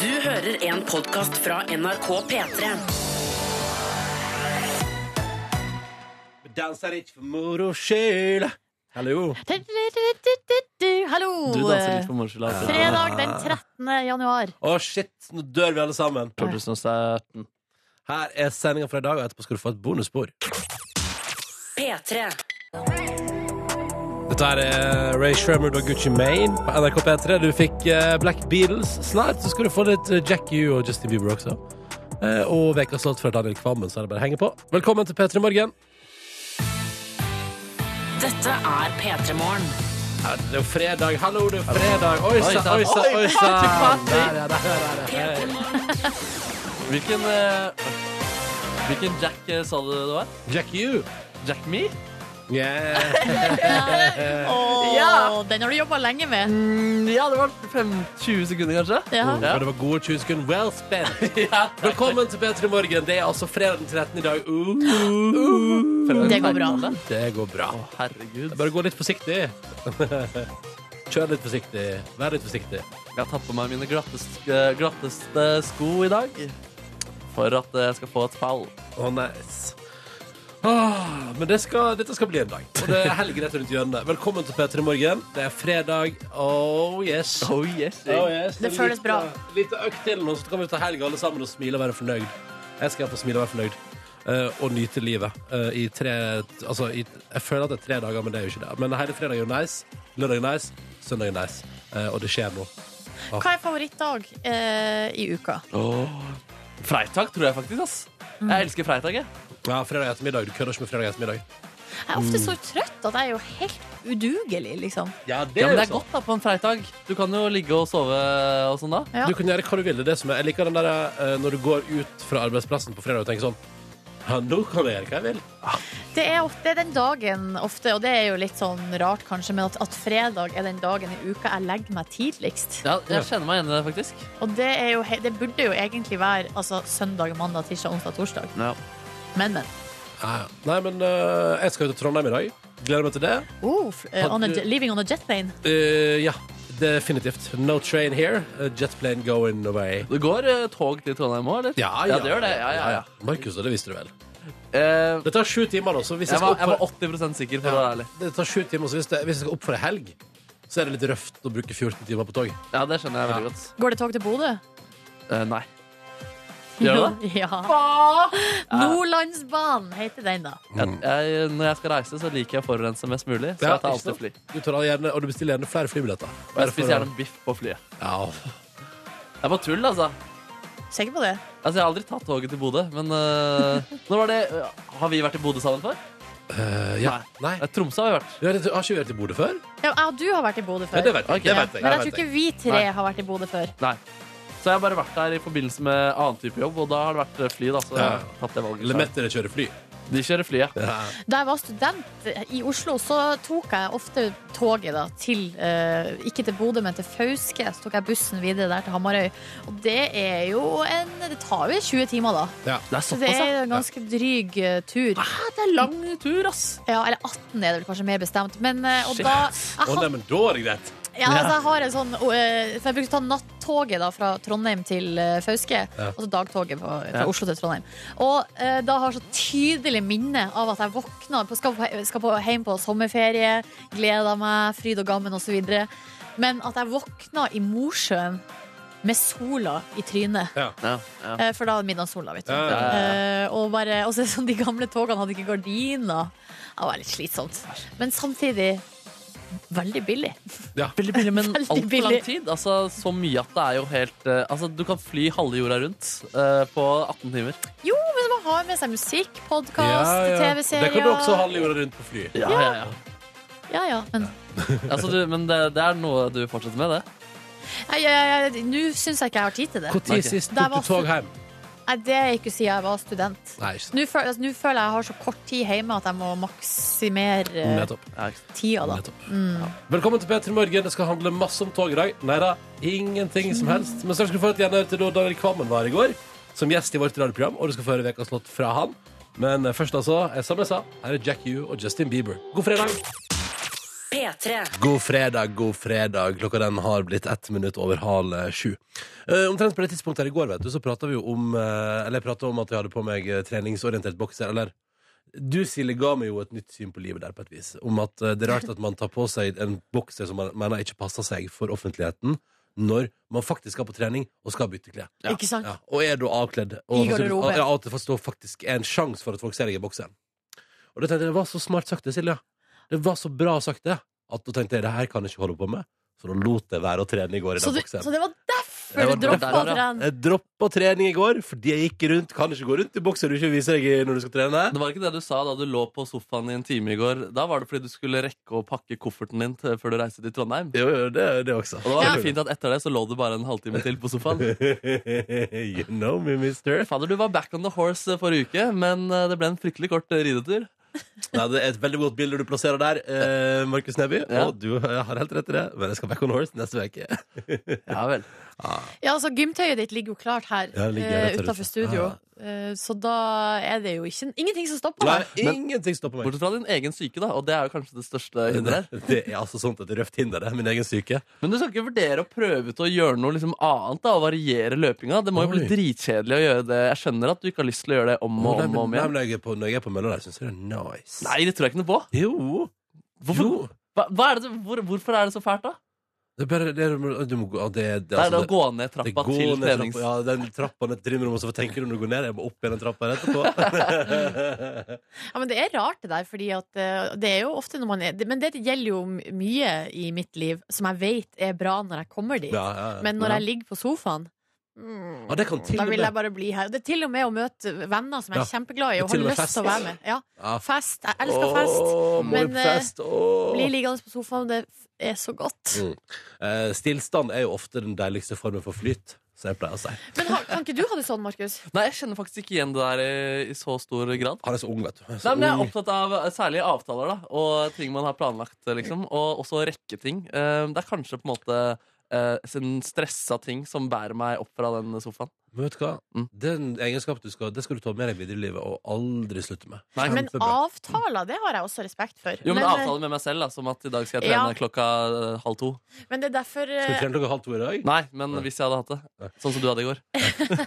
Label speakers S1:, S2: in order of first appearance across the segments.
S1: Du hører en podcast fra NRK P3.
S2: Danser ikke for moro skyld. Hallo.
S3: Hallo!
S4: Du danser litt for moro skyld. altså.
S3: Fredag den 13. januar.
S2: Å, shit, nå dør vi alle sammen.
S4: 2017.
S2: Her er sendinga fra i dag, og etterpå skal du få et bonusspor.
S1: P3.
S2: Dette her er Ray Shremmer og Gucci Mane på NRK P3. Du fikk eh, Black Beatles. Snart så skal du få litt eh, Jack U og Justin Bieber også. Eh, Og ukas låt fra Daniel Kvammen, så er det bare å henge på. Velkommen til P3 Morgen.
S1: Dette er P3 Morgen.
S2: Ja, Det er jo fredag. Hallo, det er fredag. Oi
S4: Oi,
S2: sann,
S4: sann.
S2: oi sann, oi sann. Der, ja, der, ja, der, ja.
S1: P3 Morgen.
S4: Hvilken, eh, hvilken Jack eh, sa du det var?
S2: Jack U.
S4: Jack Me?
S2: Yeah.
S3: Åh, Den har du jobba lenge med.
S4: Mm, ja, det var 25 sekunder, kanskje.
S3: Ja.
S2: Og det var gode 20 sekunder. Well spent. Velkommen til P3 Morgen. Det er altså fredag den 13. i dag. Uh,
S3: Det går bra.
S2: Det går bra.
S4: Å, herregud.
S2: Bare gå litt forsiktig. Kjør litt forsiktig. Vær litt forsiktig.
S4: Jeg har tatt på meg mine glatteste, glatteste sko i dag for at eh, jeg skal få et fall.
S2: Å, nice. Ah, men det skal, dette skal bli en dag. Og det er helg rett rundt hjørnet. Velkommen til P3 Morgen. Det er fredag. Oh yes.
S4: Oh yes.
S2: Oh, yes.
S3: Det føles
S2: Lite-
S3: bra.
S2: Lite eh, økt til nå, så kan vi ta helg alle sammen og smile og være fornøyd. Jeg skal få smile og være fornøyd. eh, og nyte livet. eh, I tre Altså, i, jeg føler at det er tre dager, men det er jo ikke det. Men hele fredag er jo nice. Lørdag er nice. Søndag er nice. Eh, og det skjer nå.
S3: Hva er favorittdag eh, i uka?
S4: Freitag tror jeg faktisk, ass. Jeg elsker freitag, jeg.
S2: Ja, fredag ettermiddag. Du kødder ikke med fredag ettermiddag.
S3: Jeg er ofte så trøtt at jeg er jo helt udugelig, liksom.
S4: Ja,
S2: Ja,
S4: men det er sånn. godt da på en freitag. Du kan jo ligge og sove og sånn da.
S3: Ja.
S2: Du kan gjøre hva du vil. Det er det som er. Jeg liker den der eh, når du går ut fra arbeidsplassen på fredag og tenker sånn Ja, nå kan jeg gjøre hva jeg vil.
S3: Det er, ofte, det er den dagen ofte, og det er jo litt sånn rart kanskje, men at, at fredag er den dagen i uka jeg legger meg tidligst.
S4: Ja, jeg kjenner meg igjen i det, faktisk.
S3: Og det, er jo, he- det burde jo egentlig være altså, søndag, mandag, tirsdag, onsdag, torsdag.
S4: Ja.
S3: Men, men.
S2: Ja, ja. Nei, men eh, jeg skal jo til Trondheim i dag. Gleder meg til det.
S3: Oh, f- eh, on a,
S2: Hadde-
S3: j- living on a jet plane.
S2: Eh, ja, definitivt. No train here, a jet plane going away.
S4: Det går eh, tog til Trondheim òg, eller? ja. det gjør det. Ja, ja, ja.
S2: Markus, det visste du vel.
S4: Eh,
S2: Det tar sju timer, da. Så hvis jeg,
S4: jeg,
S2: skal
S4: var,
S2: opp
S4: jeg var
S2: for,
S4: 80 sikker, for å være ærlig.
S2: det tar sju timer, så hvis, det, hvis jeg skal opp for ei helg, så er det litt røft å bruke 14 timer på tog.
S4: Ja, det skjønner jeg veldig godt.
S3: Går det tog til Bodø?
S4: Eh, nei. Gjør det det?
S3: Ja. Nordlandsbanen heter den, da.
S4: Jeg, jeg, når jeg skal reise, så liker jeg å forurense mest mulig. Så
S2: Ja,
S4: jeg tar
S2: ikke sant?
S4: alltid fly.
S2: Du, tar gjerne, og du bestiller gjerne flere flybilletter.
S4: Og jeg spiser gjerne biff på flyet.
S2: ja.
S4: Det er bare tull, altså.
S3: Sikker på det?
S4: Altså, Jeg har aldri tatt toget til Bodø, men eh, Når var det Har vi vært i Bodø sammen før?
S2: Eh, ja. Nei.
S4: Nei, Tromsø har vi vært.
S2: Du har, har ikke vært i Bodø før?
S3: Ja, jeg og du har vært i Bodø
S2: Ja,
S3: før.
S2: det vet jeg. Det
S4: Ok.
S2: vet jeg.
S3: Men
S2: det
S3: jeg tror
S2: vet jeg.
S3: ikke vi tre
S4: Nei.
S3: har vært i Bodø før.
S4: Nei. Så jeg har bare vært der i forbindelse med annen type jobb, og da har det vært eh, fly, da. Så jeg
S2: Ja.
S4: har tatt det valget.
S2: Eller
S4: selv.
S2: mettere kjører fly.
S4: De kjører fly, ja.
S2: Ja.
S3: Da jeg var student i Oslo, så tok jeg ofte toget da, til eh, Ikke til Bodø, men til Fauske. Så tok jeg bussen videre der til Hamarøy. Og det er jo en Det tar jo 20 timer, da.
S2: Ja.
S4: Det er
S3: Så det
S4: såpass, ja.
S3: er en ganske dryg eh, tur.
S4: Ah, Det er lang tur, ass.
S3: Ja, eller 18 er det vel kanskje mer bestemt. Men, eh, og
S4: Shit.
S3: da
S2: Å,
S3: jeg,
S2: nei,
S3: had,
S2: men da er det greit.
S3: ja, altså, jeg har en sånn eh, For jeg brukte å ta nattoget da, fra Trondheim til eh, Fauske.
S2: Ja.
S3: Og så dagtoget på, fra
S4: Ja.
S3: Oslo til Trondheim. Og eh, da har jeg så tydelig minne av at jeg våkna, på, skal, på, skal på, hjem på sommerferie, gleda meg, fryd og gammen osv. Men at jeg våkna i Mosjøen med sola i trynet.
S4: Ja, ja.
S3: Eh, For da er det midnattssola, vet du.
S2: Ja,
S4: ja,
S3: Eh, og, bare, og så er det sånn, de gamle togene hadde ikke gardiner. Det var litt slitsomt. Men samtidig veldig billig.
S4: Veldig billig, men
S3: Veldig
S4: altfor lang
S3: billig.
S4: tid. Altså, så mye at det er jo helt eh, Altså, Du kan fly halve jorda rundt eh, på 18 timer.
S3: Jo, men man har med seg musikk, podkast,
S2: Ja, ja.
S3: TV-serier.
S2: Det kan du også halve jorda rundt på fly.
S4: Ja, ja, ja.
S3: Ja, ja. Men
S4: Altså, du, men det, det er noe du fortsetter med, det?
S3: Nei, jeg- jeg- nå syns jeg ikke jeg har tid til det.
S2: Når
S4: Nei,
S2: sist
S3: Der
S2: tok
S3: var
S2: du tog hjem?
S3: Nei, det er ikke siden jeg var student.
S2: Nei, ikke sant.
S3: Nå føler, altså, nå føler jeg jeg har så kort tid hjemme at jeg må maksimere eh,
S2: Nettopp.
S4: Ja, ikke sant.
S3: tida, da.
S2: Nettopp.
S3: Mm.
S2: Velkommen til P3 Morgen. Det skal handle masse om tog i dag. Nei da, ingenting som helst. Men så skal du få et gjenhør til da Daniel Kvammen var i går, som gjest i vårt radioprogram, og du skal få høre ukas låt fra han. Men eh, først, altså, eh, som jeg sa, her er Jack U og Justin Bieber. God fredag.
S1: P3. P3.
S2: God fredag, god fredag. Klokka den har blitt ett minutt over halv eh, sju. Eh, omtrent på det tidspunktet her i går, vet du, så prata vi jo om eh, Eller jeg prata om at jeg hadde på meg eh, treningsorientert bokser, eller Du, Silje, ga meg jo et nytt syn på livet der, på et vis. Om at eh, det er rart at man tar på seg en bokser som man mener ikke passer seg for offentligheten, når man faktisk skal på trening og skal bytte klær.
S3: Ikke sant?
S2: Ja, og er da avkledd. Og,
S3: I garderoben.
S2: og, ja, at det forstår faktisk er en sjanse for at folk ser deg i bokseren. Og det tenkte jeg, det var så smart sagt det, Silja. Det var så bra sagt det, at da tenkte jeg det her kan jeg ikke holde på med. Så da lot jeg være å trene i går i
S3: Så,
S2: den
S3: du,
S2: bokseren.
S3: så det var
S2: Det
S3: derfor
S2: var
S3: du droppa å
S4: derfor, ja.
S3: trene?
S2: Jeg droppa trening i går fordi jeg gikk rundt. Kan ikke gå rundt i bokser du ikke viser deg i når du skal trene.
S4: Det var ikke det du sa da du lå på sofaen i en time i går. Da var det fordi du skulle rekke å pakke kofferten din til, før du reiste til Trondheim.
S2: Jo, jo, det, det også.
S4: Og det var veldig fint at etter det så lå du bare en halvtime til på sofaen.
S2: you know me, mister.
S4: Fader, du var back on the horse eh, forrige uke, men eh, det ble en fryktelig kort eh, ridetur.
S2: Nei, det er et veldig godt bilde du plasserer der, eh, Markus Neby.
S4: Ja.
S2: Og du har helt rett i det, men jeg skal back on horse neste uke.
S4: Ja vel.
S3: Ja, altså Gymtøyet ditt ligger jo klart her
S2: Ja, det ligger rett her ute.
S3: utafor studio. Eh, Så da er det jo ikke, ingenting som stopper
S2: Nei,
S3: deg.
S2: ingenting stopper meg.
S4: Bortsett fra din egen syke, da, og det er jo kanskje det største hinderet.
S2: Det, det er altså sånt et røft hinder, det. Min egen syke.
S4: Men du skal ikke vurdere å prøve ut å gjøre noe liksom annet da, og variere løpinga? Det må jo bli
S2: Oi.
S4: dritkjedelig å gjøre det. Jeg skjønner at du ikke har lyst til å gjøre det om og
S2: Nei,
S4: om, og om
S2: men- nei,
S4: igjen.
S2: men når jeg er på, når jeg er på mølla der, syns jeg det er nice.
S4: Nei, det tror jeg ikke noe på.
S2: Jo.
S4: Hvorfor,
S2: Jo.
S4: hva, hva er det, som- hvor, hvorfor er det så fælt, da?
S2: Det er bare det, er- du må gå det, det,
S4: Det er
S2: altså,
S4: å gå ned
S2: det
S4: trappa
S2: går
S4: til
S2: ned
S4: trenings...
S2: trappa, ja, den trappa ned til rommet, og så tenker du når du går ned, jeg må opp igjen den trappa her etterpå.
S3: Ja, men Det er rart, det der. fordi at eh, det er jo ofte når man er det- Men det gjelder jo mye i mitt liv som jeg vet er bra når jeg kommer dit.
S2: ja, ja, ja.
S3: Men når jeg ligger på sofaen mm,
S2: ja, det kan til
S3: Da
S2: og
S3: vil jeg
S2: med
S3: bare bli her. Det er til og med å møte venner som jeg er kjempeglad i og har
S2: Til og med
S3: lyst til å
S2: fest.
S3: være med. Ja,
S2: Ja.
S3: fest. Jeg elsker fest.
S2: Åh, må
S3: Men, eh,
S2: vi på fest. Åh.
S3: Bli liggende på sofaen, det er så godt.
S2: Mm. Eh, Stillstand er jo ofte den deiligste formen for flyt, som jeg pleier å si.
S3: Men har, kan ikke du ha det sånn, Markus?
S4: Nei, jeg kjenner faktisk ikke igjen det der eh, i, i så stor grad.
S2: Han er så ung, vet du. Han er så
S4: Nei, men Jeg er
S2: ung.
S4: opptatt av eh, særlig avtaler da og ting man har planlagt. liksom Og også rekke ting. Eh, Det er kanskje på en måte eh, en stressa ting som bærer meg opp fra den sofaen.
S2: Men vet du hva?
S4: Mm.
S2: Den egenskapen du skal, det skal du ta med deg videre i livet og aldri slutte med.
S4: Nei,
S3: Men
S2: Kjempebra.
S3: avtaler, det har jeg også respekt for.
S4: Jo, men
S3: men, eh,
S4: avtale med meg selv, da som at i dag skal jeg trene
S3: Ja.
S4: klokka eh, halv to.
S3: men det er derfor
S2: Skal du
S3: eh,
S2: trene klokka halv to i dag?
S4: Nei, men hvis jeg hadde hatt det. Sånn som du hadde i går.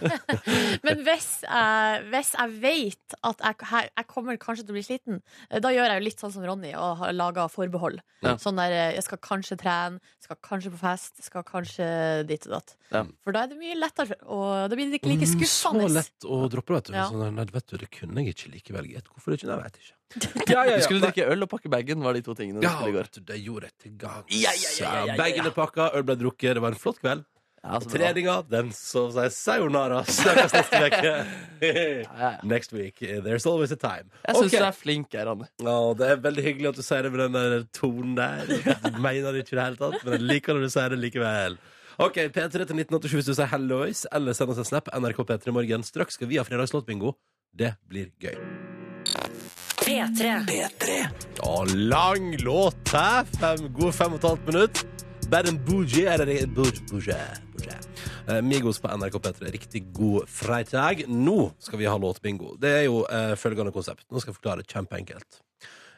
S3: Men hvis jeg, hvis jeg vet at jeg, her- jeg kommer kanskje til å bli sliten, eh, da gjør jeg jo litt sånn som Ronny og har laga forbehold.
S4: Ja.
S3: Sånn der eh, jeg skal kanskje trene, skal kanskje på fest, skal kanskje dit og datt.
S4: Ja.
S3: For da er det mye lettere, og da blir det ikke like
S2: Mm,
S3: skuffende.
S2: Så lett å droppe, vet du.
S3: Ja.
S2: Sånn, nei, vet du. Det kunne jeg ikke likevel, gitt. Hvorfor ikke? Nei, jeg vet ikke.
S4: Du skulle drikke øl og pakke bagen, var de to tingene du
S2: Ja,
S4: skulle i går.
S2: vet du, det gjorde jeg til gangs.
S4: Ja, ja, ja, ja, Altså, ja, ja.
S2: Bagene pakka, øl ble drukket. Det var en flott kveld.
S4: Ja, så bra.
S2: Treninga, den så seg sayonara. Snakkes neste uke.
S4: Ja, ja.
S2: Next week, there's always a time.
S4: Jeg syns
S2: Ok.
S4: du er flink her, Anne.
S2: Å, det er veldig hyggelig at du sier det med den der tonen der. Du mener det ikke i det hele tatt, men jeg liker når du sier det likevel. Ok, P3 til 1987 hvis du sier hellois, eller send oss en snap. NRK P3 Morgen. Straks skal vi ha fredagslåtbingo. Det blir gøy.
S1: P3.
S2: Og lang låt her. Fem, gode fem og et halvt minutt. Bad and bougie er det bougie, bougie, bougie. Eh, Migos på NRK P3. Riktig god fredag. Nå skal vi ha låtbingo. Det er jo eh, følgende konsept. Nå skal jeg forklare kjempeenkelt.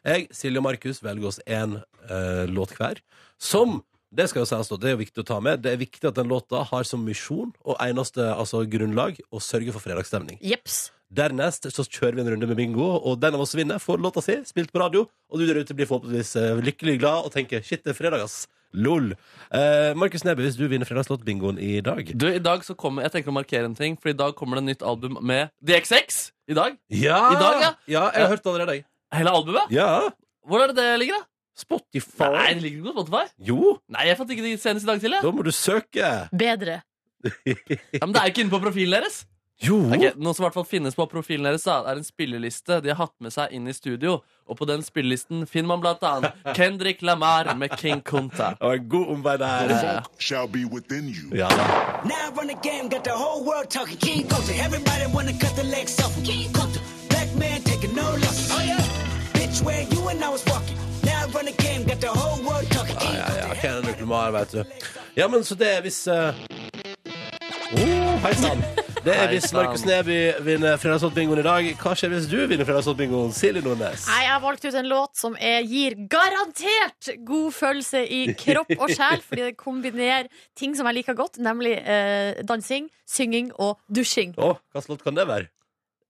S2: Jeg, Silje og Markus velger oss én eh, låt hver. Som det skal jo sies, da, det er jo viktig å ta med. Det er viktig at den låta har som misjon og eneste altså, grunnlag å sørge for fredagsstemning.
S3: Jeps.
S2: Dernest så kjører vi en runde med bingo, og den av oss som vinner, får låta si spilt på radio. Og du der ute blir forhåpentligvis eh, lykkelig glad og tenker 'shit, det er fredag, ass'. Lol. Eh, Markus Neby, hvis du vinner fredagslåtbingoen i dag
S4: Du, i dag så kommer, Jeg tenker å markere en ting, for i dag kommer det et nytt album med DXX. I dag.
S2: Ja!
S4: I dag, ja.
S2: jeg har hørt det allerede. jeg.
S4: Hele albumet.
S2: Ja.
S4: Hvor er det det ligger, da?
S2: Spotify.
S4: Nei, det ligger ikke på Spotify.
S2: Jo,
S4: Nei, jeg fant ikke det senest i dag til. Jeg.
S2: da må du søke.
S3: Bedre.
S4: Ja, men det er jo ikke inne på profilen deres.
S2: Jo.
S4: Ok, noe som i hvert fall finnes på profilen deres, da, er en spilleliste de har hatt med seg inn i studio. Og på den spillelisten finner man blant annet Kendrick Lamar med King Kunta.
S2: Det var en god omvei der.
S4: Ja.
S5: shall be within you.
S2: Ja da.
S6: Now I run the game, got the whole world talking. King culture, everybody wanna cut the legs off. him. King culture, black man taking no losses. Oh yeah, bitch, where you and I was walking. Now I run the game, got the whole world talking. King
S2: Ja, ja.
S6: culture.
S2: Kendrick Lamar, vet du. Ja, men så det er hvis eh, Å, hei sann. Det er
S4: Nei,
S2: hvis Markus
S4: sant.
S2: Neby vinner Fredagsrådbingoen i dag. Hva skjer hvis du vinner Fredagsrådbingoen, Silje Nordnes?
S3: Nei, jeg har valgt ut en låt som er, gir garantert god følelse i kropp og sjel, fordi det kombinerer ting som jeg liker godt, nemlig eh, dansing, synging og dusjing.
S2: Å, hva slags låt kan det være?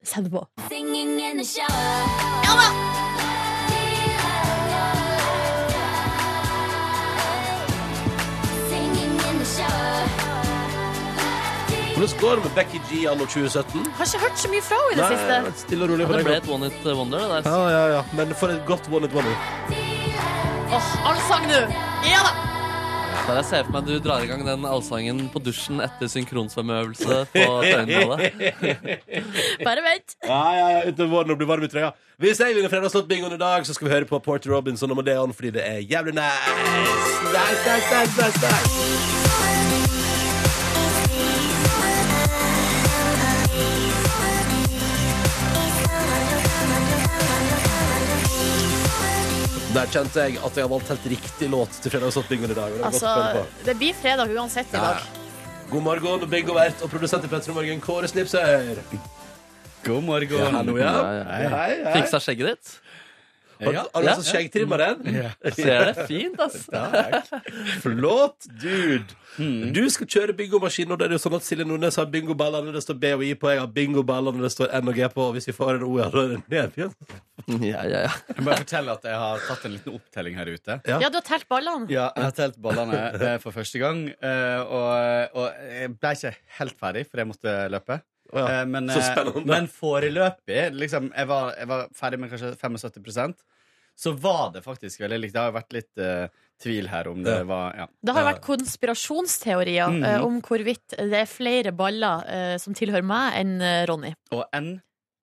S3: Send det på.
S5: Singing in the shower. Singing in the shower.
S2: Hvordan går det med Becky G anno 2017?
S3: Har ikke hørt så mye fra henne i det
S2: Nei,
S3: siste.
S2: stille og rolig
S4: Ja,
S2: på
S4: det ble
S2: deg.
S4: et one hit wonder. Det
S2: Ja,
S4: der.
S2: ja, ja. Men for et godt one it one.
S3: Åh, allsang nå! Ja da!
S4: Der jeg ser for meg at du drar i gang den allsangen på dusjen etter synkronsvømmeøvelse på Tøyenhallet.
S3: Bare vent.
S2: Ja, ja, ja, uten våren og blir varm i trøya. Hvis jeg vinner Fredagsrådbingoen i dag, så skal vi høre på Porter Robinson og Modeon, fordi det er jævlig nice. Nice, nice, nice, nice, nice. Der kjente jeg at jeg har valgt helt riktig låt til Fredagsrådbingoen i dag. og det er godt
S3: Altså,
S2: å føle på.
S3: det blir fredag uansett i
S2: Ja.
S3: dag.
S2: God morgen, Bingo Vert og produsent i Petter Morgen, Kåre Snipser.
S7: God morgen.
S2: Hallo, ja. Hei, hei. Har,
S4: Fiksa skjegget ditt.
S2: har du
S4: Ja.
S2: også skjeggtrimmer den?
S4: Ser det fint, ass.
S2: Flott, dude. Du skal kjøre bingomaskin, og det er jo sånn at Silje Nordnes har bingoballer når det står B og I på. Jeg har bingoballer når det står N og G på, og hvis vi får en O, ja, da er det ned igjen.
S4: Ja, ja, ja.
S7: Jeg må bare fortelle at jeg har tatt en liten opptelling her ute.
S2: Ja.
S3: Ja, du har telt ballene.
S7: Ja, jeg har telt ballene eh, for første gang, eh, og, og jeg ble ikke helt ferdig, for jeg måtte løpe.
S2: Å, ja.
S7: Eh, Men,
S2: Så
S7: eh,
S2: spennende.
S7: men foreløpig liksom, jeg, var, jeg var ferdig med kanskje 75 Så var det faktisk veldig likt. Det har vært litt eh, tvil her om det
S2: Ja.
S7: var ja.
S3: Det har vært konspirasjonsteorier
S7: Mhm.
S3: eh, om hvorvidt det er flere baller eh, som tilhører meg, enn eh, Ronny.
S7: Og N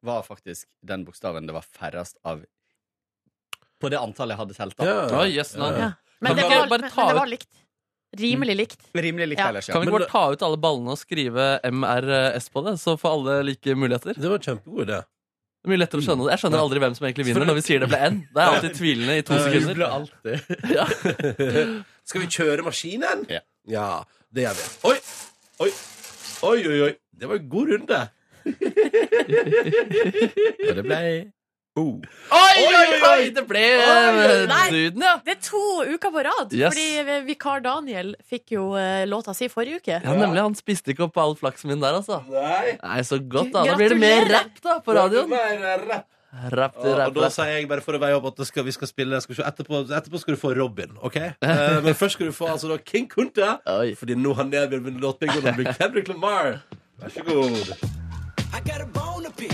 S7: var faktisk den bokstaven det var færrest av på det antallet jeg hadde telt. da
S2: Ja.
S4: Oi, jøss, nå.
S3: Ja.
S4: Kan
S3: Men, det
S4: vi
S3: var,
S4: bare
S3: men, men
S4: ta
S3: det
S4: ut-
S3: var likt. Rimelig likt.
S7: Rimelig likt
S3: Ja.
S7: ellers.
S4: Kan
S7: Ja.
S4: vi ikke bare ta ut alle ballene og skrive MRS på det, så får alle like muligheter?
S2: Det var en kjempegod idé.
S4: Det er mye lettere å skjønne det. Jeg skjønner aldri hvem som egentlig vinner når vi sier det ble N. Det er alltid tvilende i to sekunder.
S7: Jubler alltid.
S2: Skal vi kjøre maskinen?
S7: Ja.
S2: Ja, det gjør vi. Oi, oi, oi, oi. oi. Det var en god runde.
S7: Og det ble
S4: Oi,
S2: oi, oi!
S4: Det ble eh,
S3: Oi, nei.
S4: duden, ja.
S3: Det er to uker på rad,
S4: Yes.
S3: fordi vikar Daniel fikk jo eh, låta si forrige uke.
S4: Ja, nemlig. Han spiste ikke opp all flaksen min der, altså.
S2: Nei.
S4: Nei, så godt, da. Da blir det mer
S3: Gratulerer.
S4: rapp, da, på radioen.
S2: Mer eh, rapp.
S4: Rapp til
S2: Og, og
S4: rapp.
S2: da
S4: rapp.
S2: sier jeg bare for å veie opp at det skal, vi skal spille skal vi se, etterpå, etterpå skal du få Robin, OK? Eh, men først skal du få altså, da, King Kunta.
S4: Oi.
S2: Fordi nå har Nebjørn vunnet låtbingo, og det blir Kendrick Lamar. Vær så god.
S6: I got a bone to pick.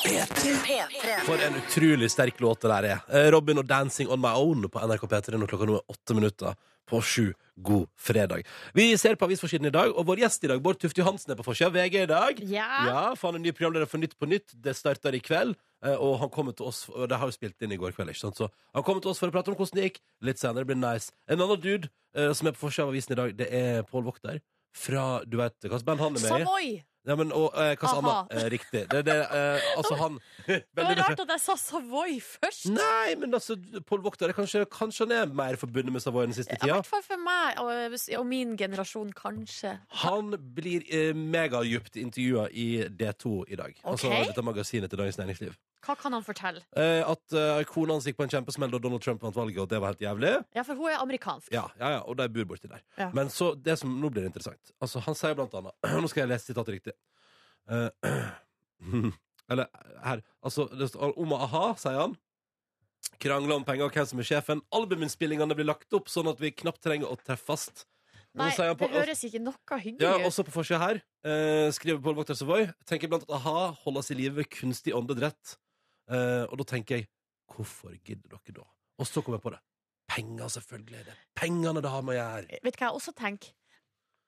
S1: P3.
S2: For en utrolig sterk låt det der er. Eh, Robin og 'Dancing On My Own' på NRK P3 når klokka nå er åtte minutter på sju. God fredag. Vi ser på avisforsiden i dag, og vår gjest i dag, Bård Tufte Johansen, er på forsida av VG i dag.
S3: Ja.
S2: Ja, for han er ny programleder for Nytt på Nytt. Det starter i kveld. eh, Og han kommer til oss og Det har jo spilt inn i går kveld, ikke sant? Så han kommer til oss for å prate om hvordan det gikk. Litt senere blir det nice. En annen dude eh, som er på forsida av avisen i dag, det er Pål Vokter. Fra Du veit hvilket band han er med i?
S3: Savoy!
S2: Ja, men, og eh, hva sa
S3: Aha.
S2: annet? Eh, riktig. Det, er det, eh, altså, han
S3: Det var
S2: Veldig-
S3: rart at jeg sa Savoy først.
S2: Nei, men altså, Pål Vokter er kanskje, kanskje han er mer forbundet med Savoy den siste
S3: I
S2: tida.
S3: hvert fall for meg og, og min generasjon, kanskje.
S2: Han blir eh, megadypt intervjua i D2 i dag. Altså
S3: Ok.
S2: dette magasinet til Dagens Næringsliv.
S3: Hva kan han fortelle?
S2: Eh, at eh, kona hans gikk på en kjempesmell da Donald Trump vant valget, og det var helt jævlig.
S3: Ja, for hun er amerikansk.
S2: Ja, ja, ja, og de bor borti der.
S3: Ja.
S2: Men så, det som nå blir det interessant Altså, han sier blant annet Nå skal jeg lese sitatet riktig. Eh, eller her Altså, det står om a-ha, sier han. Krangler om penger og hvem som er sjefen. Albuminnspillingene blir lagt opp sånn at vi knapt trenger å treffes. Og
S3: Nei,
S2: så sier han på-
S3: det høres ikke noe
S2: Ja,
S3: hyggelig ut.
S2: også på forsida her eh, skriver Pål Vokter Savoy Tenker blant annet a-ha holdes i livet ved kunstig åndedrett. Eh, og da tenker jeg Hvorfor gidder dere da? Og så kommer jeg på det. Penger, selvfølgelig. er Det er pengene det har med å gjøre.
S3: Vet du hva jeg også tenker?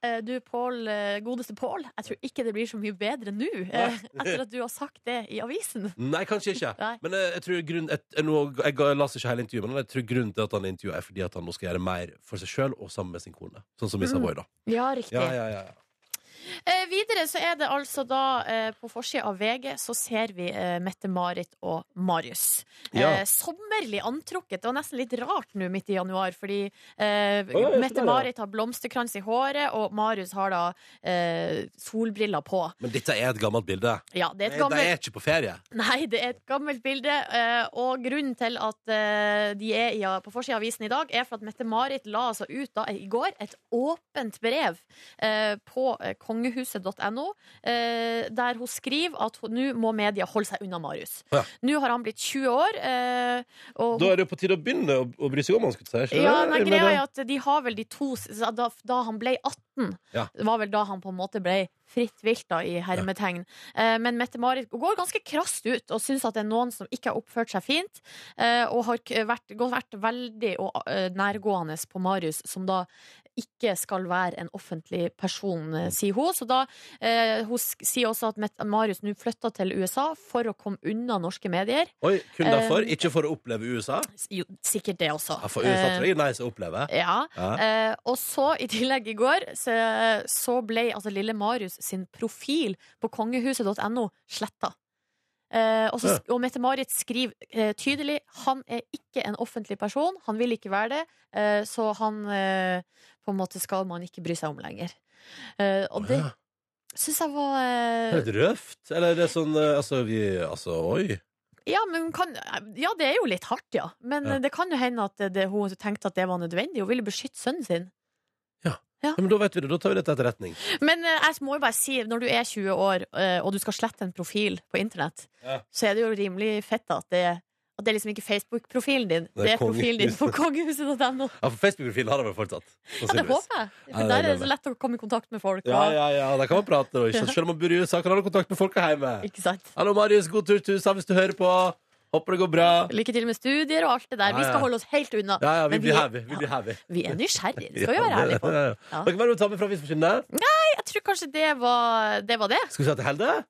S3: Eh, Du, Paul, eh, godeste Pål, jeg tror ikke det blir så mye bedre nå eh, etter at du har sagt det i avisen.
S2: Nei, kanskje ikke.
S3: Nei.
S2: Men eh, jeg tror grunn, jeg, jeg, nå- jeg, ga- jeg las ikke hele intervjuet, men jeg tror grunnen til at han er intervjuet, er fordi at
S3: Mm.
S2: han nå skal gjøre mer for seg sjøl og sammen med sin kone. Sånn som i Savoy, da.
S3: Ja, riktig.
S2: Ja, ja, ja, ja.
S3: Eh, videre så er det altså da eh, på forsida av VG så ser vi eh, Mette-Marit og Marius.
S2: Ja.
S3: Eh, sommerlig antrukket. Det var nesten litt rart nå midt i januar, fordi eh,
S2: ja, sånn er det, ja.
S3: Mette-Marit har blomsterkrans i håret, og Marius har da eh, solbriller på.
S2: Men dette er et gammelt bilde.
S3: Ja, det er
S2: De
S3: et gammelt
S2: er ikke på ferie.
S3: Nei, det er et gammelt bilde. eh, Og grunnen til at eh, de er i- på forsida av avisen i dag, er for at Mette-Marit la altså ut da, i går et åpent brev eh, på eh, kongehuset.no, eh, der hun skriver at hun- nå må media holde seg unna Marius.
S2: Ja.
S3: Nå har han blitt 20 år, eh, og
S2: Da er det jo på tide å begynne å, å bry seg om han, skulle jeg si. ikke
S3: ja,
S2: det?
S3: men
S2: Men
S3: greia
S2: det-
S3: er at de har vel de to Da, da han ble 18,
S2: Ja.
S3: det var vel da han på en måte ble fritt vilt, da, i hermetegn. Eh, Men Mette-Marit går ganske krast ut og syns at det er noen som ikke har oppført seg fint, eh, og har k- vært, gått- vært veldig og, eh, nærgående på Marius, som da ikke skal være en offentlig person, eh, sier hun. Så da eh, Hun sk- sier også at Mette- Marius nå flytta til USA for å komme unna norske medier.
S2: Oi, kun derfor?
S3: Eh,
S2: Ikke for å oppleve USA?
S3: S- Jo, sikkert det også.
S2: Ja, for USA
S3: Eh,
S2: tror jeg er nice å oppleve.
S3: Ja.
S2: Ja.
S3: Eh, og så, i tillegg i går, så, så ble altså lille Marius sin profil på kongehuset.no sletta. Eh, og, så, og Mette-Marit skriver eh, tydelig han er ikke en offentlig person. Han vil ikke være det, eh, så han eh, på en måte skal man ikke bry seg om lenger. Eh, og det
S2: Å, ja.
S3: syns jeg var
S2: Det er
S3: eh,
S2: litt røft. Eller er det sånn eh, Altså, vi Altså, oi.
S3: ja, men kan, ja, det er jo litt hardt, ja. Men
S2: Ja.
S3: eh, det kan jo hende at det, hun tenkte at det var nødvendig. Hun ville beskytte sønnen sin.
S2: Ja, men da vet vi det. Da tar vi det til etterretning.
S3: Men eh, jeg må jo bare si, når du er 20 år eh, og du skal slette en profil på internett,
S2: Ja.
S3: så er det jo rimelig fett at det, at det er liksom ikke Facebook-profilen din.
S2: er
S3: Det er profilen din på kongehuset.no.
S2: Ja, for Facebook-profilen har han vel fortsatt.
S3: Ja, det håper jeg.
S2: Ja,
S3: For
S2: det
S3: der er
S2: gleder
S3: det
S2: jeg.
S3: så lett å komme i kontakt med folk.
S2: Ja,
S3: Og,
S2: ja, ja. Der kan man prate, da. Ikke? sant? Selv om man bor i USA, kan han ha kontakt med folka hjemme.
S3: ikke sant?
S2: Hallo, Marius. God tur til USA hvis du hører på. Håper det går bra.
S3: Lykke til med studier og alt det
S2: Ja,
S3: der. Vi
S2: ja.
S3: skal holde oss helt unna.
S2: Ja, ja, vi
S3: Men
S2: blir
S3: er-
S2: heavy. Vi blir
S3: ja,
S2: heavy.
S3: vi er nysgjerrige. Det skal vi være ærlige på.
S2: Ja, ja, ja.
S3: Ja.
S2: Dere, Hva er det du tar med fra avisforsynene?
S3: Jeg tror kanskje det var det. Var det.
S2: Skal vi se til Helde?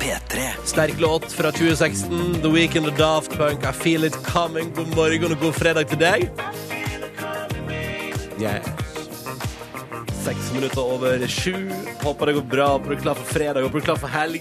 S1: P3.
S2: Sterk låt fra 2016. The Weekend og Daft Punk. I feel it coming. God morgen og god fredag til deg. Yeah. Seks minutter over sju. Håper det går bra. Håper du er klar for fredag håper du er klar for helg.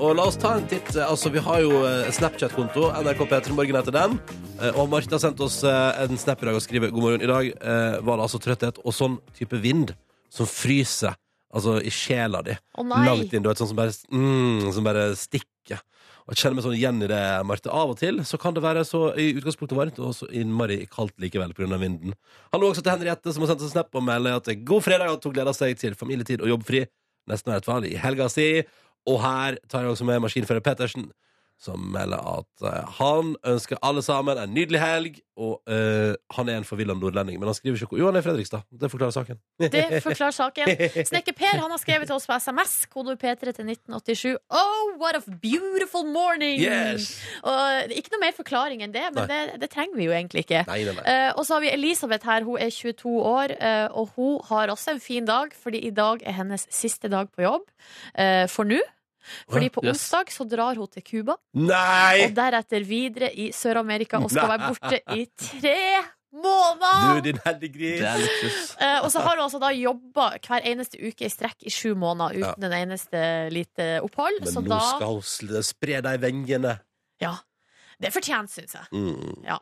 S2: Og la oss ta en titt. Altså, vi har jo eh, Snapchat-konto. NRK P3 Morgen heter den. Eh, Og Martha sendte oss eh, en snap i dag og skriver God morgen. I dag eh, var det altså trøtthet og sånn type vind som fryser. Altså i sjela di.
S3: Å, nei.
S2: Langt inn. Du vet, sånn som bare, mm, som bare stikker. Og jeg kjenner meg sånn igjen i det, Marte. Av og til så kan det være så i utgangspunktet varmt og så innmari kaldt likevel pga. vinden. Hallo også til Henriette, som har sendt oss en snap og melder at god fredag, at hun gleder seg til familietid og jobbfri. Nesten helt vanlig i helga si. Og her tar jeg også med maskinfører Pettersen, som melder at eh, han ønsker alle sammen en nydelig helg. Og eh, han er en forvilla nordlending, men han skriver ikke hvor Jo, han er i Fredrikstad. Det forklarer saken.
S3: Det forklarer saken. Snekker Per han har skrevet til oss på SMS, kodeord P3 til 1987. Oh, what a beautiful morning!
S2: Yes!
S3: Og det er ikke noe mer forklaring enn det, men det, det trenger vi jo egentlig ikke.
S2: Nei, nei, nei.
S3: Eh, og så har vi Elisabeth her, hun er 22 år, eh, og hun har også en fin dag, fordi i dag er hennes siste dag på jobb eh, for nå. Fordi på
S4: Yes.
S3: onsdag så drar hun til Cuba,
S2: Nei!
S3: og deretter videre i Sør-Amerika, og skal
S2: Nei.
S3: være borte i tre
S2: Du,
S3: måneder!
S2: din heldige gris.
S4: Det er luksus.
S3: Eh, og så har hun altså da jobba hver eneste uke i strekk i sju måneder uten
S2: Ja.
S3: en eneste lite opphold.
S2: Men
S3: så
S2: nå
S3: da
S2: skal hun sl- spre de vengene.
S3: Ja. Det er fortjent, syns jeg.
S2: Mm.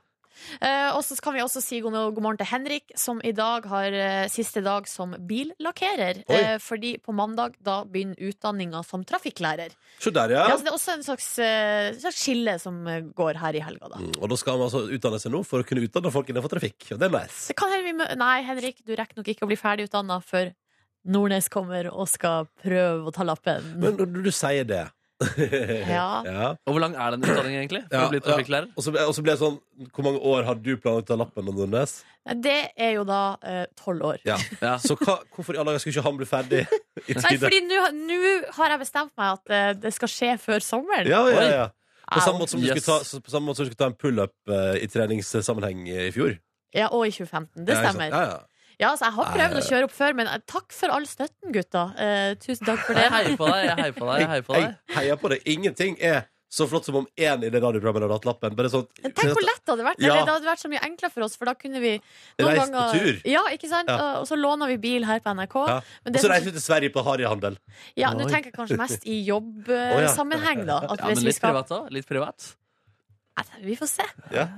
S3: Eh, og så kan vi også si god, god morgen til Henrik, som i dag har eh, siste dag som billakkerer.
S2: Oi.
S3: Eh, fordi på mandag da begynner utdanninga som trafikklærer.
S2: Se der, ja.
S3: Ja. så det er også en slags, eh, slags skille som eh, går her i helga, da.
S2: Mm, Og da skal man altså utdanne seg nå for å kunne utdanne folk innenfor trafikk. Og det er nice.
S3: Så kan hende vi mø Nei, Henrik, du rekker nok ikke å bli ferdig utdanna før Nordnes kommer og skal prøve å ta lappen.
S2: Men når du, du sier det
S3: Ja.
S4: Og hvor lang er den utdanningen, egentlig? For
S2: Ja,
S4: å bli
S2: ja.
S4: trafikklærer?
S2: Og så ble og så ble det sånn Hvor mange år har du planlagt å ta lappen? Anne Nordnes?
S3: Nei, Det er jo da eh, tolv år.
S2: Ja.
S4: Ja.
S2: Så hva, hvorfor i alle dager skulle ikke han bli ferdig i
S3: Nei,
S2: tide?
S3: fordi nå nå har jeg bestemt meg at eh, det skal skje før sommeren.
S2: Ja, ja, ja. På
S3: Au.
S2: samme måte som du
S4: Yes.
S2: skulle ta, så- på samme måte som du skulle ta en pullup eh, i treningssammenheng i fjor.
S3: Ja, og i 2015. Det
S2: Ja, ikke sant?
S3: stemmer.
S2: Ja, ja.
S3: Ja, altså, jeg har prøvd å kjøre opp før, men eh, takk for all støtten, gutta. Eh, tusen takk for det.
S4: Jeg heier på deg, jeg heier på deg. jeg heier på deg
S2: Jeg heier på det. Ingenting er Så flott som om én i det radioprogrammet hadde hatt lappen. Bare sånn,
S3: Tenk hvor lett det hadde vært.
S2: Ja.
S3: Eller, det hadde vært så mye enklere for oss, for da kunne vi noen
S2: Reist på
S3: ganger
S2: tur.
S3: Ja, ikke sant?
S2: Ja.
S3: Og- Og så låna vi bil her på NRK.
S2: Ja.
S3: Men
S2: Og
S3: det
S2: så
S3: som-
S2: reiste vi til Sverige på harryhandel.
S3: Ja, nå
S2: Oi.
S3: tenker jeg kanskje mest i
S2: Å, ja.
S3: jobbsammenheng, da. At
S4: Ja,
S3: hvis
S4: men
S3: vi
S4: litt
S3: skal
S4: privat òg. Litt privat.
S3: Nei, Vi får se.
S2: Ja.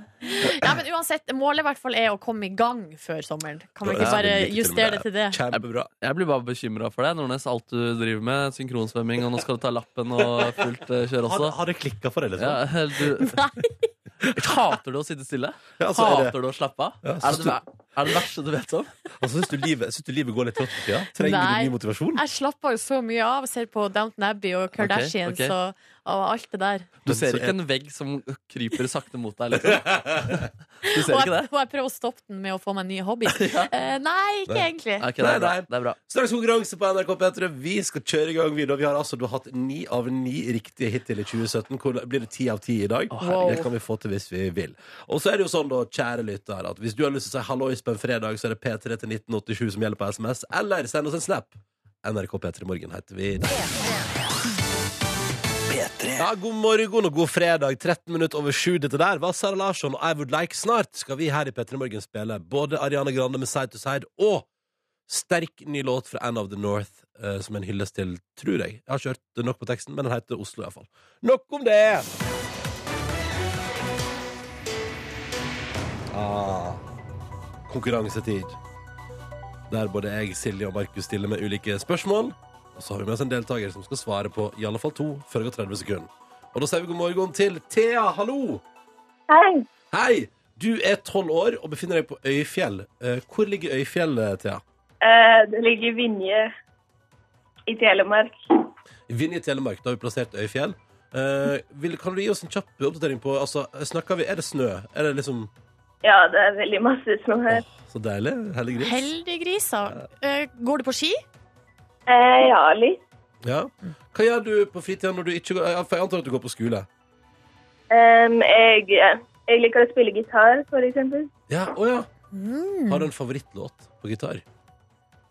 S3: Ja, men uansett, målet i hvert fall er å komme i gang før sommeren. Kan vi
S2: Ja,
S3: ikke
S2: ja,
S3: bare
S2: men lykke til med
S3: justere det til det?
S2: Kjempebra.
S4: Jeg blir bare bekymra for deg, Nordnes. Alt du driver med. Synkronsvømming, og nå skal du ta lappen og fullt eh, kjøre
S2: Har,
S4: også.
S2: har det klikka for deg, liksom?
S4: Ja, du,
S3: Nei.
S4: hater du å sitte stille?
S2: Ja, altså, er det-
S4: Hater du å slappe av?
S2: Ja,
S4: Er
S2: synes
S4: det det er det verste du vet om?
S2: Og så syns du livet, syns du livet går litt trått for tida? Trenger
S3: Nei.
S2: du ny motivasjon?
S3: Jeg slapper jo så mye av og ser på Downton Abbey og Kardashians
S4: ok.
S3: Og, og alt det der.
S4: Du ser
S2: så
S4: ikke
S2: er-
S4: en vegg som kryper sakte mot deg, liksom? Du ser
S3: Og
S4: ikke
S3: jeg,
S4: det?
S3: og jeg prøver å stoppe den med å få meg en ny hobby. Eh, nei, ikke
S2: Nei.
S3: egentlig.
S4: Ok, det er bra.
S2: Nei, nei.
S4: Det er bra.
S2: Straks konkurranse på NRK P3. Vi skal kjøre i gang videre. Vi har altså du har hatt ni av ni riktige hittil i 2017. Hvor blir det ti av ti i dag?
S3: herregud.
S2: Det kan vi få til hvis vi vil. Og så er det jo sånn, da, kjære lytter, at hvis du har lyst til å si hallois på en fredag, så er det P3 til 1987 som gjelder på SMS, eller send oss en snap. NRK P3 Morgen heter vi der. Ja, god morgen og god fredag. 13 minutter over sju. Dette der var Sara Larsson og I Would Like. Snart skal vi her i P3 Morgen spille både Ariana Grande med Side to Side og sterk ny låt fra End of the North eh, som en hyllest til, tror jeg. Jeg har ikke hørt nok på teksten, men den heter Oslo iallfall. Nok om det! Ah, konkurransetid. Der både jeg, Silje og Markus stiller med ulike spørsmål. Og så har vi med oss en deltaker som skal svare på i alle fall to før det går 30 sekunder. Og da sier vi god morgen til Thea. Hallo!
S8: Hei.
S2: Hei! Du er tolv år og befinner deg på Øyfjell. Eh, Hvor ligger Øyfjell, Thea?
S8: Eh, det ligger i Vinje i Telemark.
S2: Vinje i Telemark, da har vi plassert Øyfjell. Eh, vil, kan du gi oss en kjapp oppdatering på altså, snakker vi, Er det snø? Er det liksom
S8: Ja, det er veldig masse snø her.
S2: Åh, Så deilig. Hellig gris.
S3: Heldiggrisa. Eh, går du på ski?
S8: Eh, ja, litt.
S2: Ja. Hva gjør du på fritida når du ikke går ja, For jeg antar at du går på skole?
S8: Em, jeg, jeg liker å spille gitar, for eksempel.
S2: Ja, å ja. Har du en favorittlåt på gitar?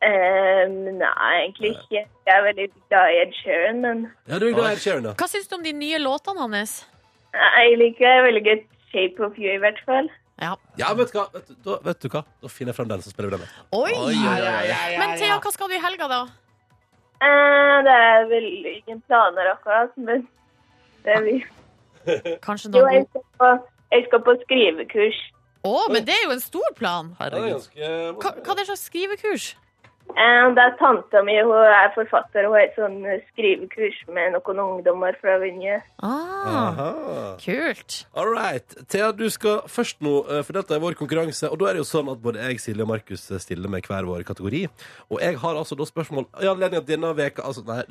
S8: Em, nei, egentlig ikke. Jeg er veldig glad i Ed Sheeran, men
S2: Ja, du er glad i Ed Sheeran, ja.
S3: Hva syns du om de nye låtene hans?
S8: nei, jeg liker veldig godt Shape of You, i hvert fall.
S3: Ja.
S2: Ja, vet du hva? Vet du, da, vet du hva? Da finner jeg frem den, så spiller vi den. med.
S3: Oi!
S4: Oi, oi, oi.
S3: Men Thea, hva skal du i helga, da?
S8: Eh, det er vel ingen planer akkurat, men det er vi.
S3: Kanskje
S8: Jo,
S3: noe
S8: jeg skal på, jeg skal på skrivekurs.
S3: Å, men det er jo en stor plan!
S4: Herregud.
S3: Hva, hva er det slags skrivekurs?
S8: Eh, Det er tanta mi, hun er forfatter, og hun har et sånn skrivekurs med noen ungdommer fra Vinje.
S3: Ah,
S2: Aha.
S3: kult.
S2: All right. Thea, du skal først nå eh, få delta i vår konkurranse. Og da er det jo sånn at både jeg, Silje og Markus eh, stiller med hver vår kategori. Og jeg har altså da spørsmål i anledning av denne veka Altså, nei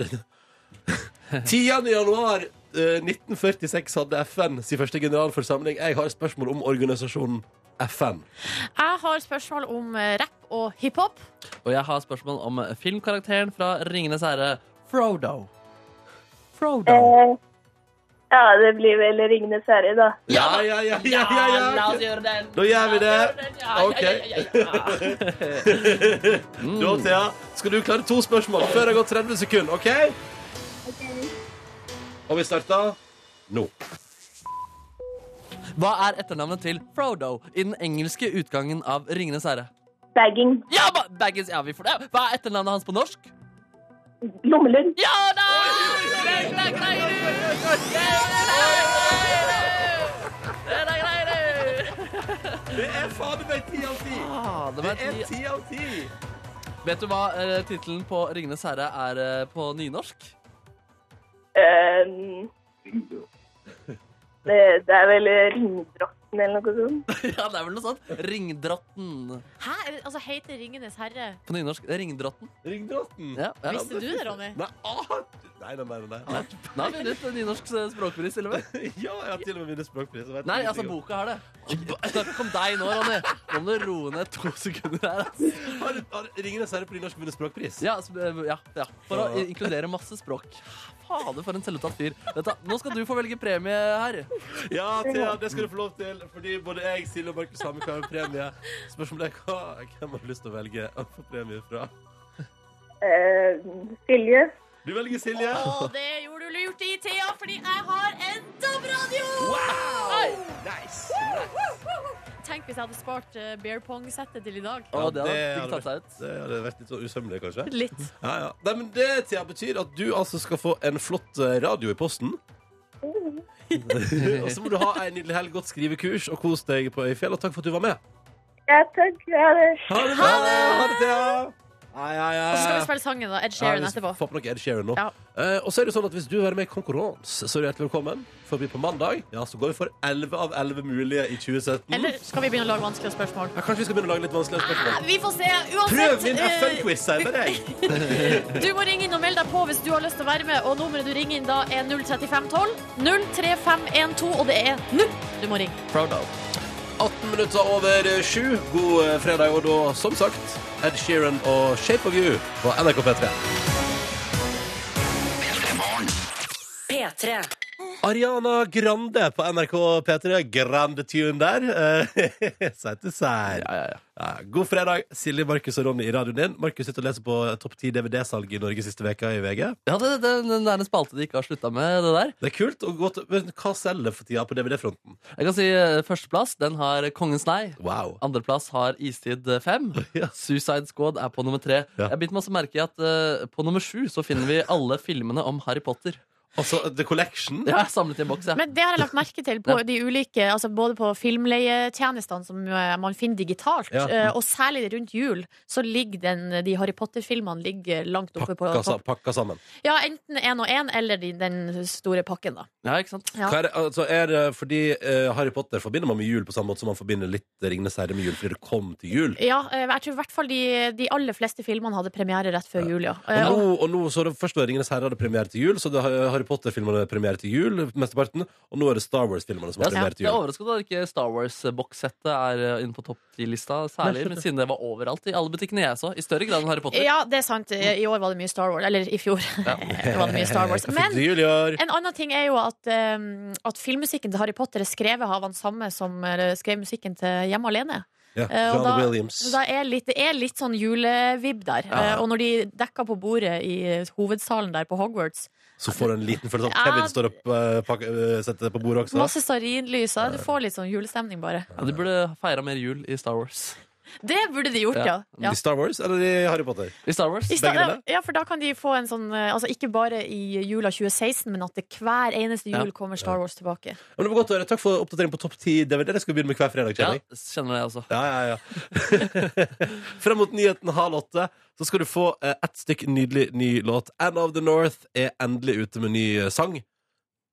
S2: 10. januar eh, 1946 hadde FN sin første generalforsamling. Jeg har spørsmål om organisasjonen FN.
S3: Jeg har spørsmål om eh, rapp og hiphop.
S4: Og jeg har spørsmål om filmkarakteren fra Ringenes herre, Frodo. Frodo.
S8: Eh, Ja, det blir vel Ringenes herre, da.
S2: Ja, ja, ja, ja, ja, ja.
S4: gjøre den.
S2: Da gjør vi det. Ok. Mm. Da, Thea, skal du klare to spørsmål før det har gått 30 sekunder, OK? Og vi starter nå.
S4: Hva er etternavnet til Frodo i den engelske utgangen av Ringenes herre?
S8: Bagging.
S4: Ja, ba Baggins, ja, vi får det. Hva er etternavnet hans på norsk?
S8: Lommelund.
S4: Ja, nei! Det er greier, du! Det er greier, du!
S2: Det er fader meg ti av ti!
S4: Ah, det var ti-
S2: ti av ti!
S4: Vet du hva eh, tittelen på Ringenes herre er eh, på nynorsk?
S8: Eh, det, det er vel Ringdrotten eller noe sånt.
S4: Ja, det er vel noe sånt. Ringdrotten.
S3: Hæ? Altså, heter Ringenes herre?
S4: På nynorsk. Ringdrotten.
S2: Ringdrotten.
S4: Ja, ja.
S3: Visste du det, Ronny?
S2: Nei, ah, nei, nei, nei, nei, nei.
S4: Nå har vi vunnet en nynorsk eh, språkpris, til og med.
S2: Ja, jeg har til og med vunnet språkpris. jeg vet
S4: Nei, altså,
S2: ingenting om-
S4: boka har det. Snakk ikke om deg nå, Ronny. Nå må du roe ned to sekunder her. ass.
S2: Har, har Ringenes herre på nynorsk vunnet språkpris?
S4: Ja, så, eh, ja, ja. For å i- inkludere masse språk. Fader, for en selvuttatt fyr. Vet du hva, nå skal du få velge premie her.
S2: Ja, Thea, det skal du få lov til, fordi både jeg, Silje og Markus har med hver en premie. Spørsmålet er hva, hvem har du lyst til å velge å få premie fra?
S8: Eh, Silje.
S2: Du velger Silje.
S3: Å, det gjorde du skulle gjort det i Thea, fordi jeg har en DAB-radio!
S7: Nice!
S3: Tenk hvis jeg hadde spart eh, beer pong-settet til i dag.
S4: Og det hadde
S2: Ja, det
S4: ikke
S2: hadde
S4: tatt seg ut.
S2: Det hadde vært litt sånn usømmelig, kanskje.
S3: Litt.
S2: Ja, ja. Nei, men det Thea, betyr at du altså skal få en flott eh, radio i posten. og så må du ha en nydelig helg, godt skrivekurs og kos deg på Øyfjell. Og takk for at du var med.
S8: Ja, takk. Ha det.
S2: Ha det! Ha det, Thea! Ai, ai, ai.
S3: Og så skal vi spille sangen, da. Ed Sheeran
S2: Ja, vi
S3: etterpå.
S2: Få på noe Ed Sheeran nå.
S3: Ja.
S2: Eh, og så er det sånn at Hvis du vil være med i konkurranse, så er du hjertelig velkommen. Forbi på mandag. Ja, Så går vi for 11 av 11 mulige i 2017.
S3: Eller skal vi begynne å lage vanskelige spørsmål?
S2: Ja, kanskje vi skal begynne å lage litt vanskeligere spørsmål.
S3: Vi får se. Uansett.
S2: Prøv min
S3: eh,
S2: FN-quiz senere, jeg.
S3: Du må ringe inn og melde deg på hvis du har lyst til å være med. Og nummeret du ringer inn da, er 03512. 03512, og det er nå du må ringe.
S4: Proud of.
S2: 18 minutter over 7. God eh, fredag, og da, som sagt, Ed Sheeran og Shape of You på NRK P3.
S1: P3.
S2: Ariana Grande på NRK P3. Grande tune der. Eh, Seg til sær.
S4: Ja, ja, ja.
S2: Ja, god fredag, Silje, Markus og Ronny i radioen din. Markus sitter og leser på topp 10 DVD-salget i Norge siste veka i VG.
S4: Ja, det, det, det er en spalte de ikke har slutta med, det der.
S2: Det er kult og godt, men hva selger for tida på DVD-fronten?
S4: Jeg kan si eh, Førsteplass den har Kongens nei.
S2: Wow.
S4: Andreplass har Istid 5.
S2: Ja.
S4: Suicide Squad er på nummer tre.
S2: Ja.
S4: Jeg har bitt meg også merke i at eh, på nummer sju så finner vi alle filmene om Harry Potter.
S2: Altså, The Collection.
S4: Jeg har samlet i en boks, jeg.
S3: Men det har jeg lagt merke til på de ulike, altså både på filmleietjenestene som eh, man finner digitalt,
S2: Ja.
S3: eh, og særlig rundt jul, så ligger den, de Harry Potter-filmene ligger langt oppe på
S2: Pakka, sa-
S3: topp.
S2: pakka sammen.
S3: Ja, enten én og én, eller de, den store pakken, da.
S4: Ja, ikke sant?
S3: Ja.
S2: Hva er, det- altså, er det fordi eh, Harry Potter forbinder man med jul på samme måte som man forbinder litt Ringenes herre med jul fordi det kom til jul?
S3: Ja, eh, jeg tror i hvert fall de, de aller fleste filmene hadde premiere rett før jul, ja. Eh,
S2: Og
S3: og-
S2: nå, og nå så det Først var Ringenes herre hadde premiere til jul, så det, Harry Potter-filmene hadde premiere til jul, mesteparten, og nå er det Star Wars-filmene som
S4: Jeg
S2: har premiere til
S4: jeg er
S2: jul.
S4: overrasket over at ikke Star Wars-bokssettet er eh, inne på topp 10-lista, særlig men siden det var overalt i alle butikkene jeg så. I større grad enn Harry Potter.
S3: Ja, det er sant. Eh, I år var det mye Star Wars. Eller i fjor var det mye Star Wars.
S2: Eh, Hva fikk
S3: Men Eh,
S2: du jul i år?
S3: en annen ting er jo at, eh, at filmmusikken til Harry Potter er skrevet av han samme som eh, skrev musikken til Hjemme alene.
S2: Ja,
S3: Eh, og
S2: John Williams.
S3: Da er litt, det er litt sånn julevibb der. Eh, Og når de dekker på bordet i hovedsalen der på Hogwarts,
S2: Så får du en liten følelse av at
S3: Ja.
S2: Kevin står opp eh, pakke- eh, setter det på bordet også.
S3: masse stearinlys, og du får litt sånn julestemning bare.
S4: Ja, de burde feira mer jul i Star Wars.
S3: Det burde de gjort, ja. ja.
S2: I Star Wars eller i Harry Potter?
S4: I Star Wars
S3: I sta-
S2: Begge deler?
S3: ja, for da kan de få en sånn eh, Altså ikke bare i jula 2016, men at det hver eneste
S4: Ja.
S3: jul kommer Star Wars tilbake.
S2: Men det var godt å høre. Takk for oppdatering på topp 10 DVD. Det skal vi begynne med hver fredag.
S4: ja,
S2: kjenner jeg.
S4: kjenner det også.
S2: Ja, ja, ja. Frem mot nyheten halv åtte så skal du få eh, ett stykk nydelig ny låt. End of the North er endelig ute med ny eh, sang.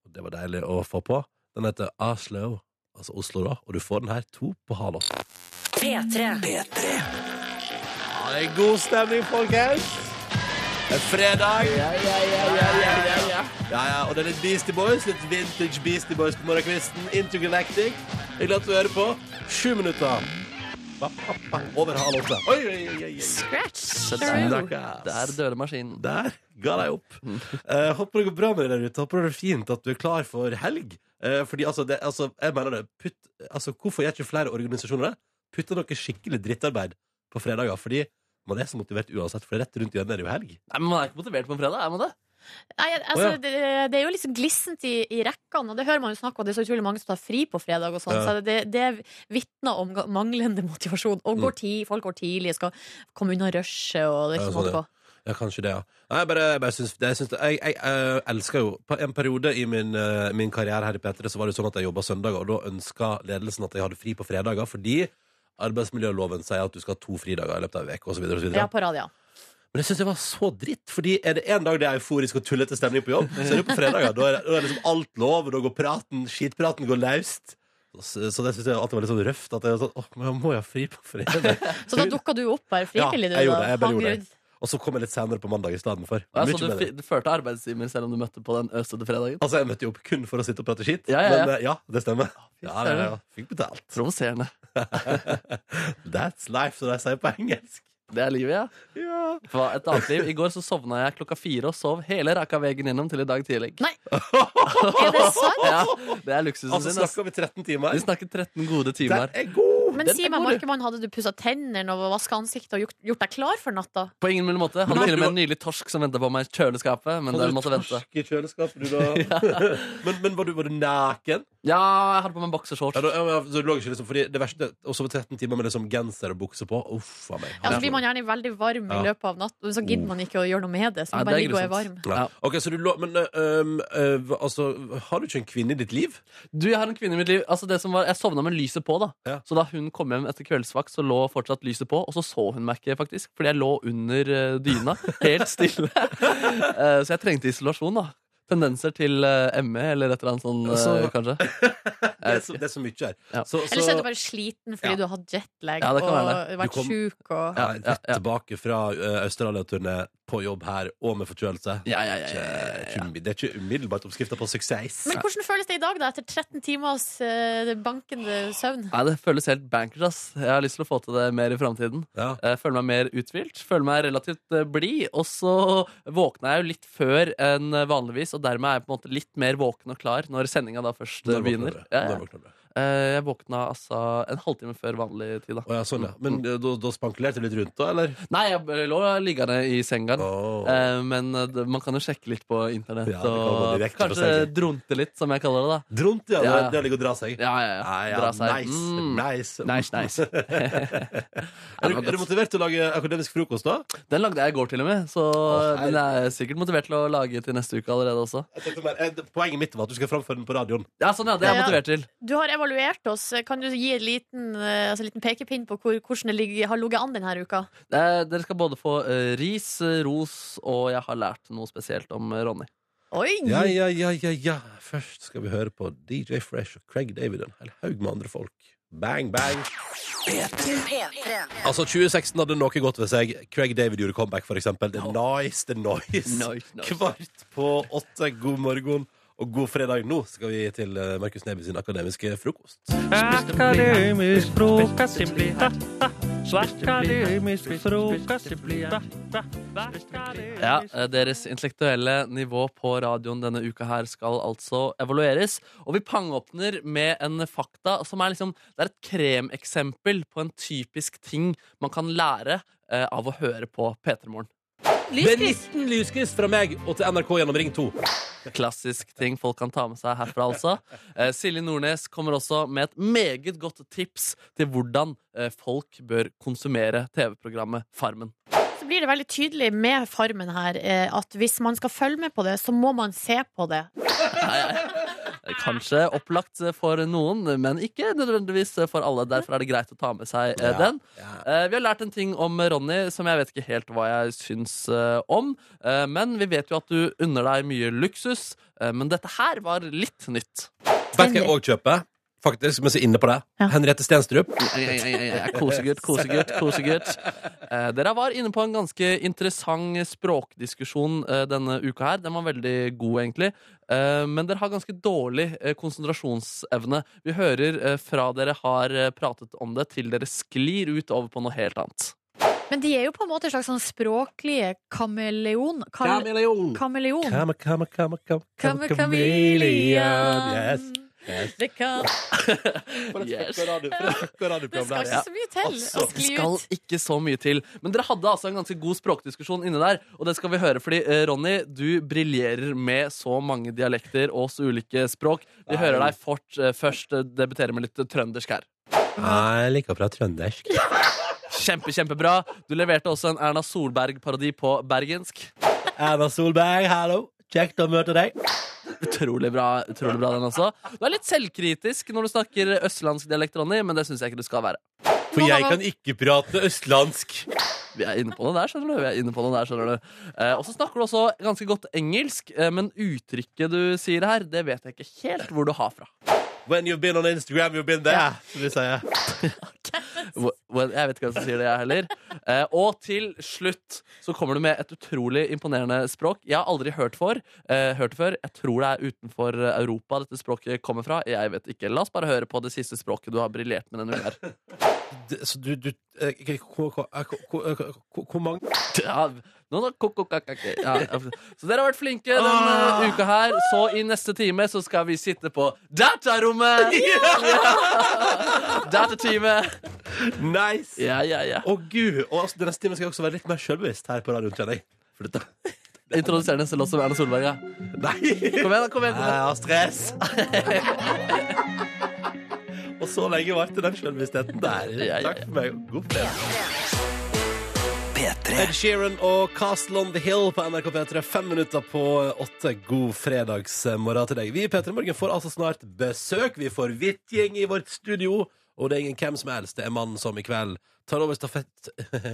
S2: Og Det var deilig å få på. Den heter Oslo, altså Oslo, da. Og du får den her to på halv åtte.
S1: P3.
S2: Ja, det er god stemning, folkens. Det er fredag. Ja, ja, ja, ja, ja, ja, ja. og det er litt Beastie Boys, litt vintage Beastie Boys på morgenkvisten. Intergalactic. Hyggelig at du hører på. Sju minutter. Ba, ba, ba, Over halv åtte. Oi, oi, oi, oi, oi.
S3: Scratch!
S4: Så
S3: Theroux.
S4: der,
S2: Snakkes.
S4: der døde maskinen.
S2: Der ga de opp. Eh, håper det går bra med deg der ute. Håper det er fint at du er klar for helg. Eh, fordi altså, det, altså, jeg mener det. Putt, altså, hvorfor gjør ikke flere organisasjoner det? Putter noe skikkelig drittarbeid på fredager. Fordi man er så motivert uansett, for rett rundt hjørnet er det jo helg.
S4: Nei, men Man er ikke motivert på en fredag, er man det?
S3: Nei, altså,
S2: Å, ja.
S3: det, det er jo liksom glissent i, i rekkene, og det hører man jo snakk om. Det er så utrolig mange som tar fri på fredag og sånn,
S2: Ja.
S3: så det, det vitner om ga- manglende motivasjon. Og går ti, folk går tidlig, skal komme unna rushet og det er
S2: Mm. Ja,
S3: ikke
S2: sånn,
S3: måte
S2: ja.
S3: på.
S2: Ja, kanskje det, ja. Nei, jeg bare, jeg bare syns, det, jeg, syns det, jeg, jeg, eh, elsker jo På en periode i min, eh, min karriere her i P3 så var det jo sånn at jeg jobba søndager, og da ønska ledelsen at jeg hadde fri på fredager fordi arbeidsmiljøloven sier at du skal ha to fridager i løpet av en uke, osv.
S3: Ja, på rad, ja.
S2: Men jeg syns det var så dritt, fordi er det en dag det er euforisk og tullete stemning på jobb, så er det jo på fredager. Da er, det- da er liksom alt lov, og da går praten, skitpraten går løst. Så, så det syns jeg at det var litt sånn røft. At jeg var sånn, åh, men jeg må jo ha fri på fredag.
S3: Så da dukka du opp bare frivillig,
S2: jeg
S3: du,
S2: gjorde det, jeg bare gjorde
S3: Hagrud.
S2: det. Og så kom jeg litt senere på mandag i stedet for.
S4: Ja, så
S2: Mye
S4: Altså, du,
S2: bedre.
S4: fi- du førte arbeidstimer selv om du møtte på den øsete fredagen?
S2: Altså, jeg møtte jo opp kun for å sitte og prate skitt.
S4: Ja, ja, ja.
S2: Men eh, ja, det stemmer. Ja, ja, ja. Fikk betalt.
S4: Provoserende.
S2: That's life, som de sier på engelsk.
S4: Det er livet, ja.
S2: Ja.
S4: Hva et annet liv. I går så sovna jeg klokka fire og sov hele raka veggen gjennom til i dag tidlig.
S3: Nei! Er det sant?
S4: Ja, det er luksusen
S2: Altså,
S4: sin. ass.
S2: snakker vi 13 timer?
S4: Vi snakket 13 gode
S2: Det
S4: timer.
S2: er god!
S3: Men si meg, Markemann, hadde du pussa tennene og vaska ansiktet og gjort, gjort deg klar for natta?
S4: På ingen mulig måte. Hadde
S2: Nei,
S4: til og
S2: du-
S4: med en nylig torsk som venta på meg i kjøleskapet. Men den måtte vente
S2: torsk i kjøleskapet, du, da? men men var, du, var du naken?
S4: Ja, jeg hadde på meg en boksershorts.
S2: Ja, da, ja, men så du lå ikke liksom, fordi det verste Å sove 13 timer med liksom genser og bukse på Uff a meg.
S3: Ja, så blir man gjerne veldig varm i
S2: Ja. Oh.
S3: løpet av natten, så gidder man ikke å gjøre noe med det. Så
S4: Nei,
S3: man bare
S4: det er
S3: ligger og er varm.
S4: grusomt.
S2: Ja. Ok, så du lå Men eh, um, eh, hva- altså, har du ikke en kvinne i ditt liv?
S4: Du, Jeg har en kvinne i mitt liv altså det som var, Jeg sovna med lyset på. da
S2: Ja.
S4: Så da hun kom hjem etter kveldsvakt, så lå fortsatt lyset på. Og så så hun meg ikke, faktisk. Fordi jeg lå under eh, dyna, helt stille. Eh, så jeg trengte isolasjon. da Tendenser til eh, ME eller et eller annet sånn, eh,
S2: Så-
S4: kanskje.
S2: Det er
S4: Jeg vet
S2: så,
S4: ikke.
S2: det er så mye her.
S4: Ja.
S2: Så, så,
S3: Eller så er du bare sliten fordi du har hatt jetlag
S4: Ja, det kan
S3: og
S4: være
S2: Du
S3: vært
S2: kom-
S3: sjuk og
S2: ja,
S4: Ja, ja,
S2: rett
S4: ja.
S2: tilbake fra eh, Australia-turné på jobb her og med forkjølelse.
S4: Ja, ja, ja,
S2: Det
S4: ja, ja,
S2: er ikke-
S4: ja.
S2: Det er ikke umiddelbart oppskrifta på suksess.
S3: Men hvordan føles det i dag, da? Etter 13 timers eh, bankende søvn?
S4: Nei, Det føles helt bankers. ass Jeg har lyst til å få til det mer i framtiden.
S2: Ja.
S4: Jeg føler meg mer uthvilt, føler meg relativt eh, blid. Og så våkna jeg jo litt før enn vanligvis, og dermed er jeg på en måte litt mer våken og klar når sendinga da først eh,
S2: Når våkner
S4: begynner.
S2: du?
S4: Ja,
S2: Når
S4: ja.
S2: våkner du?
S4: Eh, Jeg våkna altså en halvtime før vanlig tid, da.
S2: Å ja, sånn, ja. Men eh, da, da spankulerte du litt rundt, da, eller?
S4: Nei, jeg b- lå liggende i senga.
S2: Åh.
S4: Eh, Men eh, det- man kan jo sjekke litt på internett
S2: Ja, det kan gå
S4: og
S2: direkte på
S4: kanskje drunte litt, som jeg kaller det. da
S2: Drunt, ja.
S4: Ja,
S2: Det,
S4: ja.
S2: det å ligge og dra seg.
S4: Ja, ja, ja.
S2: Ja, ja,
S4: Dra seg.
S2: Nice,
S4: Mm.
S2: nice.
S4: Nice, nice.
S2: Er, du, er du motivert til å lage akademisk frokost, da?
S4: Den lagde jeg i går, til og med. Så
S2: Å, herregud.
S4: den er sikkert motivert til å lage til neste uke allerede også.
S2: Jeg tenkte mer, eh, Poenget mitt var at du skal framføre den på radioen.
S4: Ja, sånn, ja. Det er jeg
S3: Ja.
S4: motivert til.
S3: Du har evaluert oss. Kan du gi en liten, eh, altså, en liten pekepinn på hvor, hvordan det ligger, har ligget an denne uka?
S4: Det er- Dere skal både få eh, ris, eh, ros, og jeg har lært noe spesielt om eh, Ronny.
S3: Oi!
S2: Ja, ja, ja, ja, ja. Først skal vi høre på DJ Fresh og Craig David og en hel haug med andre folk. Bang, bang.
S1: P3.
S2: Altså, 2016 hadde noe godt ved seg. Craig David gjorde comeback, for eksempel. Det er nice, det er nice.
S4: Nice, nice.
S2: Kvart på åtte. God morgen og god fredag. Nå skal vi til eh, Markus Neby sin akademiske frokost.
S9: Akademisk frokost, simpli Akademisk frokost, simpli
S4: Ja, eh, Deres intellektuelle nivå på radioen denne uka her skal altså evalueres. Og vi pangåpner med en fakta som er liksom Det er et kremeksempel på en typisk ting man kan lære eh, av å høre på P3 Morgen.
S2: Det er 19 lyskryss fra meg og til NRK gjennom Ring 2.
S4: Klassisk ting folk kan ta med seg herfra, altså. Eh, Silje Nordnes kommer også med et meget godt tips til hvordan eh, folk bør konsumere TV-programmet Farmen.
S3: Så blir det veldig tydelig med Farmen her eh, at hvis man skal følge med på det, så må man se på det.
S4: Eh, Kanskje opplagt eh, for noen, men ikke nødvendigvis for alle. Derfor er det greit å ta med seg eh, den. Eh, Vi har lært en ting om Ronny som jeg vet ikke helt hva jeg syns eh, om. Eh, Men vi vet jo at du unner deg mye luksus. eh, Men dette her var litt nytt.
S2: Vet du hva jeg òg kjøper? Faktisk, mens jeg er inne på det.
S3: Ja.
S2: Henriette Stenstrup.
S4: Kosegutt, kosegutt, kosegutt. Eh, Dere var inne på en ganske interessant språkdiskusjon eh, denne uka her. Den var veldig god, egentlig. Eh, Men dere har ganske dårlig eh, konsentrasjonsevne. Vi hører eh, fra dere har eh, pratet om det, til dere sklir ut over på noe helt annet.
S3: Men de er jo på en måte en slags sånn språklige kameleon... Kal
S2: Kameleon.
S3: kameleon.
S2: Kama, kama, kama, kama,
S3: Kame-
S2: kama,
S3: Kameleon.
S2: Yes.
S3: Det, kan,
S4: Yes.
S3: det skal ikke så mye til å
S4: Altså, det
S3: skli
S4: skal
S3: ut.
S4: ikke så mye til. Men dere hadde altså en ganske god språkdiskusjon inne der, og det skal vi høre. Fordi eh, Ronny, du briljerer med så mange dialekter og så ulike språk. Vi hører deg fort, eh, først eh, debutere med litt trøndersk her.
S2: Jeg liker å prate trøndersk.
S4: Kjempe, kjempebra. Du leverte også en Erna Solberg-parodi på bergensk.
S2: Erna Solberg, hallo. Kjekt å møte deg.
S4: Utrolig bra, utrolig bra den også. Du er litt selvkritisk når du snakker østlandsk dialekt, Ronny, men det syns jeg ikke du skal være.
S2: For jeg kan ikke prate østlandsk.
S4: Vi er inne på noe der, skjønner du. Vi er inne på noe der, skjønner du. Eh, og så snakker du også ganske godt engelsk, eh, men uttrykket du sier her, det vet jeg ikke helt hvor du har fra.
S2: When you've been on Instagram, you've been there. Som vi sier.
S4: Wh- wh- Jeg vet ikke hva som sier det, jeg heller. Eh, og til slutt så kommer du med et utrolig imponerende språk. Jeg har aldri hørt, for, eh, hørt det før. Jeg tror det er utenfor Europa dette språket kommer fra. Jeg vet ikke. La oss bare høre på det siste språket du har briljert med denne uka. her.
S2: Det- Så du, du eh, k- k- k- eh, k- k- eh, k- Hvor mange
S4: Ja, nå da, ko- ko- ka- ka- ka- ja, ja. Så dere har vært flinke denne
S2: Ah.
S4: uka her. Så i neste time så skal vi sitte på datarommet! Ja. Datateamet.
S2: Nice!
S4: Ja, ja, ja.
S2: Å gud, og altså, den neste timen skal jeg også være litt mer selvbevisst her på radioen, kjenner jeg. For dette
S4: Introduserer neste låt som Erna Solberg, ja.
S2: Nei!
S4: Kom igjen, da, kom igjen. Kom
S2: Jeg
S4: igjen.
S2: har stress! og så lenge varte den selvbevisstheten der.
S4: Ja, ja, ja.
S2: Takk for meg. God fredag. Ed Sheeran og Castle on the Hill på NRK P3. Fem minutter på eh, åtte. God fredagsmorgen til deg. Vi i P3 Morgen får altså snart besøk. Vi får Hvitgjeng i vårt studio. Og det er ingen hvem som helst. Det er mannen som i kveld tar over stafett...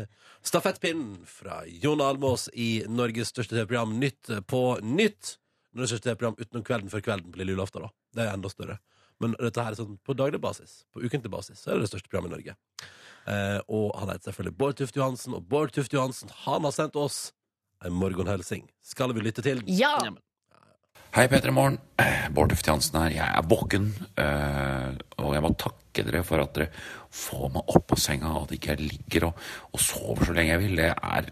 S2: stafettpinnen fra Jon Almås i Norges største TV-program Nytt på Nytt. Norges største TV-program utenom Kvelden før Kvelden på lille julaften. da. Det er enda større. Men dette her er sånn på daglig basis. På ukentlig basis så er det det største programmet i Norge. Eh, og han heter selvfølgelig Bård Tufte Johansen, og Bård Tufte Johansen han har sendt oss en morgenhelsing. Skal vi lytte til den?
S3: Ja!
S10: Hei, Petter i morgen. Bård Tufte Hansen her. Jeg er våken. eh, Og jeg må takke dere for at dere får meg opp av senga, og at ikke jeg ligger og, og sover så lenge jeg vil. Det er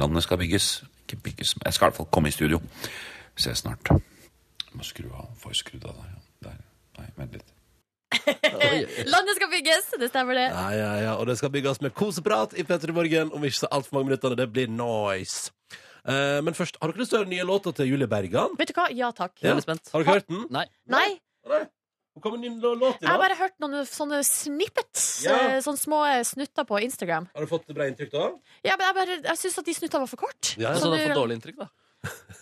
S10: Landet skal bygges. Ikke bygges, men jeg skal i hvert fall komme i studio. Vi ses snart. Jeg må skru av. Får jeg skrudd av der? ja. der. Nei, vent litt.
S3: Landet skal bygges, det stemmer det.
S2: Ja, ja, ja, og det skal bygges med koseprat i Petter i morgen om ikke så altfor mange minutter. og Det blir noise. Eh, men først, har dere lyst til å høre den nye låta til Julie Bergan?
S3: Vet du hva? Ja takk.
S4: Jeg er litt spent.
S2: Har dere hørt den?
S4: Nei.
S3: Nei,
S2: Hun kom med en ny lå- låt i
S3: jeg har
S2: dag.
S3: bare hørt noen sånne snippets.
S2: Ja.
S3: eh, Sånne små eh, snutter på Instagram.
S2: Har du fått bra inntrykk da?
S3: Ja, men jeg, bare- jeg syns at de snuttene var for korte.
S2: Ja, ja.
S4: Altså, du har fått dårlig inntrykk, da.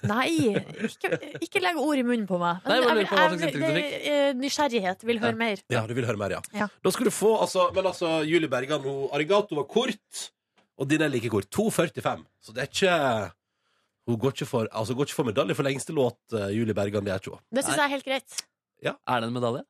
S3: Nei, ikke, ikke legg ord i munnen på meg.
S4: Nei, jeg bare lurer på hva slags
S3: jeg-
S4: inntrykk du
S3: det- eh, nysgjerrighet. Vil høre mer.
S2: Ja, du vil høre mer, ja.
S3: Ja.
S2: Da skal du få, altså, men altså, Julie Bergan, hun, Arigato var kort, og din er like kort. 2,45. Så det er ikke Hun går ikke for, altså, går ikke for medalje for lengste låt, eh, Julie Bergan. Det er ikke hun.
S3: Det syns jeg er helt greit.
S4: Er det en medalje?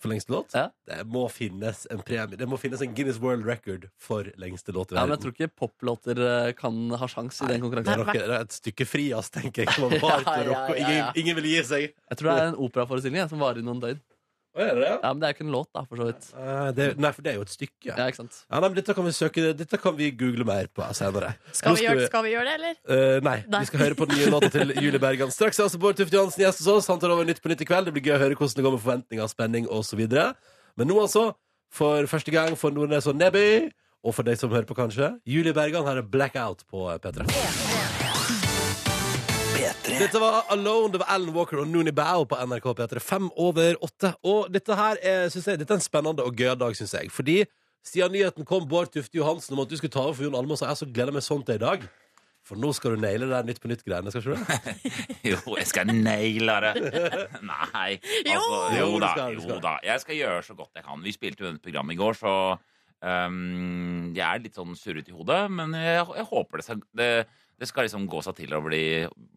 S2: For lengste låt?
S4: Ja.
S2: Det må finnes en premie. Det må finnes en Guinness World Record for lengste låt i
S4: Ja, men
S2: verden.
S4: jeg tror ikke poplåter eh, kan ha sjans i den
S2: det,
S4: konkurransen.
S2: er noe, det er et stykke fri, ass, tenker jeg. Som var varmt og
S4: Ja, ja,
S2: rock, og
S4: ja,
S2: ingen,
S4: ja.
S2: ingen vil gi seg.
S4: Jeg tror det er en operaforestilling jeg, som varer i noen døgn.
S2: Å, er det det?
S4: Ja, Men det er jo ikke en låt, da, for så vidt.
S2: Eh, det? Nei, for det er jo et stykke.
S4: Ja,
S2: Ja.
S4: ikke sant?
S2: nei, men dette kan vi søke Dette kan vi google mer på senere.
S3: Skal
S2: Nå
S3: vi, gjøre, skal vi gjøre det, eller?
S2: Eh, nei.
S3: Nei.
S2: vi skal høre på den nye låta til Julie Bergan straks. er Altså Bård Tufte Johansen gjest hos oss. Han tar over Nytt på Nytt i kveld. Det blir gøy å høre hvordan det går med forventninger, spenning osv. Men nå, altså, for første gang for Nordnes og Neby, og for deg som hører på, kanskje, Julie Bergan her er Blackout på eh, P3. Dette var Alone, det var Alan Walker og Nooni Bao på NRK P3. Fem over åtte. Og dette her er, synes jeg, dette er en spennende og gøyal dag, syns jeg. Fordi siden nyheten kom Bård Tufte Johansen om at du skulle ta over for Jon Almaas, og jeg så gleder jeg meg sånn til i dag. For nå skal du naile det der Nytt på nytt-greiene. skal ikke du det?
S10: Jo, jeg skal naile det. Nei. Altså, jo,
S2: Jo, du
S10: da,
S2: skal, du skal.
S10: jo da. Jeg skal gjøre så godt jeg kan. Vi spilte jo dette programmet i går, så ehm, jeg er litt sånn surret i hodet. Men jeg, jeg håper det skal, det, det skal liksom gå seg til å bli,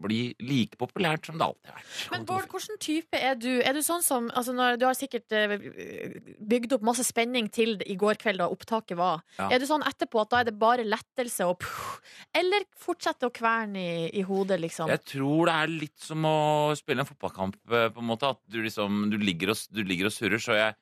S10: bli like populært som det alltid har vært.
S3: Men Bård, hvilken type er du? Er du sånn som altså når, Du har sikkert eh, bygd opp masse spenning til i går kveld, da opptaket var.
S10: Ja.
S3: Er du sånn etterpå at da er det bare lettelse og puh, Eller fortsette å kverne i, i hodet, liksom?
S10: Jeg tror det er litt som å spille en fotballkamp, eh, på en måte. At du liksom Du ligger og, s- du ligger og surrer. Så jeg,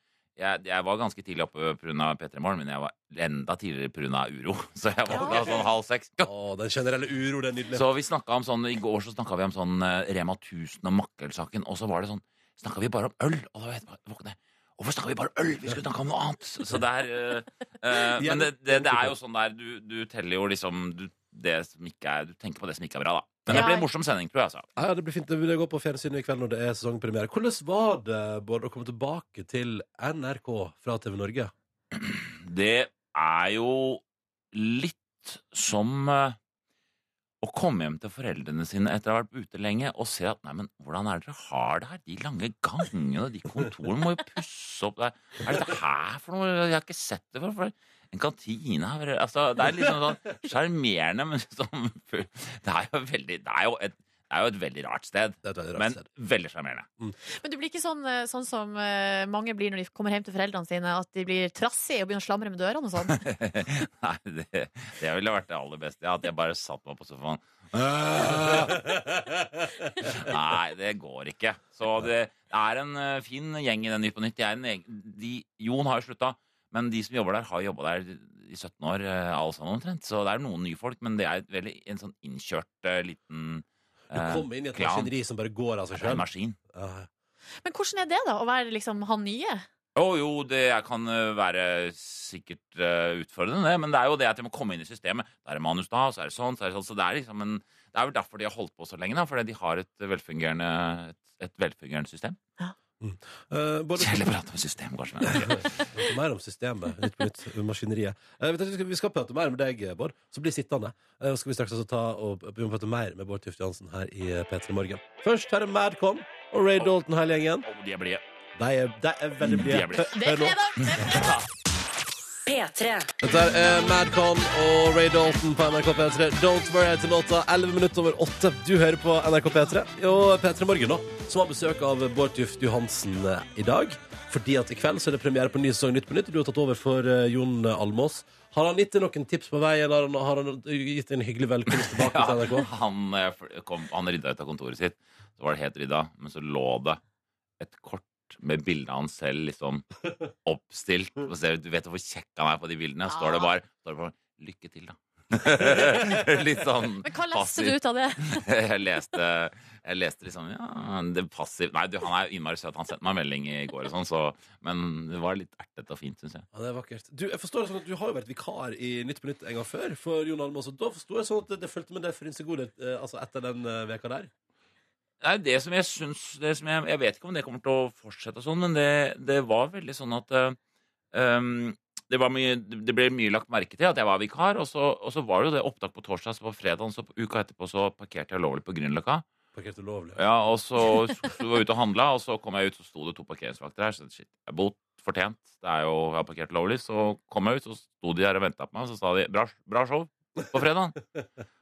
S10: jeg, jeg var ganske tidlig oppe pga. P3 Morgen, men jeg var enda tidligere pga. uro. Så jeg var da sånn halv seks.
S2: Å, den generelle uro, det er nydelig.
S10: Så vi snakket om sånn I går så snakka vi om sånn eh, Rema 1000 og Makkel-saken, og så var det sånn Snakka vi bare om øl? Og da var jeg helt våkne. Hvorfor snakka vi bare om øl? Vi skulle snakke om noe annet! Så så det er eh, eh, Men det, det, det er jo sånn der du, du teller jo liksom du, det som ikke er, du tenker på det som ikke er bra, da. Men det
S3: Ja.
S10: blir en morsom sending, tror jeg. altså.
S2: Ja, ja, det blir fint. Det vil gå på fjernsynet i kveld når det er sesongpremiere. Hvordan var det, Bård, å komme tilbake til NRK fra TV Norge?
S10: Det er jo litt som eh, å komme hjem til foreldrene sine etter å ha vært ute lenge og se at nei, men hvordan er det dere har det her? De lange gangene, de kontorene må jo pusse opp. Det er- Hva er dette her for noe? Jeg har ikke sett det før. for det er En kantine her liksom, altså, Det er liksom sånn sjarmerende, men som Det er jo veldig Det er jo et, det er jo et veldig rart sted, men veldig sjarmerende.
S3: Men du blir ikke sånn, eh, sånn som eh, mange blir når de kommer hjem til foreldrene sine, at de blir trassige og begynner å slamre med dørene og sånn?
S10: Nei, det, det ville vært det aller beste. Ja, at jeg bare satt meg på sofaen. Nei, det går ikke. Så det er en eh, fin gjeng i den Ny på Nytt. De er en egen, de, Jon har jo slutta, men de som jobber der, har jobba der i 17 år, eh, alle sammen omtrent. Så det er noen nye folk, men det er et veldig, en sånn innkjørt eh, liten
S2: Du kommer inn i et maskineri som bare går av seg
S10: eh, Det er en
S2: sjøl.
S10: maskin.
S3: Men hvordan er det, da? Å være liksom han nye?
S10: Jo, jo, det kan eh, være sikkert eh, utfordrende, det, men det er jo det at jeg må komme inn i systemet. Da er det manus da, og så er det sånn, så er det sånn. Så det er liksom en Det er vel derfor de har holdt på så lenge, da, fordi de har et velfungerende, et, et velfungerende system.
S2: Eh,
S10: Kjedelig å prate om system, kanskje. men-
S2: Prate mer om systemet. Nytt på nytt. Maskineriet. Eh, vet du, vi, skal, vi skal prate mer med deg, Bård. Så bli sittende. Eh, så skal vi straks også ta og begynne å prate mer med Bård Tufte Johansen her i eh, P3 Morgen. Først her er Madcon og Ray Dalton, hele gjengen.
S10: De er blide.
S2: De er, de er veldig blide.
S3: Det er fredag! Det er fredag!
S1: P3.
S2: Dette er Madcon og Ray Dalton på NRK P3. Don't worry heter låta 11 minutter over 8. Du hører på NRK P3 og P3 Morgen nå, som har besøk av Bård Tuft Johansen eh, i dag. Fordi at i kveld så er det premiere på en ny sesong Nytt på Nytt. Du har tatt over for eh, Jon Almås. Har han gitt deg noen tips på veien? Har han, har han gitt deg en hyggelig velkomst tilbake til NRK?
S10: Ja, han, eh, fl- kom, han rydda ut av kontoret sitt. Så var det helt rydda, men så lå det et kort med bilde av han selv liksom oppstilt. Og så, du vet hvor kjekk han er på de bildene. Står
S3: Ah.
S10: det bare står det bare, 'lykke til', da. Litt sånn
S3: Men hva leste du ut av det?
S10: jeg leste, jeg leste liksom Ja, det passer Nei, du, han er jo innmari søt. Han sendte meg en melding i går og sånn, så Men det var litt ertete og fint, syns jeg.
S2: Ja, det er vakkert. Du, jeg forstår det sånn at du har jo vært vikar i Nytt på Nytt en gang før for Jon Almås. Og da forsto jeg sånn at det, det fulgte med det for insegodet eh, altså etter den eh, veka der.
S10: Nei, det som jeg syns det som jeg, jeg vet ikke om det kommer til å fortsette og sånn, men det, det var veldig sånn at eh, um, det, var mye, det ble mye lagt merke til at jeg var vikar, og så, og så var det jo det opptak på torsdag, så på fredagen, så på uka etterpå så parkerte jeg lovlig på Grünerløkka.
S2: Parkert ulovlig.
S10: Ja, og så, så var jeg ute og handla, og så kom jeg ut, så sto det to parkeringsvakter her. Så shit, jeg er bot fortjent. Det er jo, jeg har parkert lovlig. Så kom jeg ut, så sto de her og venta på meg, og så sa de bra, bra show på fredag.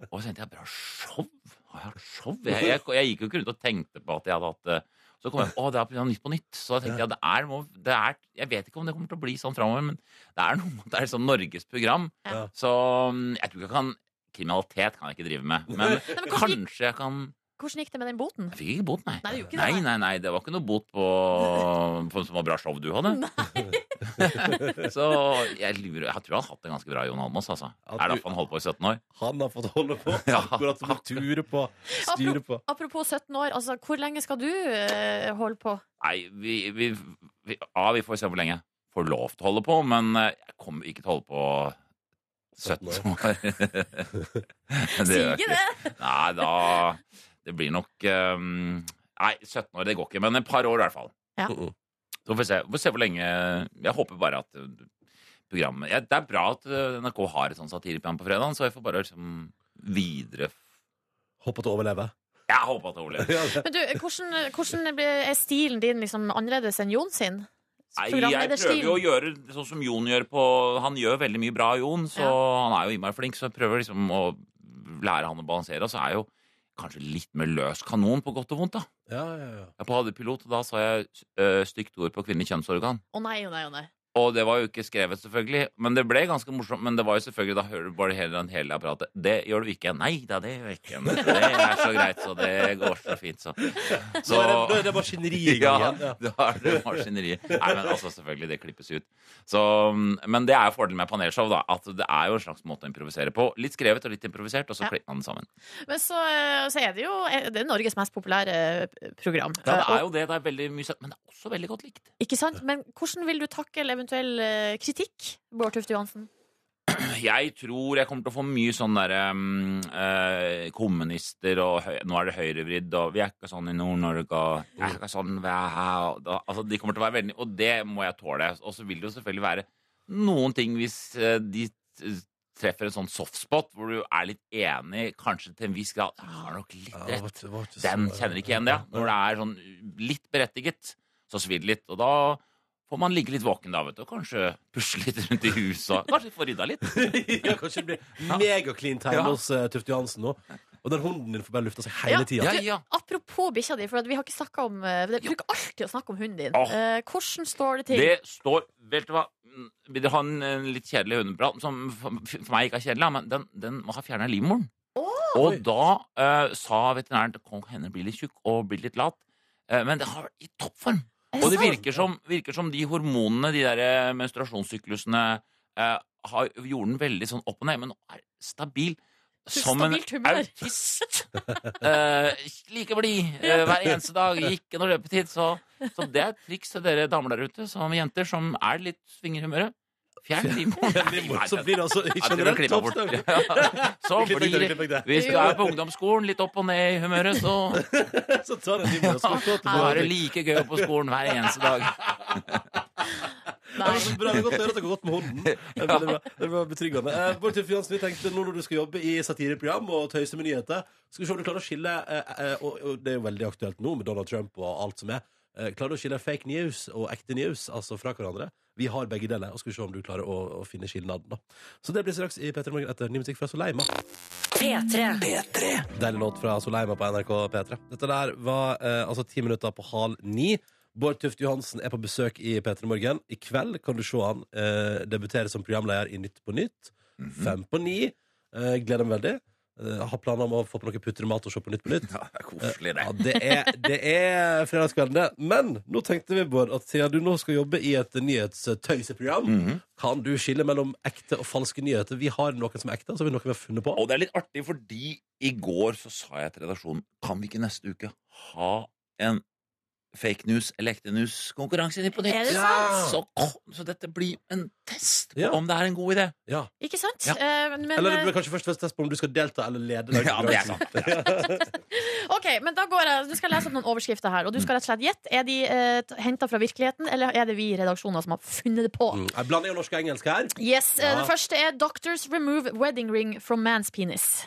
S10: Og så tenkte jeg bra show? Har jeg hatt show? Jeg, jeg, jeg gikk jo ikke rundt og tenkte på at jeg hadde hatt eh, så kom jeg, å, det er på grunn av Nytt på Nytt. Så da tenkte jeg, det er, må- det er, jeg vet ikke om det kommer til å bli sånn framover, men det er noe med at det er sånn Norges program.
S2: Ja.
S10: Så mm, jeg tror ikke jeg kan Kriminalitet kan jeg ikke drive med, men kanskje jeg kan
S3: Hvordan gikk det med den boten?
S10: jeg fikk ikke bot, nei.
S3: Nei, det gjorde ikke
S10: nei,
S3: det,
S10: nei, nei, det var ikke noe bot på, på som var bra show du hadde. så jeg, lurer, jeg tror han har hatt det ganske bra, Jon Almaas. Altså. Det er derfor han holdt på i 17 år.
S2: Han har fått holde på akkurat som han turer på. Styrer på.
S3: Apropos 17 år, altså, hvor lenge skal du eh, holde på?
S10: Nei, vi, vi, vi, ja, vi får se hvor lenge jeg får lov til å holde på, men eh, jeg kommer ikke til å holde på 17 år. Si
S3: ikke det.
S10: Nei, da Det blir nok eh, Nei, 17 år, det går ikke, men et par år i hvert fall.
S3: Ja.
S10: Så får vi se, får se hvor lenge Jeg håper bare at uh, programmet ja, Det er bra at uh, NRK har et sånt satireprogram på fredagen, så jeg får bare liksom videre
S2: Håpe at det overlever.
S10: Jeg håper at det overlever.
S3: Men du, hvordan, hvordan blir- er stilen din liksom annerledes enn Jon sin?
S10: Nei, jeg prøver jo å gjøre det sånn som Jon gjør på Han gjør veldig mye bra, Jon, så han er jo innmari flink, så jeg prøver liksom å lære han å balansere, og så er jeg jo kanskje litt mer løs kanon på godt og vondt, da.
S2: Ja, ja, ja.
S10: Jeg er på hadepilot, og da sa jeg uh, stygt ord på kvinnelig kjønnsorgan.
S3: Å nei, å nei, å nei.
S10: Og det var jo ikke skrevet, selvfølgelig. Men det ble ganske morsomt. Men det var jo selvfølgelig, da hører du bare hele den hele apparatet. Det gjør du ikke. Nei da, det gjør jeg ikke. Men det er så greit, så det går så fint, så.
S2: Så er det- da er det maskineriet i gang
S10: Ja,
S2: igjen, ja.
S10: da er det maskineriet. Nei, men altså, selvfølgelig, det klippes ut. Så, mm, men det er jo fordelen med panelshow, da. At det er jo en slags måte å improvisere på. Litt skrevet og litt improvisert, og så
S3: Ja.
S10: klikker man sammen.
S3: Men så, eh, så er det jo eh, det er Norges mest populære eh, program.
S10: Ja, det
S3: Eh,
S10: er jo det. Det er veldig mye søtt. Men det er også veldig godt likt.
S3: Ikke sant? Men hvordan vil du takle eventuell eh, kritikk, Bård Tufte Johansen?
S10: Jeg tror jeg kommer til å få mye sånn derre mm, eh, Kommunister og høy, Nå er det høyrevridd, og vi er ikke sånn i Nord-Norge, og vi er ikke sånn vi er her og da, Altså, de kommer til å være veldig Og det må jeg tåle. Og så vil det jo selvfølgelig være noen ting hvis eh, de t- treffer en sånn softspot hvor du er litt enig, kanskje til en viss grad Jeg har nok litt
S2: Ja, det var-
S10: rett.
S2: det var ikke så-
S10: Den kjenner ikke igjen det. ja. Når det er sånn litt berettiget, så svir det litt. Og da får man ligge litt våken, da, vet du. Og kanskje pusle litt rundt i huset. Kanskje få rydda litt.
S2: ja, kanskje det blir megaclean time
S10: Ja.
S2: hos uh, Tufte Johansen nå. Og den hunden din får bare lufta seg hele tida.
S3: du, Apropos bikkja di, for at vi har ikke snakka om eh, Vi bruker alltid å snakke om hunden din.
S10: Åh.
S3: Eh, hvordan står det til?
S10: Det står Vet du hva? Mm, Vil dere ha en, en litt kjedelig hundeprat? Som for, for meg ikke er kjedelig, da, men den, den må ha fjerna livmoren. Og da eh, sa veterinæren at kong henne blir litt tjukk og blir litt lat. eh, men det har vært i toppform.
S11: Er det
S10: Og det
S11: sant?
S10: virker som, virker som de hormonene, de der eh, menstruasjonssyklusene, eh, har, gjorde den veldig sånn opp og ned, men nå er det stabil. Som en
S11: Stabilt humør.
S10: autist. Eh, like blid eh, hver eneste dag. Ikke noe løpetid. Så, så det er et triks til dere damer der ute, som jenter, som er litt svinger i humøret. Fjern livmoren.
S2: Så blir det altså
S10: Ja, det blir
S2: generelt
S10: klippet bort.
S2: toppstøvler.
S10: Ja. Så
S2: Klipp vekk det, klipp
S10: blir
S2: vekk det.
S10: Hvis du er på ungdomsskolen, litt opp og ned i humøret, så
S2: Så tar den livmoren og så slår
S10: Da er det like gøy på skolen hver eneste dag.
S2: Det er så bra. Det er godt å høre at det går godt med hunden. Det er veldig bra. Det er bra betryggende. Eh, Bård Tuffe Johansen, jeg tenkte nå når du skal jobbe i satireprogram og tøyse med nyheter, skal vi se om du klarer å skille eh, eh, og, og det er jo veldig aktuelt nå med Donald Trump og alt som er. eh, Klarer du å skille fake news og ekte news altså fra hverandre? Vi har begge deler, og skal vi se om du klarer å, å finne skilnaden. da. Så det blir straks i P3 Morgen etter ny musikk fra Soleima.
S1: P3.
S2: Deilig låt fra Soleima på NRK P3. Dette der var eh, altså ti minutter på halv ni. Bård Tufte Johansen er på besøk i P3 Morgen. I kveld kan du se han eh, debutere som programleder i Nytt på Nytt. Fem på ni. Eh, gleder meg veldig. Eh, har planer om å få på noe putter i mat og se på Nytt på Nytt. Ja,
S10: koselig,
S2: det. Ja, det, er, det er fredagskvelden, det. Men nå tenkte vi, Bård, at siden du nå skal jobbe i et nyhetstøyseprogram, kan du skille mellom ekte og falske nyheter. Vi har noen som er ekte, og så har vi noen vi har funnet på.
S10: Og det er litt artig, fordi i går så sa jeg til redaksjonen Kan vi ikke neste uke ha en fake news eller ekte news-konkurranse i Nytt på Nytt?
S3: Er det
S10: Ja.
S3: sant?
S10: Så, kom, så dette blir en test på om det er en god idé.
S2: Ja.
S3: Ikke sant?
S10: Ja.
S3: Eh, men, men,
S2: eller det blir
S3: eh,
S2: kanskje først og fremst test på om du skal delta eller lede.
S10: Ja, det er sant.
S3: ok, men da går jeg Du skal lese opp noen overskrifter her, og du skal rett og slett gjette. Er de uh, henta fra virkeligheten, eller er det vi i redaksjonen som har funnet det på?
S2: Mm. Jeg blander jo norsk og engelsk her.
S3: Yes, eh,
S2: Ja.
S3: Det første er 'Doctors remove wedding ring from man's penis'.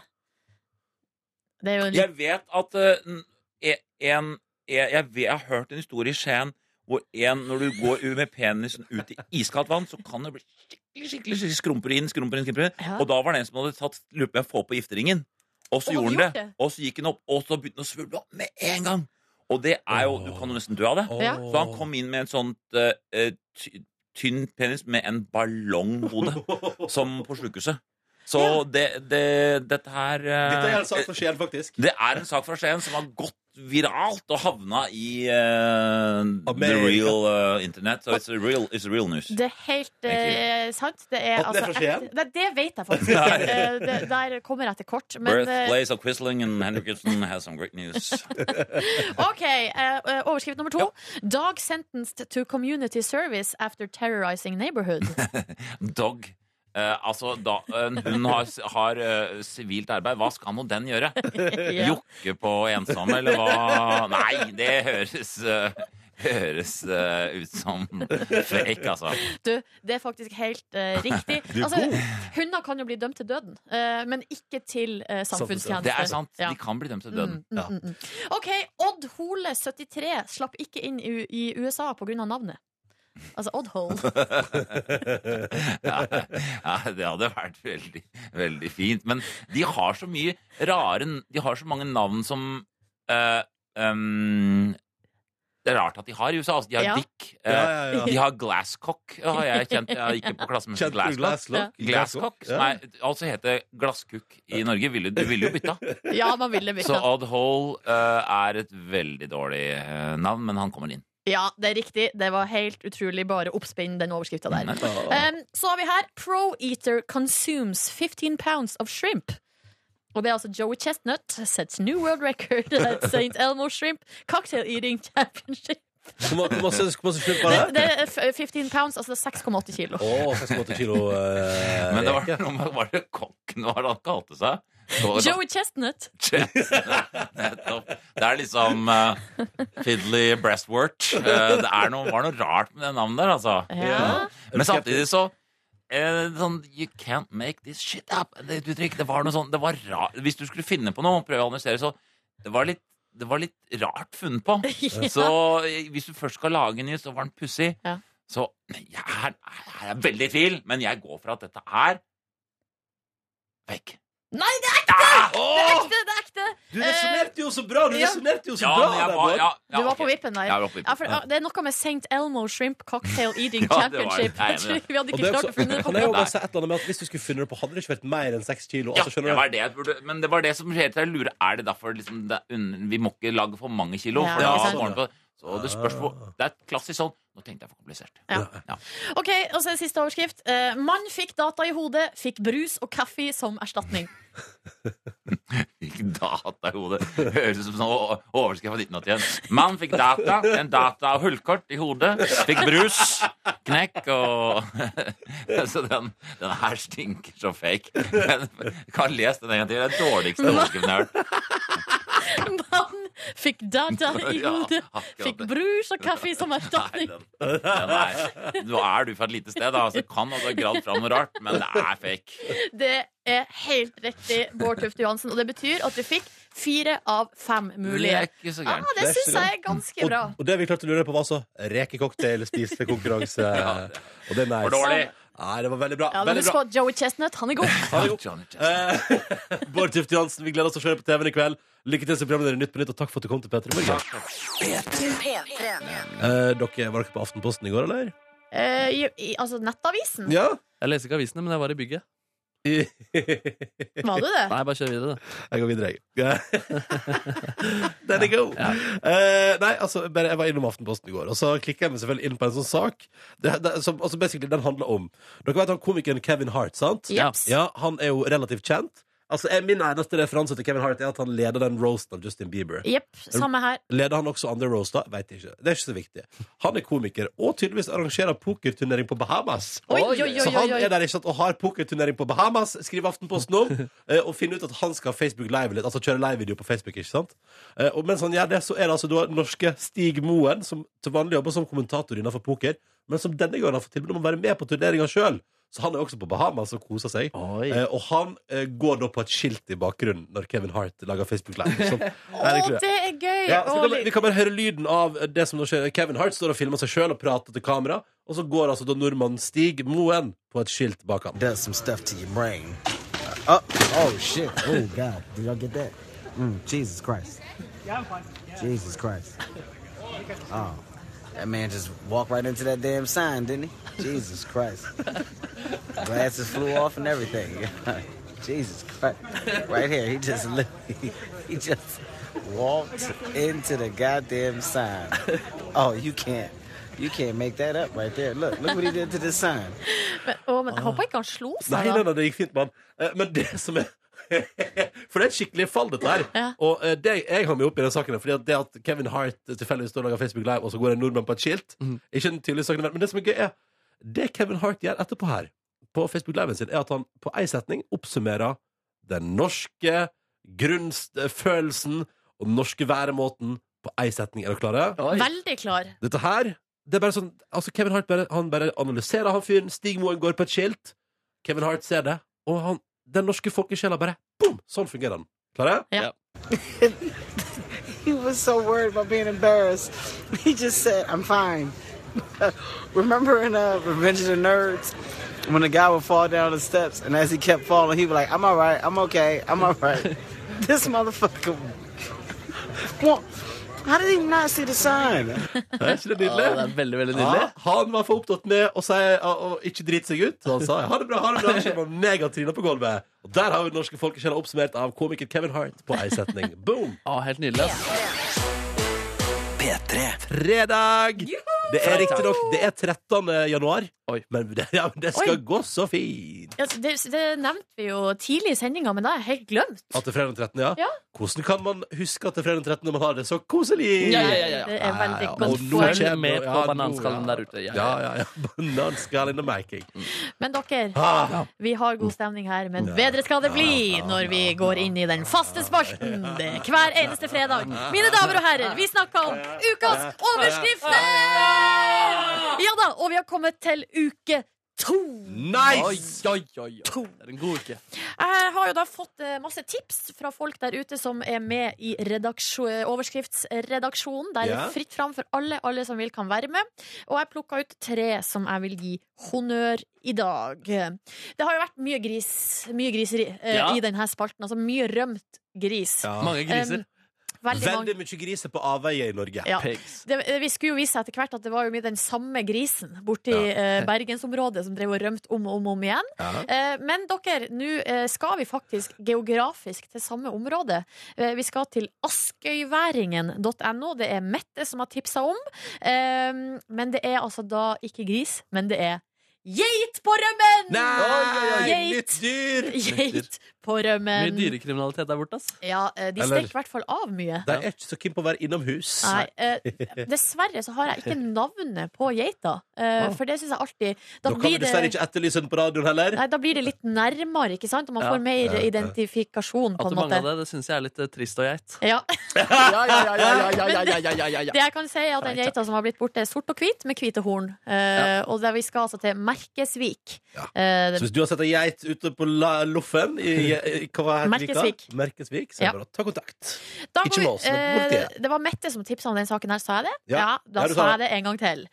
S3: Det er jo en
S10: Jeg vet at eh, n- e- en jeg, jeg, vet, jeg har hørt en historie i Skien hvor en, når du går u- med penisen ut i iskaldt vann, så kan det bli skikkelig skikkelig, skikkelig skrumper inn, skrumper inn, skrumper inn.
S11: Ja.
S10: Og da var det en som hadde tatt lurer på om jeg får på gifteringen. Og så
S11: Og
S10: gjorde
S11: hadde
S10: han
S11: gjort
S10: det.
S11: det.
S10: Og så gikk han opp, og så begynte han å svulme opp med en gang. Og det er jo Du kan jo nesten dø av det.
S11: Ja.
S10: Så han kom inn med en sånn tynn penis med en ballonghode, som på sjukehuset. Så det, det, dette her eh,
S2: Dette er altså en sak for Skien, faktisk.
S10: det er en sak fra Skien som har gått viralt og havna i eh, the
S2: Amerika.
S10: real eh, internet. So it's a real, it's a real news.
S3: Det er helt eh, sant. Det er,
S10: At det er fra Skien?
S3: ekte- Nei, det vet jeg faktisk ikke. Eh, det, der kommer jeg til kort. Men
S2: uh,
S3: eh,
S10: Birthplace of Quisling and Henriksen has some great news.
S3: OK. eh, eh, overskrift nummer to. Dog sentenced to community service after terrorizing neighborhood.
S10: Dog. Eh, altså, da, en hund har, har eh, sivilt arbeid. Hva skal nå den gjøre?
S11: Ja.
S10: Jokke på ensomme, eller hva? Nei, det høres eh, Høres eh, ut som fake, altså.
S3: Du, det er faktisk helt eh, riktig.
S10: Du er
S3: Altså,
S10: god.
S3: hunder kan jo bli dømt til døden, eh, men ikke til eh, samfunnstjeneste.
S10: Sånn, Det er sant.
S3: Ja.
S10: De kan bli dømt til døden.
S3: Mm, mm, mm. OK, Odd Hole 73 slapp ikke inn i, U- i USA pga. navnet. Altså Odd Hole.
S10: ja, ja, det hadde vært veldig, veldig fint. Men de har så mye rare De har så mange navn som eh, ehm, Det er rart at de har i USA. Altså, de har
S11: Ja.
S10: Dick. eh,
S11: Ja, ja, ja.
S10: De har Glasscock. Ja, jeg, kjent, jeg gikk jo på klasse med
S11: Kjente du Glasscock?
S10: Glasscock.
S11: Ja.
S10: Glasscock som
S11: Ja.
S10: er, altså heter Glasskuk i Norge. Ville, du ville jo bytta.
S3: Ja, man ville
S10: Så
S3: bytta.
S10: Odd Hole eh, er et veldig dårlig eh, navn, men han kommer inn.
S3: Ja, det er riktig. Det var helt utrolig bare oppspinn den overskrifta der.
S10: Mm.
S3: Um, så har vi her Pro-eater consumes 15 pounds of shrimp. Og det er altså Joey Chestnut sets new world record at St. Elmo Shrimp Cocktail Eating Championship.
S2: Hvor ma- hvor masse hvor masse skyld var
S3: Det,
S2: det?
S3: det er f- 15 pounds, altså det er 6,8 kilo.
S2: Å, 68 kilo eh,
S10: Men det var,
S2: reke.
S10: noe med- var det kokken hva var det han kalte seg? Så-
S3: Joey Chestnut.
S10: Nettopp. Det er liksom eh, Fiddly Breastwort. Eh, det er noe, var noe rart med det navnet der, altså.
S11: Ja.
S10: Men samtidig så eh, sånn, You can't make this shit up. Det, er et uttrykk. det var noe sånn, det var rart. Hvis du skulle finne på noe, prøve å analysere, så det var litt det var litt rart funnet på.
S11: Ja.
S10: Så eh, hvis du først skal lage en ny, så var den pussig. Så jeg er, jeg er veldig i tvil, men jeg går for at dette er
S3: Ah, Nei, det er ekte! Det er ekte! Det er ekte!
S2: Du resonnerte jo så bra! Du
S3: Eh, Ja.
S2: resonnerte jo så
S10: Ja,
S2: bra!
S10: men jeg
S2: der,
S10: var-
S2: Bård.
S10: ja, ja,
S3: Du var på
S10: ok.
S3: vippen der.
S10: Jeg var på vippen.
S3: Ja, for, ja, det er noe med St. Elmo Shrimp Cocktail Eating
S2: Ja, det var det.
S3: Championship.
S2: Nei,
S3: Jeg tror Vi hadde
S2: Og
S3: ikke
S2: det er
S3: klart
S2: også,
S3: å finne det
S2: kan jeg jo
S3: på
S2: bare si et eller annet med at Hvis du skulle funnet det på, hadde det ikke vært mer enn seks kilo.
S10: Ja,
S2: Altså,
S10: det
S2: skjønner
S10: var
S2: du?
S10: det jeg burde, men det var det som skjer til jeg lurer Er det derfor liksom, det, er un- vi må ikke lage for mange kilo?
S3: Ja,
S10: for da
S3: ikke sant.
S10: går den på, så det spørs på
S2: Ah.
S10: Det er klassisk sånn Nå tenkte jeg for komplisert.
S3: Ok, og så er siste overskrift. Eh, mann fikk data i hodet, fikk brus og kaffe som erstatning.
S10: Fikk data i hodet. Høres ut som sånn o- overskrift fra 1981. Mann fikk data, en data og hullkort i hodet. Fikk brus, knekk og Så den, den her stinker så fake. Men kan lese den en gang til. Det er den dårligste overskriften jeg har hørt.
S3: Mann fikk data i
S10: Ja,
S3: hodet,
S10: akkurat
S3: fikk
S10: det.
S3: brus og kaffe som erstatning.
S10: Den er, nå er du fra et lite sted, da. altså. Så det kan ha gravd fram noe rart, men det er fake.
S3: Det er helt riktig, Bård Tufte Johansen. Og det betyr at du fikk fire av fem
S10: Det
S3: mulige.
S10: er ikke så
S3: Ja,
S10: gærent.
S3: Ah, det
S2: Det er
S3: syns
S2: ikke
S3: jeg er ganske bra.
S2: liksom. Og det vi klarte å lure på, var altså rekecocktail, spisekonkurranse. Og det er nice.
S10: For dårlig.
S2: Nei, det var veldig bra.
S3: Ja, da
S2: veldig
S3: Husk
S2: bra.
S3: på Joey Chestnut, han er god.
S2: Ha det godt. Eh, Bård Tufte Johansen, vi gleder oss til å se deg på TV-en i kveld. Lykke til som programleder i Nytt på Nytt, og takk for at du kom til P3 Morgen.
S1: P3.
S2: Eh, dere var dere på Aftenposten i går, eller?
S3: Eh, i, i, altså Nettavisen?
S2: Ja.
S4: Jeg leser ikke avisene, men jeg var i bygget.
S3: Var du det?
S4: Nei, bare kjør videre, du.
S2: Jeg går videre, jeg. There they go. Eh, nei, altså, bare, jeg var innom Aftenposten i går, og så klikka jeg meg selvfølgelig inn på en sånn sak. Det, det, som, altså, basically, den handler om Dere vet han komikeren Kevin Hart, sant?
S3: Jeps.
S2: Ja, Han er jo relativt kjent. Altså, jeg, Min eneste referanse til Kevin Hart er at han leder den roasten av Justin Bieber.
S3: Jepp, samme her.
S2: Leder han også andre roaster? Veit ikke. Det er ikke så viktig. Han er komiker og tydeligvis arrangerer pokerturnering på Bahamas.
S3: Oi, oi, oi,
S2: Så
S3: oi,
S2: han
S3: oi.
S2: er der ikke sant, og har pokerturnering på Bahamas, skriver Aftenposten om. eh, Og finner ut at han skal Facebook live litt, altså kjøre livevideo på Facebook. ikke sant? Eh, Og mens han gjør det, så er det altså da norske Stig Moen, som til vanlig jobber som kommentator innenfor poker, men som denne gangen har fått tilbud om å være med på turneringa sjøl. Så han er også på Bahamas og koser seg.
S4: Oi.
S2: Eh, Og han eh, går da på et skilt i bakgrunnen når Kevin Hart lager Facebook live. Sånn.
S3: Å,
S2: Er det ikke det?
S3: det er gøy!
S2: Ja, så vi, kan
S3: Å,
S2: bare, vi kan bare høre lyden av det som nå skjer. Kevin Hart står og filmer seg sjøl og prater til kamera, og så går altså da nordmannen Stig Moen på et skilt bak ham.
S11: does some stuff to your brain. Uh, oh, shit. Oh, God. Did y'all get that? Mm, Jesus Christ. Jesus Christ. Oh, that man just walked right into that damn sign, didn't he? Jesus Christ. Glasses flew off and everything. Jesus Christ. Right here, he just li- he just walked into the goddamn sign. Oh, you can't. You can't make that up right there. Look, look what he did to this sign.
S3: men, å, men jeg håper ikke han slo
S2: Nei,
S3: seg,
S2: nei,
S3: da.
S2: nei, det gikk fint, mann. Eh, Men det som er For det er et skikkelig fall, dette her.
S3: Ja.
S2: Og eh, det jeg har med opp i den saken, er fordi at det at Kevin Hart tilfeldigvis står og lager Facebook Live, og så går en nordmann på et skilt Ikke en tydelig sak, men det som er gøy, er det Kevin Hart gjør etterpå her, på Facebook Liven sin, er at han på ei setning oppsummerer den norske grunnfølelsen og den norske væremåten på ei setning. Er dere klare?
S3: Veldig klar.
S2: Dette her det er bare sånn, altså Kevin Hart bare, han bare analyserer han fyren. Stig Moen går på et skilt. Kevin Hart ser det. Og han, den norske folkesjela bare boom! Sånn fungerer den. Klare?
S3: Ja.
S11: He was so worried about being embarrassed. He just said, I'm fine. Remember in uh, Revenge of the Nerds when the guy would fall down the steps and as he kept falling, he was like, I'm all right, I'm okay, I'm all right. this motherfucker. Well, how did he not see the sign?
S2: Er ikke det
S4: Ja, det
S2: nydelig?
S4: er veldig, veldig nydelig.
S10: Ah.
S2: Ja, han var for opptatt med å, si, å, å ikke drite seg ut. Så han sa ha det bra, ha det bra. Så var megatrina på gulvet. Og der har vi den norske folkesjela oppsummert av komiker Kevin Hart på ei setning. Boom!
S4: Ja, Ah, helt nydelig. ass.
S2: Fredag! Det er riktignok 13. januar,
S4: Oi.
S2: men det, ja, men det skal
S3: Oi.
S2: gå så fint.
S3: Ja, det, det nevnte vi jo tidlig i sendinga, men det har jeg helt glemt.
S2: At det er fredag 13., ja?
S3: Ja.
S2: Hvordan kan man huske at det er fredag 13 når man har det så koselig?
S4: Ja, ja, ja, ja.
S3: Det er veldig
S2: Ja, ja,
S3: godt
S2: og nå
S3: poeng.
S2: skjer-
S4: Følg med på
S2: Ja,
S4: bananskallen der ute. Ja,
S2: Ja, ja, ja. Banan skal in the making.
S3: Men dere,
S2: Ah,
S3: vi har god stemning her, men bedre skal det bli når vi går inn i den faste spalten det er hver eneste fredag. Mine damer og herrer, vi snakker om ukas overskrifter! Ja da, og vi har kommet til uke To!
S4: Nice! Oi, oi, oi. oi. Det er en god uke.
S3: Jeg har jo da fått eh, masse tips fra folk der ute som er med i redaksjo- overskriftsredaksjonen. Der er
S5: Ja.
S3: det fritt fram for alle, alle som vil kan være med. Og jeg plukka ut tre som jeg vil gi honnør i dag. Det har jo vært mye gris, mye griseri eh,
S2: Ja.
S3: i denne spalten. Altså mye rømt gris.
S10: Ah.
S2: Mange griser.
S3: Em, veldig, mange.
S2: mye griser på avveie i Norge.
S3: Ja. Det, eh, vi skulle jo vise etter hvert at det var jo mye den samme grisen borti eh, bergensområdet som drev og rømte om og om, og om igjen.
S2: Ja.
S3: Eh, men dere, nå eh, skal vi faktisk geografisk til samme område. Eh, vi skal til askøyværingen.no. Det er Mette som har tipsa om. Eh, men det er altså da ikke gris, men det er geit på rømmen! Geit!
S4: dyr!
S3: Geit på rømmen.
S4: Mye dyrekriminalitet der borte, ass.
S3: Ja, eh, de
S4: Eller-
S3: stikker i hvert fall av mye.
S2: De er ikke så keen på å være innomhus.
S3: Nei, eh, Dessverre så har jeg ikke navnet på geita, eh,
S2: Ah.
S3: for det syns jeg alltid
S2: Da
S4: Sånn
S2: kan vi dessverre ikke etterlyse den på radioen heller.
S3: Nei, da blir det litt nærmere, ikke sant? Og man
S4: Ja.
S3: får mer
S4: Ja, ja.
S3: identifikasjon,
S4: At
S3: på
S4: du
S3: en måte.
S4: mangla det, det syns jeg er litt eh, trist og geit.
S3: Ja.
S4: Ja, ja, ja, ja, ja, ja,
S3: Men
S4: ja, ja, ja, ja, ja.
S3: Det jeg kan si, er at den geita som har blitt borte, er sort og hvit med hvite horn. Eh, Og der vi skal altså til Merkesvik. Eh,
S2: Så hvis du har sett ei geit ute på la Loffen i, i, hva var det heter
S3: Merkesvik.
S2: Vika? Merkesvik, så er det
S3: Ja.
S2: bare å ta kontakt.
S3: da
S2: Ikke
S3: må
S2: med oss,
S3: vi-
S2: men borti
S3: eh,
S2: her.
S3: det var Mette som tipsa om den saken her, sa jeg det?
S2: Ja.
S3: da
S2: Ja,
S3: sa
S2: du sa
S3: jeg det en gang til.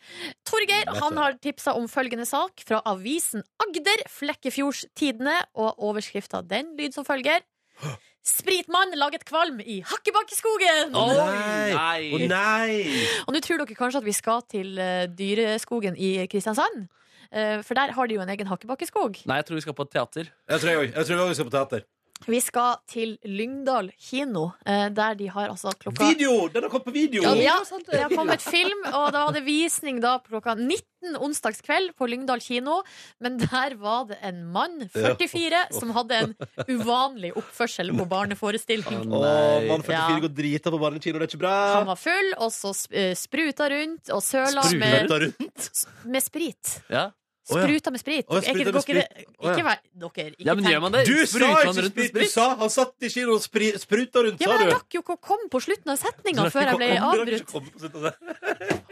S3: Torgeir
S2: Mette.
S3: han har tipsa om følgende sak fra avisen Agder, Flekkefjordstidene, og overskrifta den lyd som følger. Spritmann laget kvalm i Hakkebakkeskogen!
S2: Å nei! Å nei!
S3: Og nå tror dere kanskje at vi skal til eh, Dyreskogen i Kristiansand. Eh, for der har de jo en egen hakkebakkeskog.
S4: Nei, jeg tror vi skal på et teater.
S2: Jeg tror jeg òg. Jeg tror jeg også skal på teater.
S3: Vi skal til Lyngdal kino, eh, der de har altså klokka
S2: Video! Den har kommet på video!
S3: Ja, ja, det har kommet film, og da var det visning da klokka 19 onsdagskveld på Lyngdal kino. Men der var det en mann, 44, som hadde en uvanlig oppførsel på barneforestilling.
S2: Å, mann 44
S3: Ja.
S2: går drita på barnekino, det er ikke bra!
S3: Han var full, og så sp- eh, spruta rundt og søla
S2: Spruta
S3: med,
S2: rundt?
S3: med sprit.
S4: Ja.
S3: Spruta med sprit.
S2: Å, ja,
S3: Er ikke- går
S2: spruta med
S3: ikke det-
S2: sprit. Å, ja.
S3: Ikke vær dere. Ikke
S4: Ja, men gjør
S3: tenk.
S4: man det?
S2: Du sa
S4: Spruter han
S2: ikke
S4: rundt med
S2: sprit! Du sa han satt i kinoen og spri- spruta rundt,
S3: Ja,
S2: sa
S3: men jeg
S2: du!
S3: rakk jo ikke å komme på slutten av setninga
S2: Du rakk
S3: før jeg
S2: ikke å
S3: ble
S2: komme- du
S3: avbrutt.
S2: rakk ikke å komme på slutten av det.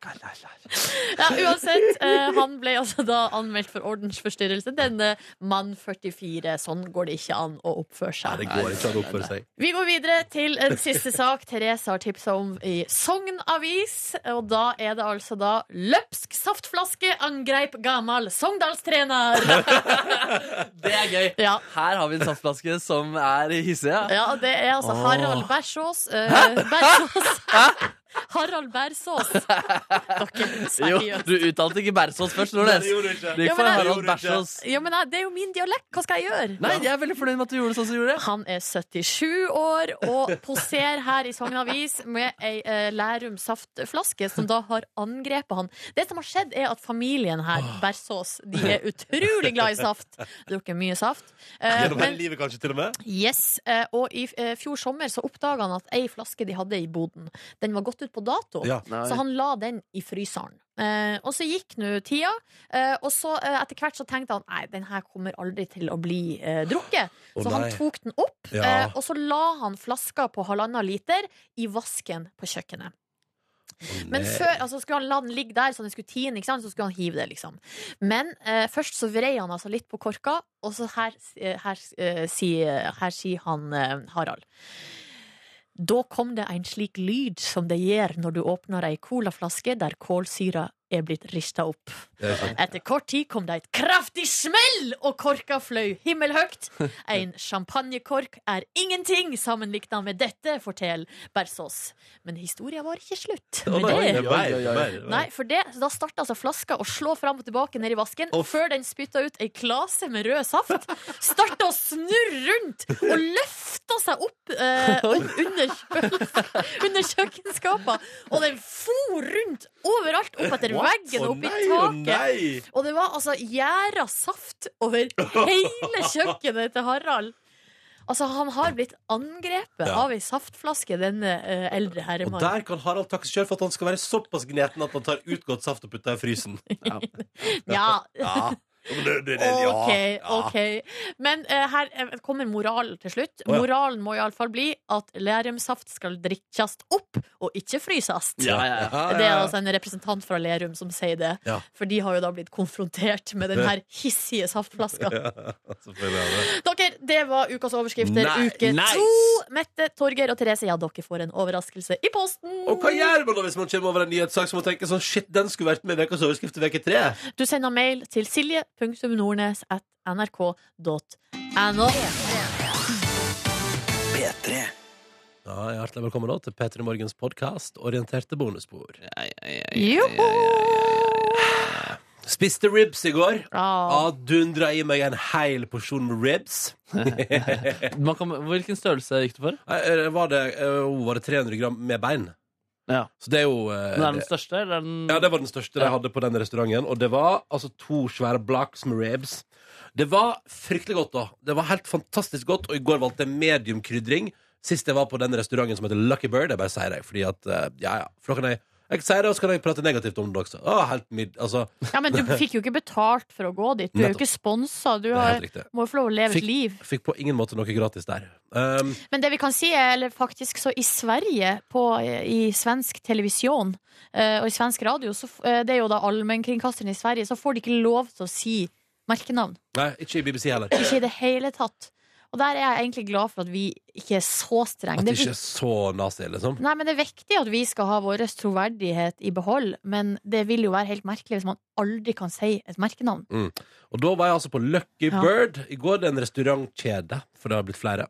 S3: Ja, uansett, eh, han ble altså da anmeldt for ordensforstyrrelse. Denne mann 44. Sånn går det ikke an å oppføre seg.
S2: Det går ikke an å oppføre seg.
S3: Vi går videre til en siste sak Therese har tipsa om i Sogn Avis. Og da er det altså da 'Løpsk saftflaske angreip gamal Sogndalstrener'.
S4: Det er gøy! Her har vi en saftflaske som er hissig, ja.
S3: Ja, det er altså
S4: Åh.
S3: Harald Bærsås. eh, Bærsås. Harald Bærsås. Dere,
S4: Jo,
S3: seriøst.
S4: du uttalte ikke Bersås først,
S3: Nei,
S4: Nordnes.
S3: det gjorde du ikke.
S4: Du
S3: Ja,
S4: gikk for
S3: men jeg-
S4: Harald Bersås.
S3: Ja, men jeg- det er jo min dialekt. Hva skal jeg gjøre?
S4: Nei, jeg er veldig fornøyd med at du gjorde det sånn som du gjorde.
S3: Han er 77 år og poserer her i Sogn Avis med ei eh, Lærum saftflaske som da har angrepet han. Det som har skjedd, er at familien her, Bersås, de er utrolig glad i saft. Drukker mye saft. Eh,
S2: Gjennom hele
S3: men
S2: livet, kanskje, til og med.
S3: Yes, eh, og I eh, fjor sommer så oppdaga han at ei flaske de hadde i boden, Den var gått ut på dato,
S2: Ja. Nei.
S3: så han la den i fryseren. Eh, og så gikk nå tida, eh, og så eh, etter hvert så tenkte han Nei, den her kommer aldri til å bli eh, drukket.
S2: Å,
S3: så han
S2: nei.
S3: tok den opp,
S2: Ja.
S3: eh, og så la han flaska på halvannen liter i vasken på kjøkkenet. Men
S2: nei.
S3: før, altså skulle han la den ligge der, så den skulle tine, ikke sant? så skulle han hive det. liksom Men eh, først så vrei han altså litt på korka, og så her, eh, her, eh, sier, her sier han eh, Harald. Da kom det en slik lyd som det gjør når du åpner ei colaflaske der kålsyra er blitt rista opp. Etter kort tid kom det et kraftig smell, og korka fløy himmelhøyt. En champagnekork er ingenting sammenlikna med dette, forteller Bersås. Men historia var ikke slutt
S2: Å,
S3: med
S2: nei,
S3: det.
S2: det er mer, det er mer, det er mer.
S3: Nei, for det, da starta altså flaska å slå fram og tilbake ned i vasken, før den spytta ut ei klase med rød saft. Starta å snurre rundt og løfta seg opp, eh, opp under, kjøl- under kjøkkenskapa, og den for rundt overalt, opp etter
S2: What?
S3: veggen og opp
S2: Å,
S3: i
S2: nei, å, nei.
S3: taket. Og det var altså gjæra saft over hele kjøkkenet til Harald. Altså, han har blitt angrepet
S2: Ja.
S3: av ei saftflaske, denne eh, eldre
S2: Og
S3: herremannen.
S2: der kan Harald takke seg sjøl for at han skal være såpass gneten at han tar ut godt saft og putter i frysen.
S3: Ja.
S2: Ja.
S3: OK, OK. Men eh, her eh, kommer moralen til slutt.
S2: Å, ja.
S3: Moralen må iallfall bli at lærumsaft skal drikkes opp, og ikke fryses.
S2: Ja, ja, ja.
S3: Det er altså en representant fra Lerum som sier det.
S2: Ja.
S3: For de har jo da blitt konfrontert med den her hissige saftflaska.
S2: Selvfølgelig er det.
S3: Dere, det var ukas overskrifter.
S2: Nei,
S3: altså- Uke
S2: nice.
S3: to. Mette, Torgeir og Therese, ja, dere får en overraskelse i posten.
S2: Og hva gjør man da hvis man kommer over en nyhetssak som man tenker sånn Shit, den skulle vært med i ukas overskrift til uke tre?
S3: Du sender mail til silje.nordnes.nrk.no.
S2: P3. Ja, hjertelig velkommen da til P3 Morgens podkast Orienterte bonusspor.
S3: Joho!
S2: Spiste ribs i går. Ja, Dundra i meg en hel porsjon med ribs.
S4: Man kan, hvilken størrelse gikk du for?
S2: Nei, eh, Var det, eh, var det 300 gram med bein?
S4: Ja.
S2: Så det er jo eh,
S4: Den er den
S2: det-
S4: største, eller er den
S2: Ja, det var den største de hadde på den restauranten. Og det var altså to svære blocks med ribs. Det var fryktelig godt, da. Det var helt fantastisk godt, og i går valgte jeg mediumkrydring. Sist jeg var på den restauranten som heter Lucky Bird, jeg bare sier det, fordi at eh, Ja, ja. For da kan jeg jeg sier det, og så kan jeg prate negativt om det også. Å, helt mid, altså.
S3: Ja, men du fikk jo ikke betalt for å gå dit. Du er jo
S2: Nettopp.
S3: ikke sponsa. Du
S2: Det er
S3: har,
S2: helt riktig.
S3: må jo få lov å leve et
S2: fikk,
S3: liv.
S2: fikk på ingen måte noe gratis der. Um,
S3: Men det vi kan si er eller faktisk så i Sverige, på, i svensk televisjon eh, og i svensk radio, så, f- eh, det er jo da allmennkringkasteren i Sverige, så får de ikke lov til å si merkenavn.
S2: nei, ikke i BBC heller.
S3: Ikke i det hele tatt. Og der er jeg egentlig glad for at vi ikke er så strenge.
S2: At det
S3: Det er
S2: ikke er så nazi, liksom.
S3: Nei, men Det er viktig at vi skal ha vår troverdighet i behold, men det vil jo være helt merkelig hvis man aldri kan si et merkenavn.
S2: Mm. Og da var jeg altså på Lucky
S3: Ja.
S2: Bird. I går det er en restaurantkjede, for det har blitt flere.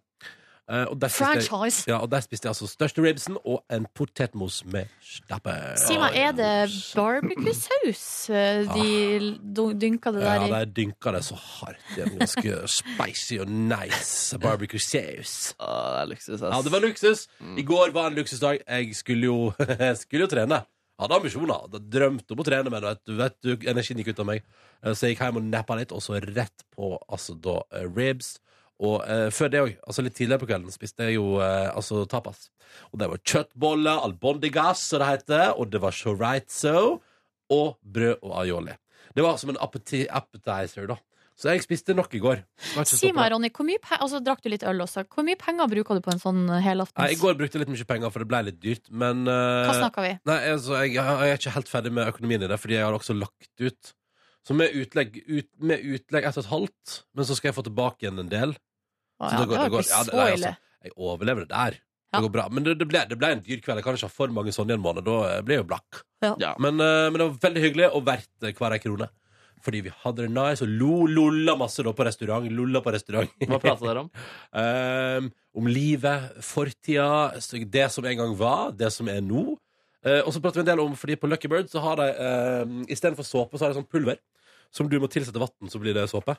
S2: Eh, og der spiste jeg-
S3: Franchise.
S2: Ja, og der spiste jeg altså største ribsen og en potetmos med stappe.
S3: Si meg, er det barbecue-saus eh, de dun- dynker det der i?
S2: Ah. Ja, der dynka det så hardt. Det er en ganske spicy og nice barbecue saus.
S4: Å, det er luksus, ass.
S2: Ja, det var luksus. I går var en luksusdag. Jeg skulle jo, jeg skulle jo trene. Hadde ambisjoner. Hadde drømt om å trene, men vet du, vet du, energien gikk ut av meg. Eh, Så jeg gikk hjem og nappa litt, og så rett på altså da eh, ribs. Og eh, før det òg, altså litt tidligere på kvelden, spiste jeg jo eh, altså tapas. Og det var kjøttboller, albondigas, som det heter, og det var chorizo, og brød og aioli. Det var som en appeti appetizer, da. Så jeg spiste nok i går. Det var ikke så
S3: Si meg,
S2: bra.
S3: Ronny, hvor mye, pe- altså, drakk du litt øl også. Hvor mye penger bruker du på en sånn
S2: Nei, I
S3: helaftens?
S2: går brukte jeg litt mye penger, for det ble litt dyrt, men eh,
S3: Hva snakker vi?
S2: Nei, altså, jeg, jeg er ikke helt ferdig med økonomien i det, fordi jeg har også lagt ut. Så med utlegg, ut, med utlegg etter et halvt, men så skal jeg få tilbake igjen en del.
S3: Å,
S2: Så
S3: ja,
S2: da går-
S3: det var
S2: går-
S3: ikke
S2: ja, det-
S3: så
S2: nei, altså,
S3: ille.
S2: Jeg overlever det der. Det går bra. Men det, det, ble, det ble en dyr kveld. Jeg kan ikke ha for mange sånne i en måned. Da eh, blir jeg jo blakk.
S3: Ja.
S2: Men, eh, men det var veldig hyggelig, og verdt eh, hver ei krone. Fordi vi hadde det nice og lo, lolla masse da på restaurant. Lolla på restaurant.
S4: Hva prater dere om?
S2: Um, om livet, fortida, så det som en gang var, det som er nå. Eh, og så prater vi en del om, fordi på Lucky Bird så har de um, istedenfor såpe, så har de sånn pulver. Som du må tilsette vann, så blir det såpe.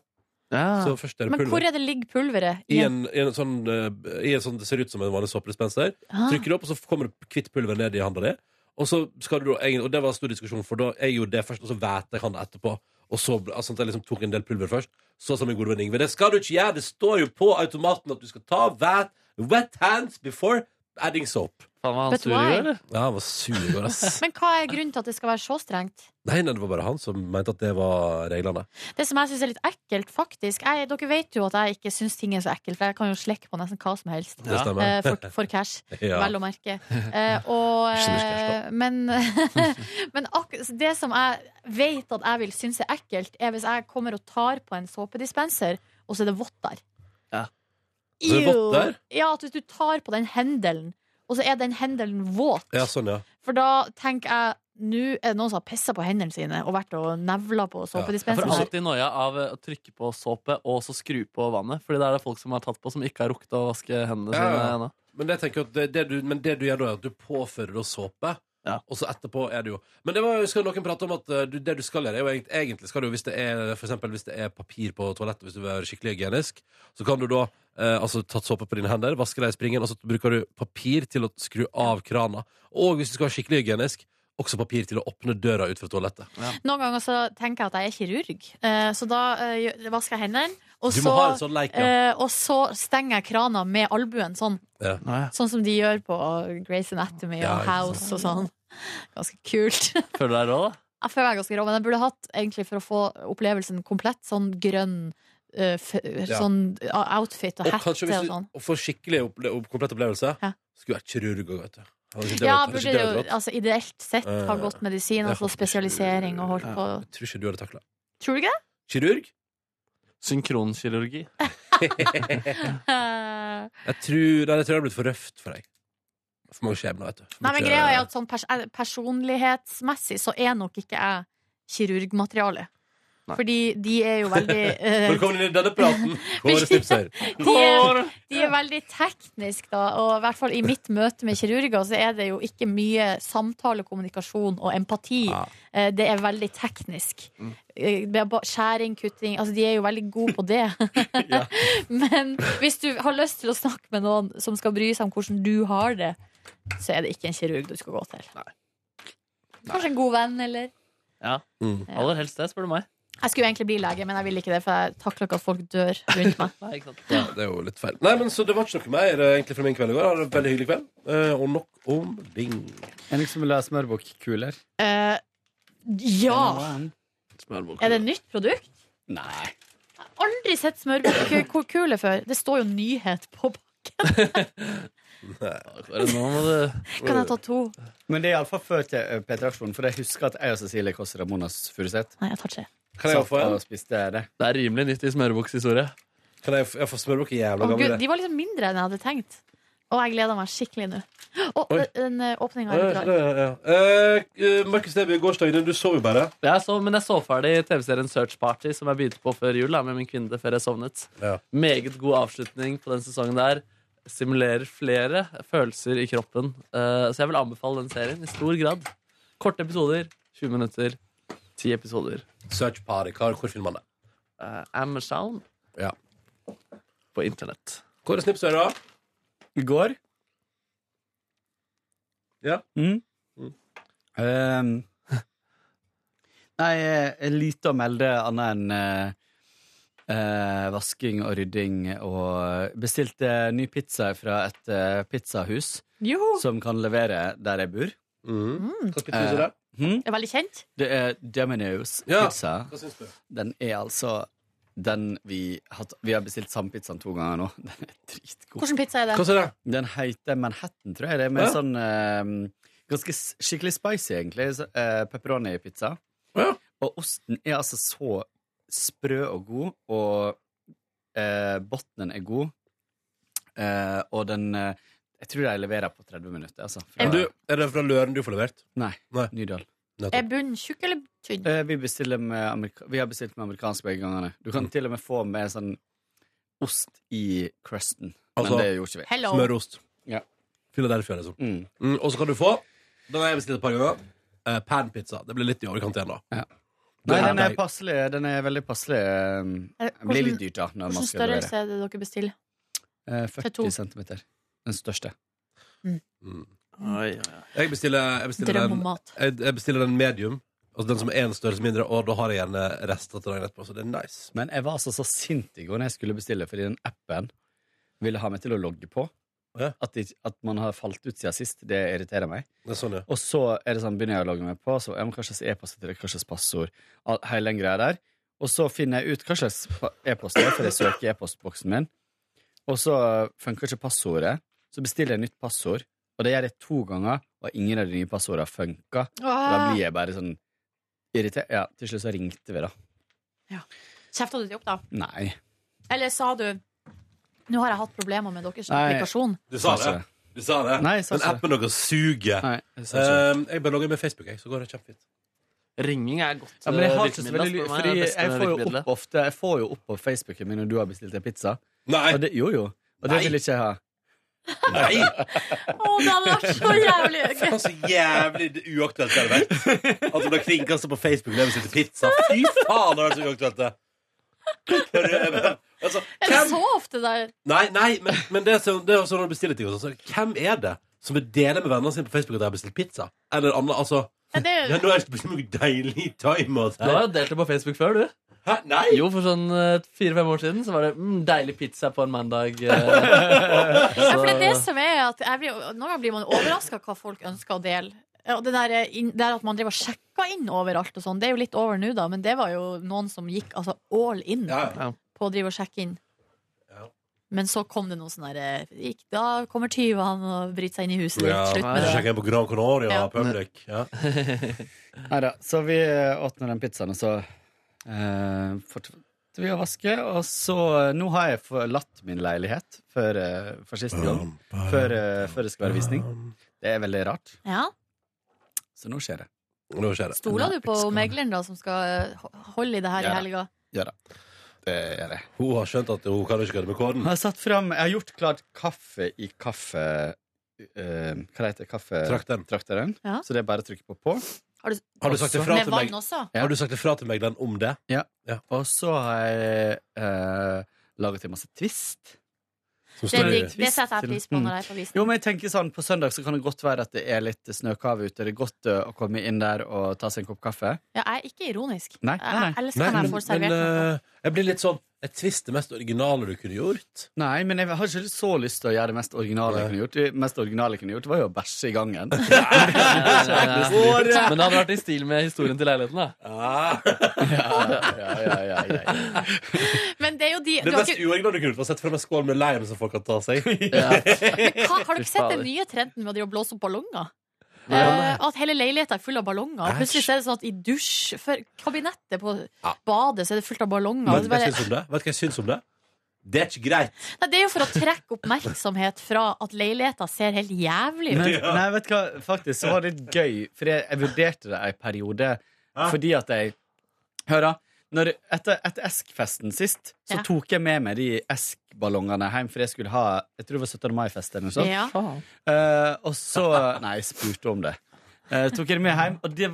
S2: Så først er det
S3: Ah. Men
S2: pulver.
S3: hvor er det ligger pulveret?
S2: I en, i en sånn, eh, i en sånn Det ser ut som en vanlig såpedispenser.
S3: Ah.
S2: Trykker du opp, og så kommer det kvitt pulver ned i handa di. Og så skal du da, egentlig- og det var en stor diskusjon, for da jeg gjorde det først, og så vet jeg han det etterpå. Og så ble- altså, at jeg liksom tok en del pulver først. Så sa min gode venn Ingve det skal du ikke gjøre. Det står jo på automaten at du skal ta wet, wet hands before adding soap.
S4: Faen, var han
S3: But
S4: sur i går,
S3: why?
S4: eller?
S2: Ja, han var sur i går, ass.
S3: Men hva er grunnen til at det skal være så strengt?
S2: Nei, nei, det var bare han som mente at det var reglene.
S3: Det som jeg syns er litt ekkelt, faktisk jeg, Dere vet jo at jeg ikke syns ting er så ekkelt, for jeg kan jo slekke på nesten hva som helst.
S2: Det stemmer.
S3: Eh, for, for cash,
S2: Ja.
S3: vel å merke. Eh, og,
S2: Ikke så
S3: eh, men men ak det som jeg vet at jeg vil synes er ekkelt, er hvis jeg kommer og tar på en såpedispenser, og så er det vått der.
S4: Ja.
S2: Så er det vått
S3: Ew.
S2: der?
S3: Ja, at hvis du tar på den hendelen, og så er den hendelen våt.
S2: Ja, sånn, ja.
S3: For da tenker jeg nå er det noen som har pissa på hendene sine og vært og nevla på
S4: Jeg får
S3: såpedispenseren. her.
S2: altså-
S4: alltid noia av eh, å trykke på såpe og så skru på vannet. Fordi det er det folk som har tatt på, som ikke har rukket å vaske hendene
S2: Ja,
S4: sine
S2: ja.
S4: ennå.
S2: Men det, tenker jeg at det, det du, men det du gjør da, er at du påfører da såpe. Og så etterpå er det jo Men det var, jo- skal noen prate om at eh, du, det du skal gjøre, er jo egentlig, egentlig skal du, hvis det er for eksempel, hvis det er papir på toalettet, hvis du vil være skikkelig hygienisk, så kan du da eh, altså ta såpe på dine hender, vaske deg i springen, og så bruker du papir til å skru av krana. Og hvis du skal være skikkelig hygienisk, også papir til å åpne døra ut fra toalettet.
S3: Noen ganger så tenker jeg at jeg er kirurg, eh, så da eh, gjør- vasker jeg hendene. Og
S2: Du
S3: så,
S2: må ha en sånn leik, ja.
S3: eh, og så stenger jeg krana med albuen, sånn.
S2: Ja.
S3: Sånn som de gjør på Grey's Anatomy
S4: Ja,
S3: og
S4: ikke
S3: House og sånn. Ganske kult.
S4: Føler du deg rå, da?
S3: Jeg føler meg ganske rå, men jeg burde hatt, egentlig for å få opplevelsen komplett, sånn grønn eh, f
S2: Ja.
S3: sånn eh, outfit og
S2: Og
S3: hette og
S2: kanskje hvis
S3: sånn.
S2: du får skikkelig opple og komplett opplevelse,
S3: Ja.
S2: skulle vært kirurg òg, vet du. Hadde ikke det
S3: Ja,
S2: vært- hadde
S3: burde
S2: ikke
S3: det
S2: det vært
S3: jo
S2: rått?
S3: altså, ideelt sett ha
S2: Eh,
S3: gått medisin,
S2: jeg
S3: altså
S2: håper ikke-
S3: spesialisering og holdt på
S2: Jeg tror ikke du hadde takla
S3: Tror du ikke det?
S2: Kirurg?
S4: Synkronkirurgi.
S3: Eh,
S2: Jeg tror, nei, jeg tror det hadde blitt for røft for deg. For mange skjebner, vet du. For
S3: Nei, men
S2: mye-
S3: greia er at sånn pers eh, personlighetsmessig så er nok ikke jeg kirurgmateriale. Fordi de er jo veldig eh,
S2: Velkommen inn i denne praten, Kåre Snipser.
S3: de, er, de er veldig teknisk da, og i hvert fall i mitt møte med kirurger så er det jo ikke mye samtale, kommunikasjon og empati. Eh, Det er veldig teknisk.
S12: Mm.
S3: Eh, det er ba- Skjæring, kutting Altså, de er jo veldig gode på det. Men hvis du har lyst til å snakke med noen som skal bry seg om hvordan du har det, så er det ikke en kirurg du skal gå til. Kanskje en god venn, eller
S4: Ja. Aller helst det, spør du meg.
S3: Jeg skulle jo egentlig bli lege, men jeg vil ikke det, for jeg takler ikke at folk dør rundt meg.
S4: Nei, ikke sant.
S2: Ja, det er jo litt feil. Nei, men Så det var ikke noe mer eh, egentlig fra min kveld i går. Jeg hadde en veldig hyggelig kveld. Eh, og nok om Bing.
S7: En som vil ha smørbokkuler?
S3: Eh, ja! Er det et nytt produkt?
S7: Nei.
S3: Aldri sett smørbrødkule før. Det står jo nyhet på pakken. Kan jeg ta to?
S7: Men det er iallfall før til ø, P3-aksjonen, for jeg husker at jeg og Cecilie Kåss Ramonas Furuseth
S3: Nei, jeg tar tre.
S7: satt og spiste det.
S4: Det er rimelig nytt i smørbukshistorie.
S2: Kan jeg, jeg få smørbukke jævla
S3: Å, Gud, de var liksom mindre enn jeg hadde tenkt. Og jeg gleder meg skikkelig nå. Å,
S2: Oi.
S3: den åpninga er
S2: Ja, ja,
S3: litt rar.
S2: ja, ja. Eh, eh, Markus Neby, gårsdagen, du sov jo bare.
S4: Jeg så, men jeg så ferdig TV-serien Search Party, som jeg begynte på før jul. Da, med min kvinne før jeg sovnet. Meget god avslutning på den sesongen der. Simulerer flere følelser i kroppen. Eh, så jeg vil anbefale den serien i stor grad. Korte episoder. 20 minutter. 10 episoder. Eh,
S2: Search Party. Hvor, hvor finner man det?
S4: Amazon.
S2: Ja.
S4: På internett.
S2: Kåre Snipser, da?
S7: I går
S2: Ja.
S7: Mm. Ehm, nei, eh, lite å melde annet enn eh, eh, vasking og rydding og bestilte ny pizza fra et eh, pizzahus
S3: Jo.
S7: som kan levere der jeg bor.
S2: Mm.
S3: Mm.
S2: Hva pizzahus er det?
S3: Det er veldig kjent.
S7: Det er Domino's
S2: Ja,
S7: pizza.
S2: hva syns du?
S7: Den er altså den vi, har t- vi har bestilt sampizzaen to ganger nå. Den er dritgod.
S3: Hvordan pizza er det? Hva sier
S7: Den heter Manhattan, tror jeg. Det er med
S3: Ja.
S7: sånn eh, ganske s- skikkelig spicy, egentlig. Så, eh, Pepperoni-pizza. Og osten er altså så sprø og god, og eh, bunnen er god. Eh, og den eh, Jeg tror de leverer på 30 minutter, altså. Fra-
S2: Men Du, er det fra Løren du får levert?
S7: Nei. Nydal.
S3: Er bunnen tjukk eller tynn?
S7: Eh, vi, bestiller med amerika vi har bestilt med amerikansk begge gangene. Du
S2: Mm.
S7: kan til og med få med sånn ost i crusten. men
S2: Altså,
S7: det gjorde ikke vi.
S2: Hello. smørost.
S7: Ja.
S2: Philadelphia, liksom.
S7: Mm.
S2: og så kan du få Den har jeg bestilt et par ganger. Eh, Panpizza. Det blir litt i overkant igjen, da.
S7: Nei,
S2: Det er
S7: den er
S2: deg.
S7: passelig. Den er veldig passelig. um,
S3: Er-
S7: Den blir litt dyrt, da. Når man
S3: Eh, Hvordan
S7: skal
S3: størrelse
S7: levere.
S3: er det dere bestiller?
S7: Eh,
S3: til to?
S7: 40 cm. Den største.
S2: Jeg bestiller, jeg bestiller,
S3: Drøm om
S2: den,
S3: mat.
S2: jeg, jeg bestiller den medium. Altså den som er en størrelse mindre, og da har jeg gjerne rester til dagen etterpå. Så det er nice.
S7: Men jeg var altså så sint i går når jeg skulle bestille, fordi den appen ville ha meg til å logge på. At, det, at man har falt ut siden sist, det irriterer meg.
S2: Det er sånn, ja.
S7: Og så er det sånn, begynner jeg å logge meg på, så ja, men hva slags e-post er det, hva slags passord, all- hele den greia der. Og så finner jeg ut hva slags pa- e-post det er, for jeg søker i e-postboksen min. Og så funker ikke passordet. Så bestiller jeg nytt passord, og det gjør jeg to ganger, og ingen av de nye passordene funker. Og Da
S3: Ah.
S7: blir jeg bare sånn irritert. Ja, til slutt så ringte vi, da.
S3: Kjefta du til opp, da?
S7: Nei.
S3: Eller sa du Nå har jeg hatt problemer med deres
S7: Nei.
S3: applikasjon.
S2: Du sa
S7: Sa ikke
S2: det.
S7: det.
S2: Du sa det.
S7: Nei, jeg sa
S2: Men
S7: ikke
S2: appen deres suger.
S7: Nei, jeg sa ikke
S2: Um, jeg bare logger med Facebook, jeg, så går det kjempefint.
S4: Ringing er godt.
S7: Ja, men jeg har
S4: eh,
S7: ikke så
S4: virkemiddel,
S7: veldig
S4: ass.
S7: lyst,
S4: Det er
S7: fordi
S4: det beste
S7: jeg får jo
S4: virkemiddelet.
S7: opp ofte Jeg får jo opp på Facebooken min når du har bestilt en pizza.
S2: Nei.
S7: Og det, jo, jo. Og det vil ikke jeg ha.
S3: Å, det hadde vært så jævlig gøy!
S2: Så jævlig uaktuelt det hadde vært. At du ble kringkasta på Facebook når jeg bestilte pizza. Fy faen, det hadde vært så uaktuelt, det.
S3: Er det så ofte der?
S2: altså, Nei, nei, men, men det, er sånn- det er jo sånn når du bestiller ting og sånn, så Hvem er det som vil dele med vennene sine på Facebook at de har bestilt pizza? Eller andre, altså
S3: Ja, det
S2: ja, Nå er det bestilt noe deilig timers
S4: Du har
S2: her.
S4: jo delt det på Facebook før, du.
S2: Hæ? Nei?
S4: Jo, for sånn eh, fire-fem år siden så var det mm, deilig pizza på en mandag. eh.
S3: Ja, for det er det som er at jeg blir, Noen ganger blir man overraska hva folk ønsker å dele. Ja, og det der, eh, inn- det der at man driver og sjekker inn overalt og sånn, det er jo litt over nå, da, men det var jo noen som gikk altså all in på å drive og sjekke inn. Men så kom det noe sånn der eh, gikk, Da kommer tyvene og bryter seg inn i huset ditt.
S2: Ja,
S3: Slutt med
S2: Sjekk
S3: det.
S2: inn på Gran Canaria
S3: Ja.
S2: public. Ja.
S7: Nei da. Så vi åt nå den pizzaen, og så eh, fortsatte vi å vaske. Og så eh, Nå har jeg forlatt min leilighet for, eh, for siste gang. Før, eh, før det skal være visning. Det er veldig rart.
S3: Ja.
S7: Så nå skjer det.
S2: Nå skjer det.
S3: Stoler du på megleren da, som skal eh, ho- holde i det her
S7: Ja.
S3: i helga?
S7: Ja da. Det gjør jeg.
S2: Hun har skjønt at hun kan ikke kødde med kåden.
S7: Jeg har, satt frem, jeg har gjort klart kaffe i kaffe... eh, hva heter det? Kaffetrakteren.
S3: Ja.
S7: Så det er bare å trykke på på.
S3: Har du-
S2: Har du sagt ifra
S3: Med
S2: til
S3: vann
S2: meg?
S3: også?
S2: Har du sagt ifra til meg den om det?
S7: Ja. Og så har jeg eh, laget en masse twist.
S2: Som
S3: Det er digg. Det setter jeg pris på når jeg er på visning.
S7: Jo, men jeg tenker sånn, På søndag så kan det godt være at det er litt snøkave ute. Det er godt eh, å komme inn der og ta seg en kopp kaffe.
S3: Ja, jeg er ikke ironisk.
S7: Nei, nei, nei.
S3: Jeg elsker når jeg får
S2: men,
S3: servert noe.
S2: eh, jeg blir litt sånn Jeg tvister det mest originale du kunne gjort.
S7: Nei, men jeg har ikke så lyst til å gjøre det mest originale jeg kunne gjort. Det mest originale jeg kunne gjort, var jo å bæsje i gangen.
S4: Ja. Men det hadde vært i stil med historien til leiligheten, da.
S2: Ah,
S7: ja, ja, ja, ja.
S3: Men det er jo de
S2: Det
S3: du har
S2: mest
S3: ikke,
S2: uoriginale du kunne gjort, var å sette frem en skål med leim som folk kan ta seg.
S3: men hva, Har du
S2: Fy
S3: ikke sett den
S2: fader.
S3: nye trenden med å drive og blåse opp ballonger?
S2: Nei.
S3: Eh, at hele leiligheten er full av ballonger. Og plutselig
S2: Æsj.
S3: så er det sånn at i dusj for kabinettet på
S2: Ja.
S3: badet så er det fullt av ballonger. Og
S2: Vet
S3: så
S2: du hva
S3: bare-
S2: jeg syns om det? Vet du hva jeg syns om det? Det er ikke greit.
S3: Nei, det er jo for å trekke oppmerksomhet fra at leiligheten ser helt jævlig
S7: Nei,
S3: ut.
S7: nei, vet du hva, faktisk så var det litt gøy, for jeg, jeg vurderte det ei periode fordi at jeg Hør, da. Når, etter, etter Esk-festen sist, så
S3: Ja.
S7: tok jeg med meg de Esk-ballongene hjem, for jeg skulle ha Jeg tror det var 17. mai-fest eller noe sånt.
S3: Ja.
S7: Eh, og så Nei, jeg spurte om det. Eh, tok jeg det med hjem, og det,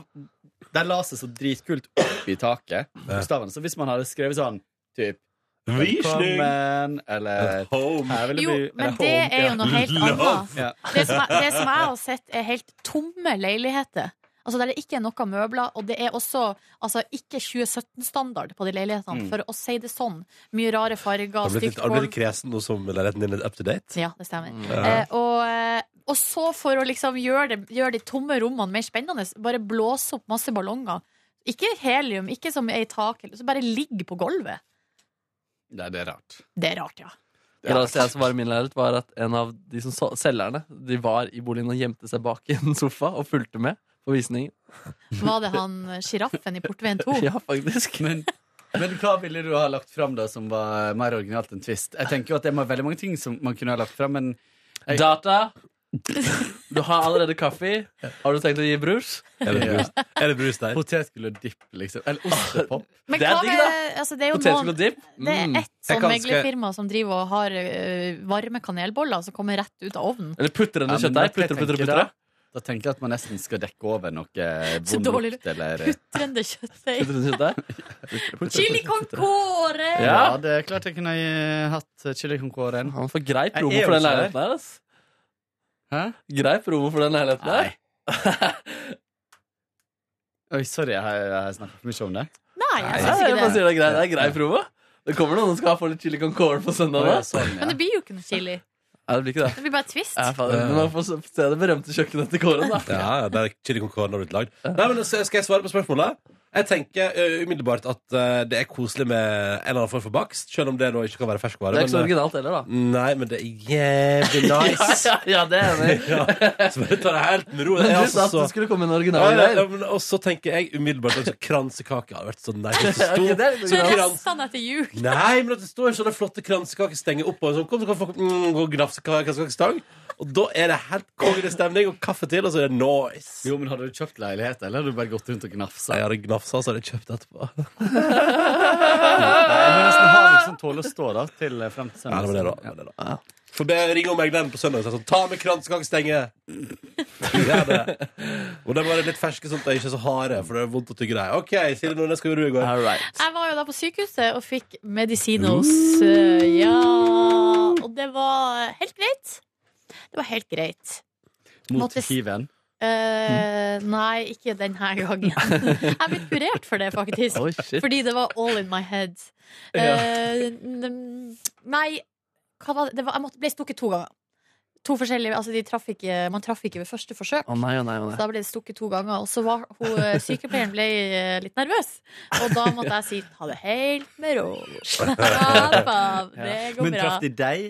S7: der la seg så dritkult opp i taket. Bokstavene. Så hvis man hadde skrevet sånn typ
S2: Visning!
S7: Velkommen, eller Home.
S3: Jo, men det er jo noe helt annet.
S7: Ja.
S3: Det som, jeg, det som jeg har sett, er helt tomme leiligheter. Altså Der det ikke er noe møbler, og det er også altså, ikke 2017-standard på de leilighetene,
S2: Mm.
S3: for å si det sånn. Mye rare
S2: Har
S3: farger,
S2: du blitt
S3: stygt
S2: litt- har du
S3: gulv.
S2: blitt kresen nå som leiligheten din er up to date?
S3: Ja, det stemmer.
S2: Ja.
S3: Eh, og, eh, og så, for å liksom gjøre, det, gjøre de tomme rommene mer spennende, bare blåse opp masse ballonger. Ikke helium, ikke som er i taket, så bare ligg på gulvet.
S7: Nei, det er rart.
S3: Det er rart, ja.
S4: Det eneste altså, jeg som var i min leilighet, var at en av de som så- selgerne De var i boligen og gjemte seg bak i en sofa og fulgte med på visningen.
S3: Var det han eh, sjiraffen i Portveien 2?
S4: Ja, faktisk.
S7: Men, men hva ville du ha lagt fram da som var mer originalt enn Twist? Jeg tenker jo at det er veldig mange ting som man kunne ha lagt fram, men jeg,
S4: Data. Du har allerede kaffe. Har du tenkt å gi brus?
S2: Er det brus, er det brus der?
S7: Potetgull og dipp, liksom. Eller ostepop.
S3: Men
S4: Det er
S3: hva
S4: digg,
S3: med,
S4: da.
S3: altså, det er jo
S4: Potetgull
S3: noen-
S4: og dipp.
S3: Det er
S4: Mm.
S3: ett sånn
S4: Jeg kan-
S3: meglerfirma som driver og har ø, varme kanelboller som kommer rett ut av ovnen.
S4: Eller putter den i
S7: Ja, men
S4: kjøttdeig.
S7: vet du hva jeg
S4: Putter, putter,
S7: tenker
S4: putter.
S7: Da, da tenker jeg at man nesten skal dekke over noe
S3: Så
S7: vond
S3: dårlig.
S7: lukt, eller
S3: Putrende kjøttdeig.
S4: Putter den i kjøttdeig.
S3: Chili con core!
S7: ja. det er klart jeg kunne eh, hatt chili con core.
S4: Han får grei
S7: Jeg
S4: promo
S7: er jo
S4: for den
S7: ikke
S4: leiligheten her, ass.
S7: Hæ?
S4: Grei promo for den leiligheten her.
S7: Oi, sorry, jeg, har- jeg snakker for mye om det.
S3: Nei, jeg
S4: Ja,
S3: syns
S4: jeg bare
S3: ikke det.
S4: sier det er grei, det er grei promo. Det kommer noen som skal få litt chili con corn på søndag.
S7: Å, ja,
S4: Da.
S7: sånn, ja.
S3: Men det blir jo ikke noe chili.
S4: Nei, det blir ikke det.
S3: Det blir bare twist.
S4: Ja, fader, men man får se se det berømte kjøkkenet til Kåren, da.
S2: Ja, ja, der chili con carne har blitt lagd. Nei, men så Skal jeg svare på spørsmålet? Jeg tenker ø, umiddelbart at ø, det er koselig med en eller annen form for bakst, selv om det nå ikke kan være ferskvare.
S4: Det er ikke så
S2: men, eh,
S4: originalt heller, da.
S2: ø, nei, men det er jævlig nice.
S4: Ja, ja, det er jeg enig i.
S2: ja, så bare ta det helt med ro. Det
S4: Men du
S2: er altså
S4: sa at
S2: så-
S4: det skulle komme en
S2: Ja,
S4: original
S2: ja, ja,
S4: der.
S2: men- Og så tenker jeg umiddelbart at kransekake hadde vært så nice. Hvis det
S4: Ok, det
S2: sto
S4: er litt
S3: Så
S4: originalt.
S3: restene etter jul.
S2: Nei, men at det står sånne flotte kransekakestenger oppå. og Sånn, kom, så kan folk mm, gå og grafse ka- kransekakestang. Og da er det helt kongelig stemning, og kaffe til, og så er det nice.
S7: Jo, men Hadde du kjøpt leilighet, eller hadde du bare gått rundt og gnafsa?
S2: Jeg hadde gnafsa, så hadde jeg kjøpt etterpå.
S7: Nei, jeg må nesten ha liksom tåle å stå da, til eh, frem til
S2: Ja, det var det, da.
S7: søndag.
S2: Det var det, da. For be, ring om megleren på søndag og si sånn Ta med kransekakestenge! Gjør det. Og de var litt ferske, sånn at de ikke er så harde, for det er vondt å tygge dem. OK, Silje Nordnes, hva gjorde du i går?
S4: All right.
S3: Jeg var jo da på sykehuset og fikk medisinos. Ja. Og det var helt greit. Det var helt greit.
S7: Mot
S3: Måtte-
S7: hiven.
S3: Eh, nei, ikke denne gangen. Jeg er blitt kurert for det, faktisk.
S4: Oi, shit.
S3: Fordi det var all in my head. Eh, n- nei, hva var det? det var, jeg måtte, ble stukket to ganger. To forskjellige, altså de traff ikke, Man traff ikke ved første forsøk.
S4: Å nei, å nei, å nei.
S3: Så da ble det stukket to ganger. Og så var hun, eh, sykepleieren ble eh, litt nervøs. Og da måtte jeg si ha det helt med ro. Slapp av, det går
S7: Men
S3: bra.
S7: traff de deg?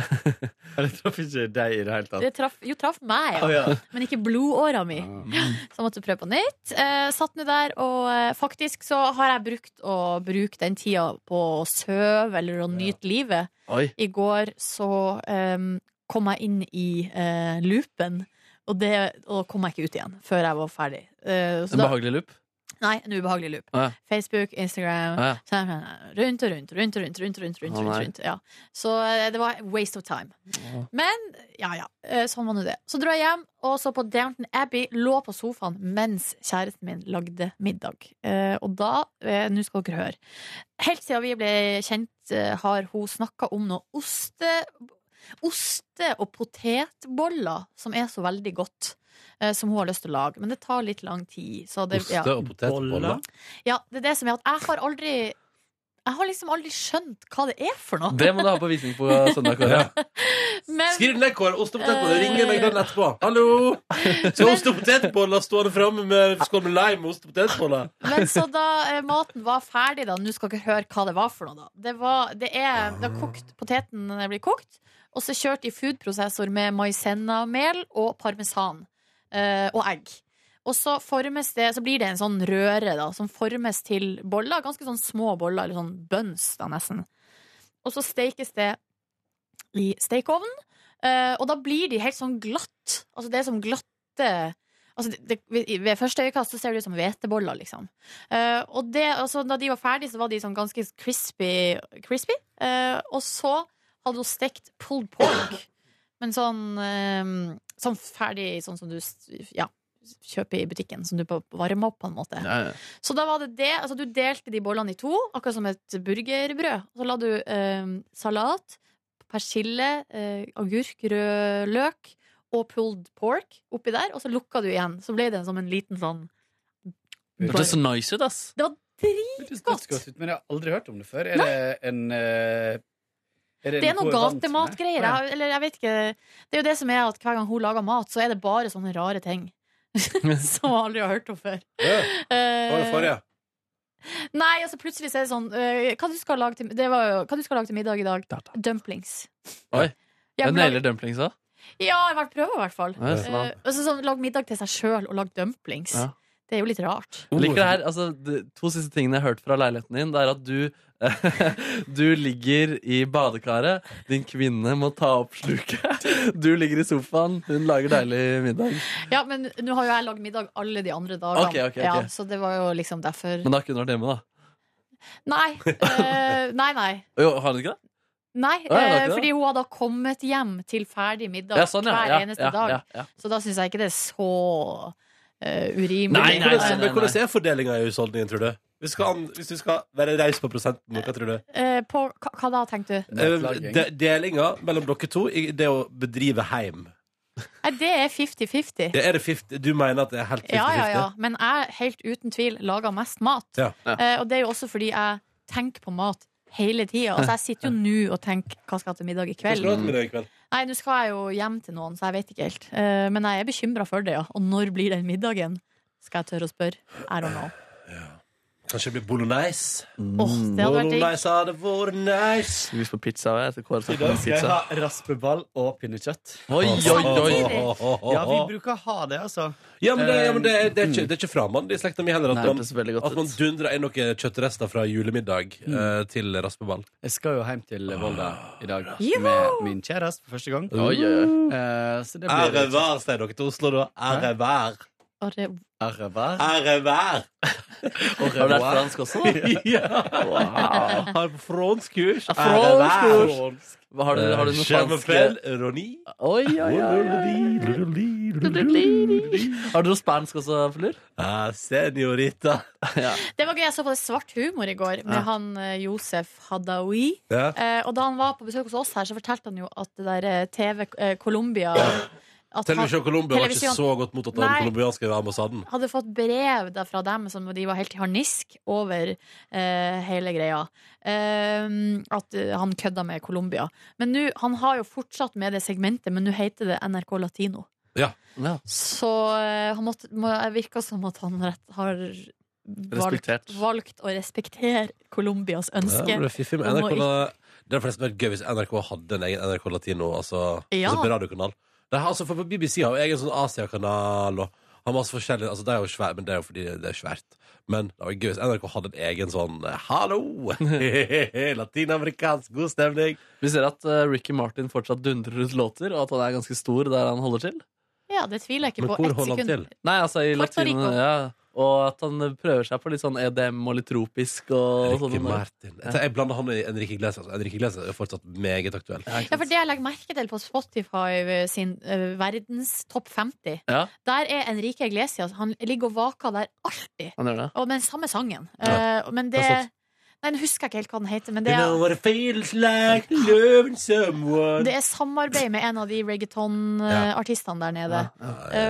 S7: Eller traff ikke deg i det hele tatt?
S3: Det traff, jo, traff meg, ja.
S7: Å, ja. Ah.
S3: Men ikke blodåra mi. Så jeg måtte prøve på nytt. Eh, satt nå der, og eh, faktisk så har jeg brukt å bruke den tida på å søve eller å nyte livet.
S4: Oi.
S3: I går så eh, kom jeg inn i eh, loopen, og det og kom jeg ikke ut igjen før jeg var ferdig. Eh, så
S4: En
S3: da-
S4: behagelig loop.
S3: Nei, en ubehagelig loop.
S4: Å, ja.
S3: Facebook, Instagram
S4: Ja, ja.
S3: så er det sånn, eh, Rundt og rundt, rundt og rundt. rundt, rundt, rundt,
S4: Å,
S3: rundt,
S4: nei.
S3: rundt ja. Så eh, det var waste of time.
S4: Å.
S3: Men ja, ja, eh, sånn var nå det. Så dro jeg hjem og så på Downton Abbey, lå på sofaen mens kjæresten min lagde middag. Eh, Og da eh, Nå skal dere høre. Helt siden vi ble kjent, eh, har hun snakka om noe oste... Oste- og potetboller, som er så veldig godt, eh, som hun har lyst til å lage. Men det tar litt lang tid. Så det, ja.
S2: Oste- og potetboller?
S3: Ja, det er det som er at jeg har aldri Jeg har liksom aldri skjønt hva det er for noe.
S4: Det må du ha på visning på søndag. Kåre.
S3: Men,
S2: Skriv det ned, Kåre. Ost og potetboller. Ring meg den etterpå. Hallo! Skal ost og potetboller stå det framme med skål med lime og ost og potetboller?
S3: men så da eh, maten var ferdig, da Nå skal dere høre hva det var for noe, da. Det var, det er, det er kokt, poteten blir kokt, og så kjørt i foodprosessor med maizena-mel og parmesan. eh, og egg. Og så, formes det, så blir det en sånn røre da, som formes til boller. Ganske sånn små boller, eller sånn buns da, nesten. Og så stekes det i stekeovnen, eh, og da blir de helt sånn glatt. Altså det er som glatte altså det, det, Ved første øyekast så ser det ut som hveteboller, liksom. Eh, og det, altså, da de var ferdige, så var de sånn ganske crispy. crispy eh, og så hadde hun stekt pulled pork, men sånn, eh, sånn ferdig sånn som du s- ja, kjøper i butikken, som du på- varmer opp, på en måte.
S4: Ja, ja.
S3: Så da var det det, altså du delte de bollene i to, akkurat som et burgerbrød. Så la du eh, salat, persille, eh, agurk, rød løk og pulled pork oppi der, og så lukka du igjen. Så ble det som en liten sånn
S4: Det hørtes nice ut, ass.
S3: Det var
S7: Hørtes
S3: dritgodt!
S7: dødsgodt ut, men jeg har aldri hørt om det før. Er det en eh, er
S3: Det er noe
S7: gourmand som er-
S3: gatematgreier.
S7: Å, ja.
S3: Jeg- Eller jeg vet ikke. Det er jo det som er at hver gang hun lager mat, så er det bare sånne rare ting. som jeg aldri har hørt om før.
S2: Hva var det forrige?
S3: Nei, altså plutselig så er det sånn eh, Hva du skal lage til, det var jo, hva du skal lage til middag i dag? Dumplings.
S4: Oi.
S3: Jeg
S4: Jeg
S3: vil
S4: nailer dumplings òg.
S3: Ja, jeg har vært prøver i hvert fall.
S4: Ja, sånn.
S3: Eh, altså, sånn, lag middag til seg sjøl og lag dumplings.
S4: Ja.
S3: Det er jo litt rart.
S4: Jeg Liker det her, altså, de to siste tingene jeg har hørt fra leiligheten din, det er at du Du ligger i badekaret, din kvinne må ta opp sluket. Du ligger i sofaen, hun lager deilig middag.
S3: Ja, men nå har jo jeg lagd middag alle de andre dagene,
S4: Ok, ok, ok.
S3: Ja, så det var jo liksom derfor
S4: Men da kunne du vært hjemme, da.
S3: Nei. eh, nei, nei.
S4: Jo, har hun ikke det?
S3: Nei,
S4: Å, ja, det er
S3: eh,
S4: ikke det.
S3: fordi hun har da kommet hjem til ferdig middag
S4: Ja, sånn, ja.
S3: hver
S4: Ja,
S3: eneste
S4: ja,
S3: dag.
S4: ja, ja.
S3: Så da syns jeg ikke det er så eh, urimelig.
S2: Nei, nei,
S3: Eh,
S2: hvordan,
S4: sånn,
S2: men hvordan er fordelinga i husholdningen, tror du? Hvis du skal, an- hvis du skal være raus på prosenten, hva tror du?
S3: eh, på, hva, hva da, tenkte du?
S2: Eh, De, delinga mellom dere to i det å bedrive heim.
S3: Nei, det er 50-50.
S2: Er det 50, du mener at det er helt 50-50?
S3: Ja, ja, ja. Men jeg, helt uten tvil, lager mest mat.
S2: Ja.
S3: Eh, og det er jo også fordi jeg tenker på mat hele tida. Altså, jeg sitter jo nå og tenker hva skal jeg ha til middag i
S2: Hva
S3: kveld.
S2: skal du ha til middag i kveld?
S3: Nei, nå skal jeg jo hjem til noen, så jeg vet ikke helt. Eh, men jeg er bekymra for det, ja. Og når blir den middagen? Skal jeg tørre å spørre? I don't know.
S2: Kanskje det blir bolognese?
S3: Åh, det hadde vært digg.
S2: Bolognese hadde vært nice!
S4: Skal vi på pizza òg? Etter Kåre
S7: I
S4: snakker
S7: dag
S4: om
S7: skal jeg
S4: pizza.
S7: ha raspeball og pinnekjøtt.
S4: Oi, oi, oi.
S7: Ja, vi bruker å ha det, altså.
S2: Ja, men det, ja, men det, er- det er ikke, det er ikke framann i slekta mi heller at
S4: Nei,
S2: man,
S4: det ser veldig godt
S2: at man dundrer inn noen kjøttrester fra julemiddag
S3: Mm.
S2: eh, til raspeball.
S7: Jeg skal jo hjem til Volda i dag
S2: Joho!
S7: med min kjæreste for første gang.
S2: Ah. Oi, oi,
S7: Eh, så det
S2: Ære
S7: blir
S2: vær, sier dere til Oslo, da. Ære vær.
S3: Og det-
S7: Ære vær.
S2: Ære vær.
S4: Har du vært fransk også?
S2: ja. Har på fransk kurs.
S4: Ja, fransk kurs. Har du, har du noe fransk
S2: Ronny.
S4: Oi, oi, oi. Har du noe spansk også, Flur?
S2: Ah, senorita.
S4: ja.
S3: Det var gøy, jeg så på det svart humor i går med
S4: Ja.
S3: han eh, Josef Hadaoui.
S2: Ja.
S3: Eh, og da han var på besøk hos oss her, så fortalte han jo at det der eh, TV eh, Colombia at
S2: Televisjon
S3: han-
S2: Colombia var ikke
S3: Televisjon-
S2: så godt mottatt av den
S3: Nei.
S2: colombianske ambassaden.
S3: hadde fått brev der fra dem som de var helt i harnisk over eh, hele greia. Ehm, at eh, han kødda med Colombia. Men nå, han har jo fortsatt med det segmentet, men nå heter det NRK Latino.
S2: Ja.
S3: Så eh, han måtte, må, jeg virka som at han rett, har valgt,
S2: Respektert.
S3: valgt å respektere Colombias ønske.
S2: Ja, men det er fiffig med
S3: om å
S2: NRK.
S3: ikke-
S2: Det hadde forresten vært gøy hvis NRK hadde en egen NRK Latino, altså,
S3: Ja.
S2: altså på radiokanal. Det har, altså, for på BBC har jo egen sånn Asia-kanal og har masse forskjellige altså, Det er jo svært, men det er jo fordi det er svært. Men det var gøy hvis NRK hadde en egen sånn eh, Hallo! Latinamerikansk, god stemning!
S4: Vi ser at eh, Ricky Martin fortsatt dundrer ut låter, og at han er ganske stor der han holder til.
S3: ja, det tviler jeg ikke på. Ett sekund.
S4: Nei, altså i
S3: Puerto
S4: latin,
S3: Rico.
S4: ja. Og at han prøver seg på litt sånn EDM og litt tropisk og
S2: Ricky
S4: sånn.
S2: Martin. Jeg, tar- jeg blander han i Enrique Iglesias. Enrique Iglesias er jo fortsatt meget aktuell.
S3: Ja, for det jeg legger merke til på Spotify sin eh, verdens topp 50,
S2: Ja.
S3: der er Enrique Iglesias. Han ligger og vaker der alltid.
S4: Han gjør det.
S3: Og med den samme sangen.
S2: Ja.
S3: Eh, men
S2: Det
S3: det
S2: er sant.
S3: Nei, nå husker jeg ikke helt hva den heter, men det
S2: You know
S3: er,
S2: what it feels like loving someone
S3: det er samarbeid med en av de reggaeton-artistene der nede.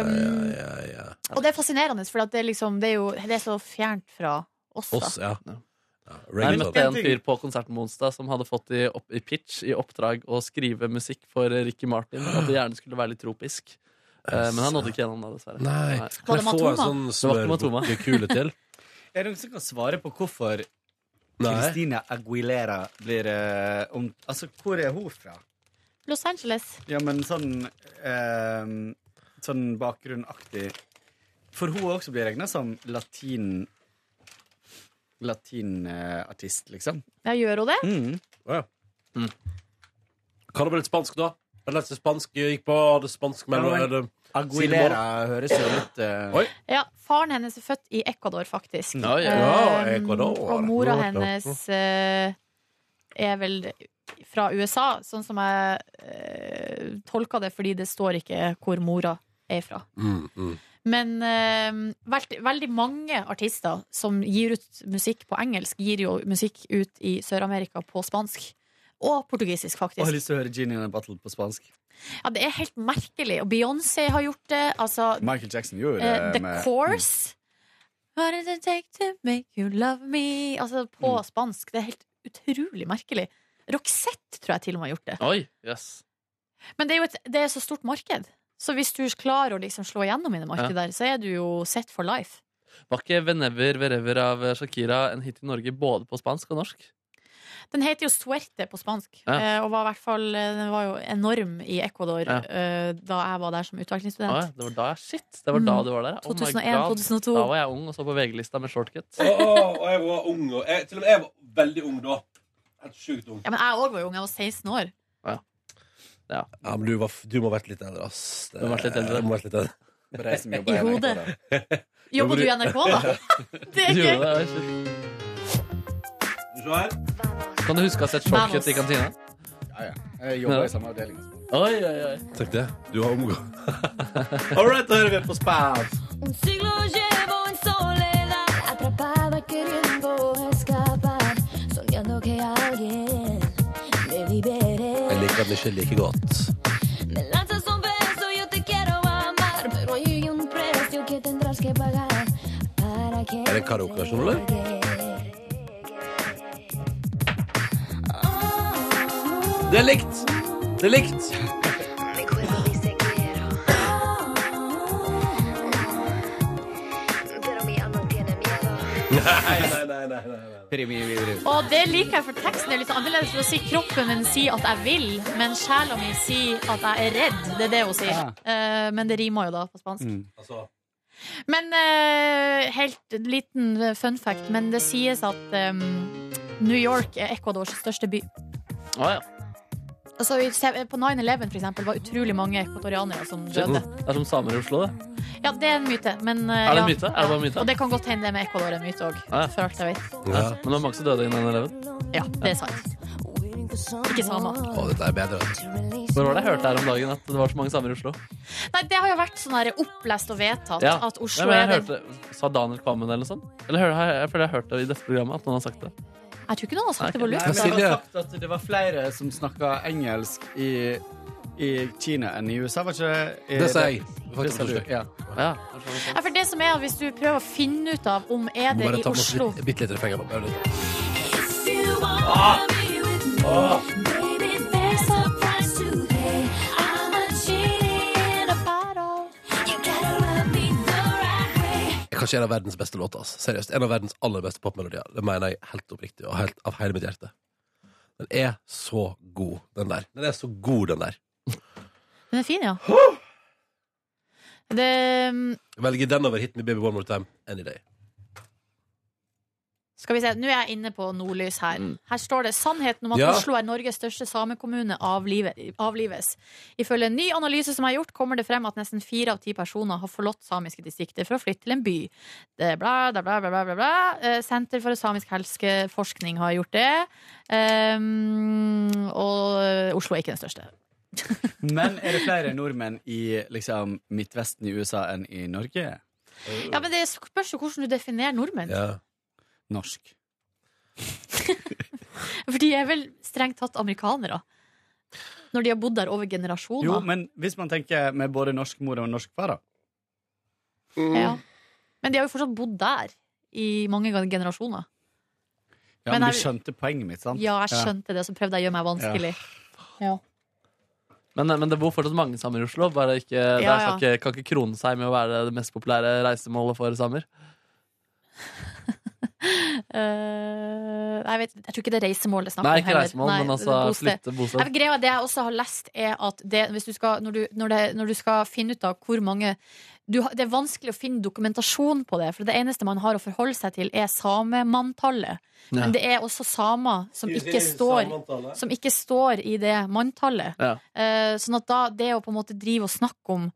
S3: Um, Og det er fascinerende, for at det, er liksom, det, er jo, det er så fjernt fra oss. Da.
S2: Oss, ja. ja.
S4: Jeg
S2: reggaeton.
S4: møtte en fyr på konserten på onsdag som hadde fått i, opp, i pitch i oppdrag å skrive musikk for eh, Ricky Martin. At det gjerne skulle være litt tropisk. Eh, Men han nådde ikke gjennom det, dessverre.
S2: Nei.
S4: Kan jeg få en sånn smørbukkekule til?
S7: Er det noen som kan svare på hvorfor
S2: Nei.
S7: Christina Aguilera blir eh, om, Altså, hvor er hun fra?
S3: Los Angeles.
S7: Ja, men sånn eh, Sånn bakgrunnaktig For hun også blir regna som latin Latinartist, liksom.
S3: Ja, gjør hun det?
S2: Å, ja. Kan det bli litt spansk, da? Jeg leste spansk, jeg gikk på hadde spansk mellom
S7: Ja, men
S2: eller-
S7: Aguilera
S2: sidemål.
S7: høres jo litt, eh,
S2: Oi!
S3: Ja, Faren hennes er født i Ecuador, faktisk.
S2: Ja, ja, ja,
S3: Eh,
S2: Ecuador.
S3: Og mora
S2: Ja, ja.
S3: hennes eh, er vel fra USA, sånn som jeg uh, tolka det, fordi det står ikke hvor mora er fra.
S2: Mm, mm.
S3: Men eh, veld, veldig mange artister som gir ut musikk på engelsk, gir jo musikk ut i Sør-Amerika på spansk. Og portugisisk,
S7: Og jeg har
S3: faktisk.
S7: lyst til å høre Genie in a Battle på spansk.
S3: Ja, det er helt merkelig. Og Beyoncé har gjort det. Altså,
S7: Michael Jackson gjorde det
S3: Eh, the
S4: mm.
S7: med
S3: Course. What does it take to make you love me? Altså på
S4: Mm.
S3: spansk. Det er helt utrolig merkelig. Roxette tror jeg til og med har gjort det.
S4: Oi, yes.
S3: Men det er jo et det er så stort marked. Så hvis du klarer å liksom slå igjennom i det markedet
S4: Ja.
S3: der, så er du jo set for life.
S4: Var ikke Venever Verever av Shakira en hit i Norge både på spansk og norsk?
S3: Den heter jo Suerte på spansk,
S4: Ja.
S3: eh, og var i hvert fall eh, Den var jo enorm i Ecuador
S4: Ja.
S3: eh, da jeg var der som
S4: Å, ja.
S3: utvekslingsstudent.
S4: Det var da jeg Shit, det var da
S3: Mm.
S4: du var der. ja. Oh my
S3: 2001,
S4: God.
S3: 2002.
S4: Da var jeg ung og så på VG-lista med shortcut.
S2: Å, å, og jeg var ung, og jeg, til og med jeg var veldig ung da. Helt sjukt ung.
S3: Ja, men jeg òg var jo ung. Jeg var 16 år.
S4: Ja,
S2: men du, var, f- du må ha vært litt eldre, ass. Det-
S4: Du må ha vært litt eldre.
S2: jeg må ha vært litt eldre.
S7: Bare jeg som jobber
S3: I hodet. Jobber du i NRK, da? Det er
S4: Du gjorde
S3: gøy.
S4: det, det er shit. Kan du huske å ha sett shortcut i kantina?
S7: Ja, ja. Jeg jobber
S4: Ja.
S7: i samme avdeling.
S4: Oi, oi, oi.
S2: Tenk det. Du har omgått
S7: All right, da hører vi på spansk.
S5: Un siglo llevo en soledad, atrapada queriendo escapar, soñando que alguien me libere.
S2: Jeg liker den ikke like godt.
S5: Me lanzas un beso, yo te quiero amar, pero hay un precio que tendrás que pagar para que
S2: Er det karaokeversjon, eller? Det er likt! Det er likt! Nei, nei, nei, nei, nei.
S3: Og det liker jeg, for teksten er litt annerledes. For å si kroppen min sier at jeg vil, men sjela mi sier at jeg er redd. Det er det hun sier.
S2: Ja.
S3: Eh, men det rimer jo da på spansk.
S4: Mm.
S2: Altså,
S3: Men eh, helt liten eh, fun fact, men det sies at eh, New York er Ecuadors største by.
S4: Å, ja.
S3: Altså, vi ser- på 9-11 for eksempel, var utrolig mange ekvatorianere som
S4: Shit. Mm.
S3: døde.
S4: Det er som samer i Oslo, det.
S3: Ja, det er en myte. Men, eh,
S4: Er det en
S3: ja.
S4: myte? Er det bare en myte? Ah,
S3: Og det kan godt hende det med Ecuador er en myte òg.
S4: Ja.
S3: For alt jeg vet.
S4: Ja. Men det var mange som døde innen 11.
S3: Ja, det er sant. Ikke samer.
S2: Å, dette er bedre.
S4: Når var det jeg hørte her om dagen at det var så mange samer i Oslo?
S3: Nei, det har jo vært sånn her opplest og vedtatt
S4: Ja.
S3: at Oslo
S4: Nei, men
S3: er
S4: jeg
S3: den
S4: hørte, Sa Daniel Kvammen eller noe sånt? Eller hører- jeg, jeg føler jeg har hørt det i dette programmet at noen har sagt det.
S3: Jeg tror ikke noen har sagt det på
S7: Nei, men
S3: luft.
S7: det var sagt at det var flere som snakka engelsk i, i Kina enn i USA, var ikke det?
S2: Det sa jeg.
S7: Det sa du, ja.
S3: Ja, for det som er, at Hvis du prøver å finne ut av om er
S2: Må
S3: det
S2: bare
S3: i
S2: ta med oss
S3: Oslo
S2: litt- bitte litt refrenger nå. Bare litt.
S5: Ah. Baby, there's a price today. I'm a cheat in a bottle. You gotta rub me the right way.
S2: Kanskje en av verdens beste låter. ass. Seriøst. En av verdens aller beste popmelodier. Det mener jeg helt oppriktig og helt, av hele mitt hjerte. Den er så god, den der. Den er så god, den der.
S3: Den er fin, ja. Det,
S2: Velger den over Hit Me Baby One More Time any day.
S3: Skal vi se, Nå er jeg inne på Nordlys her.
S2: Mm.
S3: Her står det sannheten om at
S2: Ja.
S3: Oslo er Norges største samekommune avlive- avlives. Ifølge en ny analyse som er gjort, kommer det frem at nesten fire av ti personer har forlatt samiske distrikter for å flytte til en by. Det er bla, da, bla, bla, bla, bla, bla. Eh, Senter for samisk helseforskning har gjort det. Ehm, og eh, Oslo er ikke den største.
S7: Men er det flere nordmenn i liksom, Midtvesten i USA enn i Norge?
S3: Ja, Men det spørs jo hvordan du definerer nordmenn.
S7: Norsk.
S3: For de er vel strengt tatt amerikanere. Når de har bodd der over generasjoner.
S7: Jo, men hvis man tenker med både norsk mor og norsk far, da.
S3: Ja. Mm. Men de har jo fortsatt bodd der i mange gen- generasjoner.
S7: Ja, men,
S3: Men er-
S7: du skjønte poenget mitt, sant?
S3: Ja, jeg skjønte det, og så prøvde jeg å gjøre meg vanskelig. Ja.
S4: Men, men det bor fortsatt mange samer i Oslo. Bare ikke, det
S3: Ja,
S4: er
S3: ja.
S4: Ikke, kan ikke krone seg med å være det mest populære reisemålet for samer.
S3: Eh, jeg, vet, jeg tror ikke det er reisemål det er snakk om.
S4: Nei, ikke
S3: heller.
S4: reisemål,
S3: Nei,
S4: men
S3: det
S4: altså
S3: er bosted.
S4: flytte bosted.
S3: Nei, for greia, er det jeg også har lest, er at det, hvis du skal, når, du, når, det, når du skal finne ut av hvor mange du, har- Det er vanskelig å finne dokumentasjon på det, for det eneste man har å forholde seg til, er samemanntallet.
S4: Ja.
S3: Men det er også samer som ikke står som ikke står i det manntallet.
S4: Ja.
S3: Eh, sånn at da det å på en måte drive og snakke om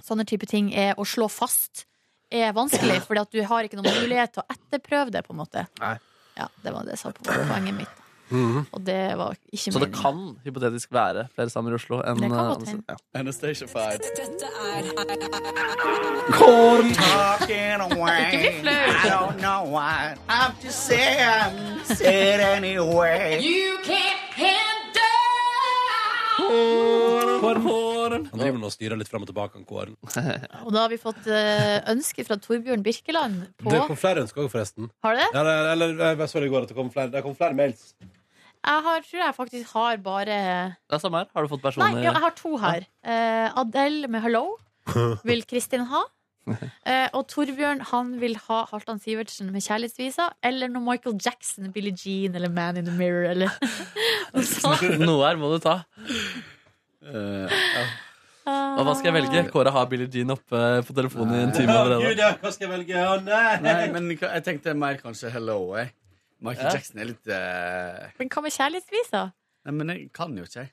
S3: sånne type ting er å slå fast er vanskelig, fordi at du har ikke noen mulighet til å etterprøve det, på en måte.
S4: Nei. Mhm.
S3: Ja, det var det som var poenget mitt. Og det var ikke
S4: Så det
S3: meningen.
S4: kan hypotetisk være flere samer i Oslo enn
S3: Det kan godt
S4: eh,
S3: hende.
S4: ja.
S6: Corn talking
S11: Ikke bli
S6: away.
S11: flau.
S6: I don't know why. I'm just saying, say it anyway.
S5: You can't handle.
S2: Han driver nå og styrer litt fram og tilbake, han kåren.
S3: Og da har vi fått eh, ønske fra Torbjørn Birkeland på
S2: Det kom flere ønsker òg, forresten.
S3: Har du det?
S2: Ja, det, eller, jeg så det i går at det kom flere, det kom flere mails.
S3: Jeg har, tror jeg faktisk har bare
S4: Det er samme her. Har du fått
S3: Nei,
S4: personer
S3: ja, jeg har to her. Eh, Adele med 'Hello' vil Kristin ha. Eh, og Torbjørn han vil ha Halvdan Sivertsen med kjærlighetsvisa. Eller noe Michael Jackson, Billie Jean eller Man in the Mirror. Eller. Og så-
S4: Noe her må du ta.
S7: Eh,
S3: Ah.
S4: Og hva skal jeg velge? Kåre har Billie Jean oppe på telefonen i en time allerede.
S7: hva skal jeg velge? nei. men hva- jeg tenkte mer kanskje hello, jeg. Michael
S3: Ja.
S7: Jackson er litt eh,
S3: Men hva med kjærlighetsvisa?
S7: Nei, men jeg kan jo ikke, jeg.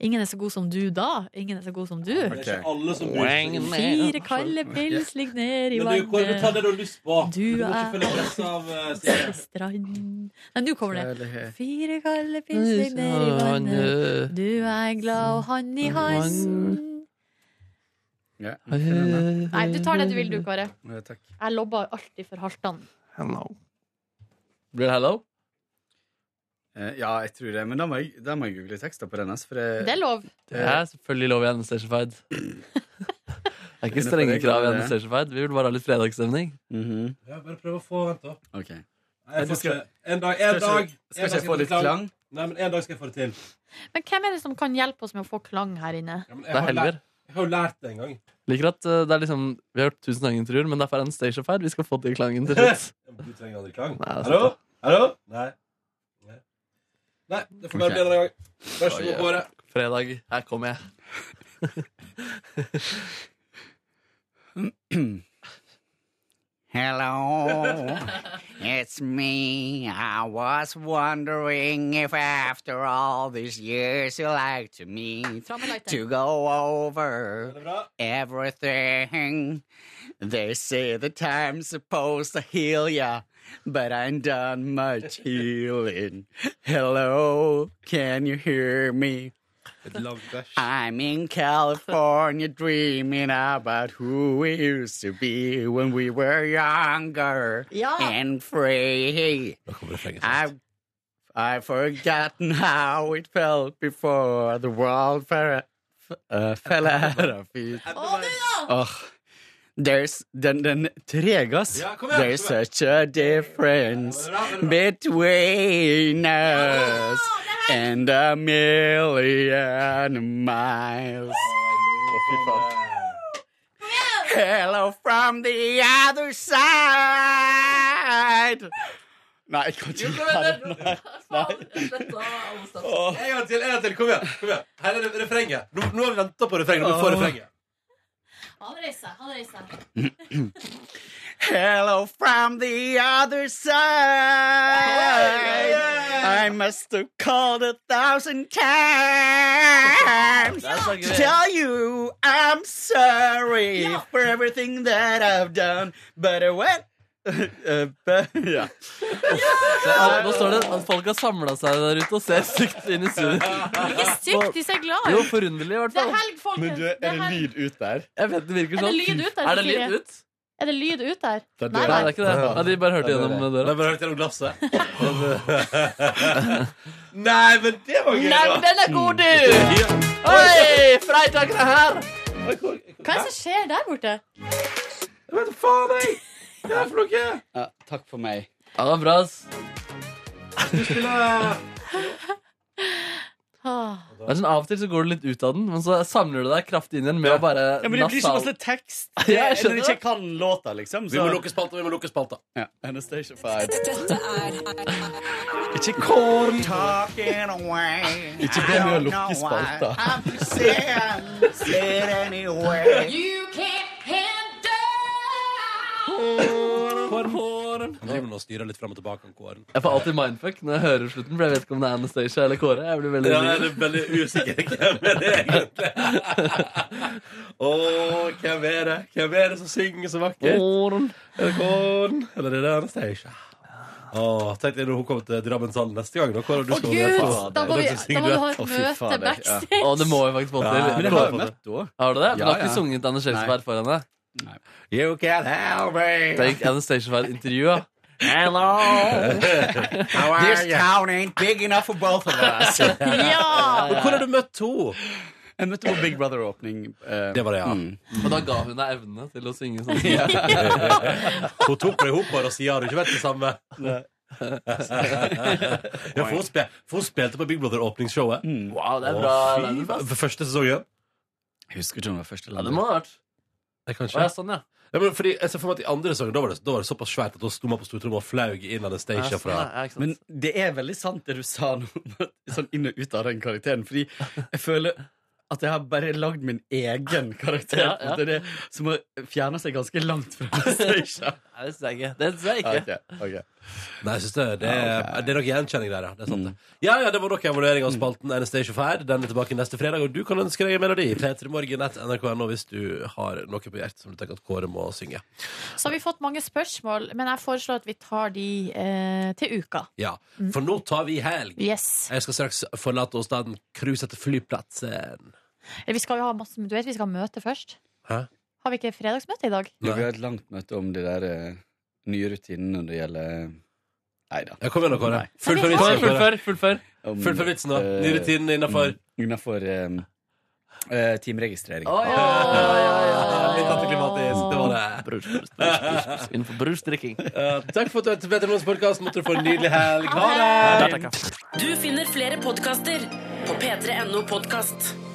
S3: Ingen er så god som du da. Ingen er så god som du.
S7: Det er ikke alle som bryr seg.
S3: Fire kalde pils ligger ned i
S2: Men du, Kåre, ta
S3: vannet.
S2: det du har lyst på.
S3: Du
S2: må ikke
S3: er-
S2: følge presset av eh, Silje.
S3: Strand Nei, nå kommer det.
S2: Kjærlighet.
S3: Fire kalde pils ligger ned i vannet. Du er glad, og han i halsen.
S7: Ja.
S3: Nei, du tar det du vil, du, Kåre.
S7: Ja, takk.
S3: Jeg lobber alltid for Halvdan.
S4: Hello. Blir det hello?
S7: Eh, ja, jeg tror det. Men da må jeg, da må jeg google tekster på den. ass, For jeg,
S3: Det er lov.
S4: Det er selvfølgelig lov i NM Stationfied. Det er ikke strenge krav i NM Stationfied. Vi vil bare ha litt fredagsstemning.
S2: Ja, bare prøv å få Vent, da.
S7: Mhm, Ok.
S2: Nei, jeg
S7: Du
S2: får
S7: skal-
S2: ikke En dag,
S7: Skal
S2: en
S7: ikke-
S2: dag
S7: skal
S2: en
S7: ikke
S2: dag
S7: jeg få
S2: det
S7: litt
S2: til.
S7: klang?
S2: Nei, men en dag skal jeg få det til.
S3: Men hvem er det som kan hjelpe oss med å få klang her inne?
S2: Jeg har
S4: Helver.
S2: lært- Jeg har jo lært det en gang.
S4: Liker at eh, det er liksom Vi har hørt tusen ganger intervjuer, men derfor er det en Stationfied. Vi skal få til klangen til slutt.
S2: Du trenger aldri klang.
S4: Nei, det er sant,
S2: Hallo?
S4: da.
S2: Hallo? Nei. Nei, Nei det får bare
S4: Ok.
S2: bli en annen gang. Vær så
S4: Oi,
S2: god,
S4: ja.
S2: Kåre.
S4: Fredag. Her kommer jeg.
S13: Hello, it's me. I was wondering if after all these years you like to meet to go over everything.
S11: They say the time's supposed to heal ya, but I ain't done much healing. Hello, can you hear me? I'm in California dreaming about who we used to be when we were younger and free. I've I've forgotten how it felt before the world fer-
S7: uh, fell out of it. Åh, There's, den, den tregas.
S5: Ja, kom igjen,
S7: There's
S5: kom igjen.
S7: such a difference between us and a million miles.
S13: Hello from the other side.
S7: Nei, jeg kan ikke
S13: Jo,
S7: gjøre det.
S2: Åh. En gang til, en gang til. Kom igjen. kom igjen Her er det refrenget. Nå, nå har vi venta på refrenget. Nå får vi refrenget.
S12: Han reiser, han reiser.
S13: Hello from the other side. I must have called a thousand times
S5: That's not
S13: to
S5: good.
S13: tell you I'm sorry for everything that I've done. But I went. uh,
S7: Eh, be- ja.
S4: Så, ah, Nå står det at folk har samla seg der ute og ser stygt inn i studio.
S3: Ikke stygt, de ser glad
S4: Jo,
S3: ut.
S4: forunderlig, i hvert
S3: Det er
S4: fall.
S3: helg, folkens. er helg.
S7: lyd ut der?
S4: Jeg vet, det
S3: Er
S4: virker
S3: det
S4: sånn.
S3: lyd ut der?
S4: Er det lyd
S3: Cecilie?
S4: ut?
S3: Er det lyd ut der?
S4: Det er
S3: Nei,
S4: døra. Nei, det er ikke det. Ja, de bare hørte gjennom døra.
S2: De bare hørte gjennom glasset. Nei, men det var gøy!
S4: Nei,
S2: da.
S4: men den er god, du!
S2: Ja.
S4: Oi, Freitag er her!
S3: Hva er det som skjer der borte?
S2: Jeg vet faen, jeg! Det er for noe!
S7: Ja, takk for meg.
S4: Ja, det var bra, ass.
S3: Ah.
S4: Det er sånn, Av og til så går du litt ut av den, men så samler du deg kraftig inn igjen med å
S7: Ja,
S4: bare
S7: men det blir ikke masse tekst.
S4: Ja, jeg
S7: Når
S4: skjønner
S7: jeg ikke kan låta, liksom.
S2: Vi må lukke spalta, vi må lukke spalta.
S7: Ja. Anastasia Five. Ikke
S13: Corn talking away.
S7: Ikke
S13: I
S7: be meg å
S13: don't
S7: lukke
S13: know why.
S7: spalta.
S13: I'm just saying, say it anyway.
S5: You can't
S2: Kåren, kåren. Han driver nå og styrer litt fram og tilbake om kåren.
S4: Jeg får alltid mindfuck når jeg hører slutten, for jeg vet ikke om det er Anastacia eller Kåre. Jeg blir veldig
S2: Ja, jeg er veldig usikker hvem er det egentlig Å, hvem er det? Hvem er det som synger så vakkert?
S4: Kåren.
S2: Er det Kåren? Eller er det Anastasia? Å, tenk deg når hun kommer til Drammenshallen neste gang. Da, Kåre, du
S4: Å,
S2: skal
S4: Gud,
S2: være faen.
S4: da må vi-
S2: er du som
S4: da må
S2: synger
S4: du
S2: duett.
S4: ha et
S2: Å, fy
S4: møte
S2: fader, ja.
S4: backstage. Å, det må vi faktisk få til.
S2: Ja,
S4: Men
S2: det
S4: jeg har
S2: må vi.
S4: møtt Har du det? Du har ikke sunget Anastacia
S7: Nei.
S4: Fær for henne?
S7: You can help me.
S4: Tenk Anastacia Fær intervju, ja.
S13: Oh, Hello.
S4: How are
S13: this
S4: you?
S13: town ain't big enough for both of us.
S7: Ja.
S2: Men hvor har du møtt henne?
S7: Jeg møtte på Big Brother-åpning.
S13: uh,
S7: eh,
S2: Det var det, ja.
S4: Og da ga hun deg evnene til å synge sånn.
S2: Hun tok meg i hopet og sier har du ikke vært det samme? ja, for, hun spil, for hun spilte på Big Brother-åpningsshowet.
S13: hmm,
S4: Wow, det er
S2: Å,
S4: bra.
S2: fy
S4: Det er bra.
S2: faen. For første sesongen?
S7: Jeg husker ikke om det var første
S4: Ja, det må det ha vært.
S2: Jeg kan ikke.
S4: Å, ja, sånn, ja.
S2: Ja, men fordi, jeg ser for meg at I andre sesongen da var, det, da var det såpass svært at hun sto meg på stortrommet og flaug inn Anastacia
S7: Ja,
S2: fra
S7: sånn, Men det er veldig sant det du sa nå, sånn inn og ut av den karakteren. Fordi jeg føler at jeg har bare lagd min egen karakter.
S4: Ja, ja.
S7: Det er det som har fjerna seg ganske langt fra Anastacia.
S4: Nei, det syns jeg ikke. Det syns jeg ikke.
S7: Ok, ok.
S2: Nei, jeg synes det, det, er- det er nok gjenkjenning der, ja. Det er sant,
S4: Mm.
S2: det. Ja, ja, det var nok en vurdering av spalten Anastacia Fair. Den er tilbake neste fredag, og du kan ønske deg en melodi. P3morgen.nrk.no hvis du har noe på hjertet som du tenker at Kåre må synge.
S3: Så har vi fått mange spørsmål, men jeg foreslår at vi tar de eh, til uka.
S2: Ja, For nå tar vi helg.
S3: Yes.
S2: Jeg skal straks forlate åstedet cruise til flyplassen.
S3: Eller Vi skal jo ha masse, du vet vi skal ha møte først.
S2: Hæ?
S3: Har vi ikke fredagsmøte i dag?
S7: Vi har et langt møte om de der eh, nye rutinene når det gjelder Nei da.
S2: Kom igjen, da, Kåre.
S7: Nei.
S2: Fullfør
S4: Kom
S2: vitsen.
S4: igjen,
S2: Kåre.
S4: fullfør. Fullfør.
S7: Om,
S2: Fullfør vitsen, da.
S7: eh,
S2: Nye rutinen innenfor?
S7: mm, Innenfor eh, eh, teamregistrering.
S2: Litt antiklimatisk. Det var det.
S4: Brus, brus, brus, brus, brus. Innenfor brusdrikking.
S2: Eh, takk for at du hørte på Petter Morgens podkast. Måtte du få en nydelig helg. Ha det!
S4: Der, takk, ja.
S1: Du finner flere podkaster på p3.no podkast.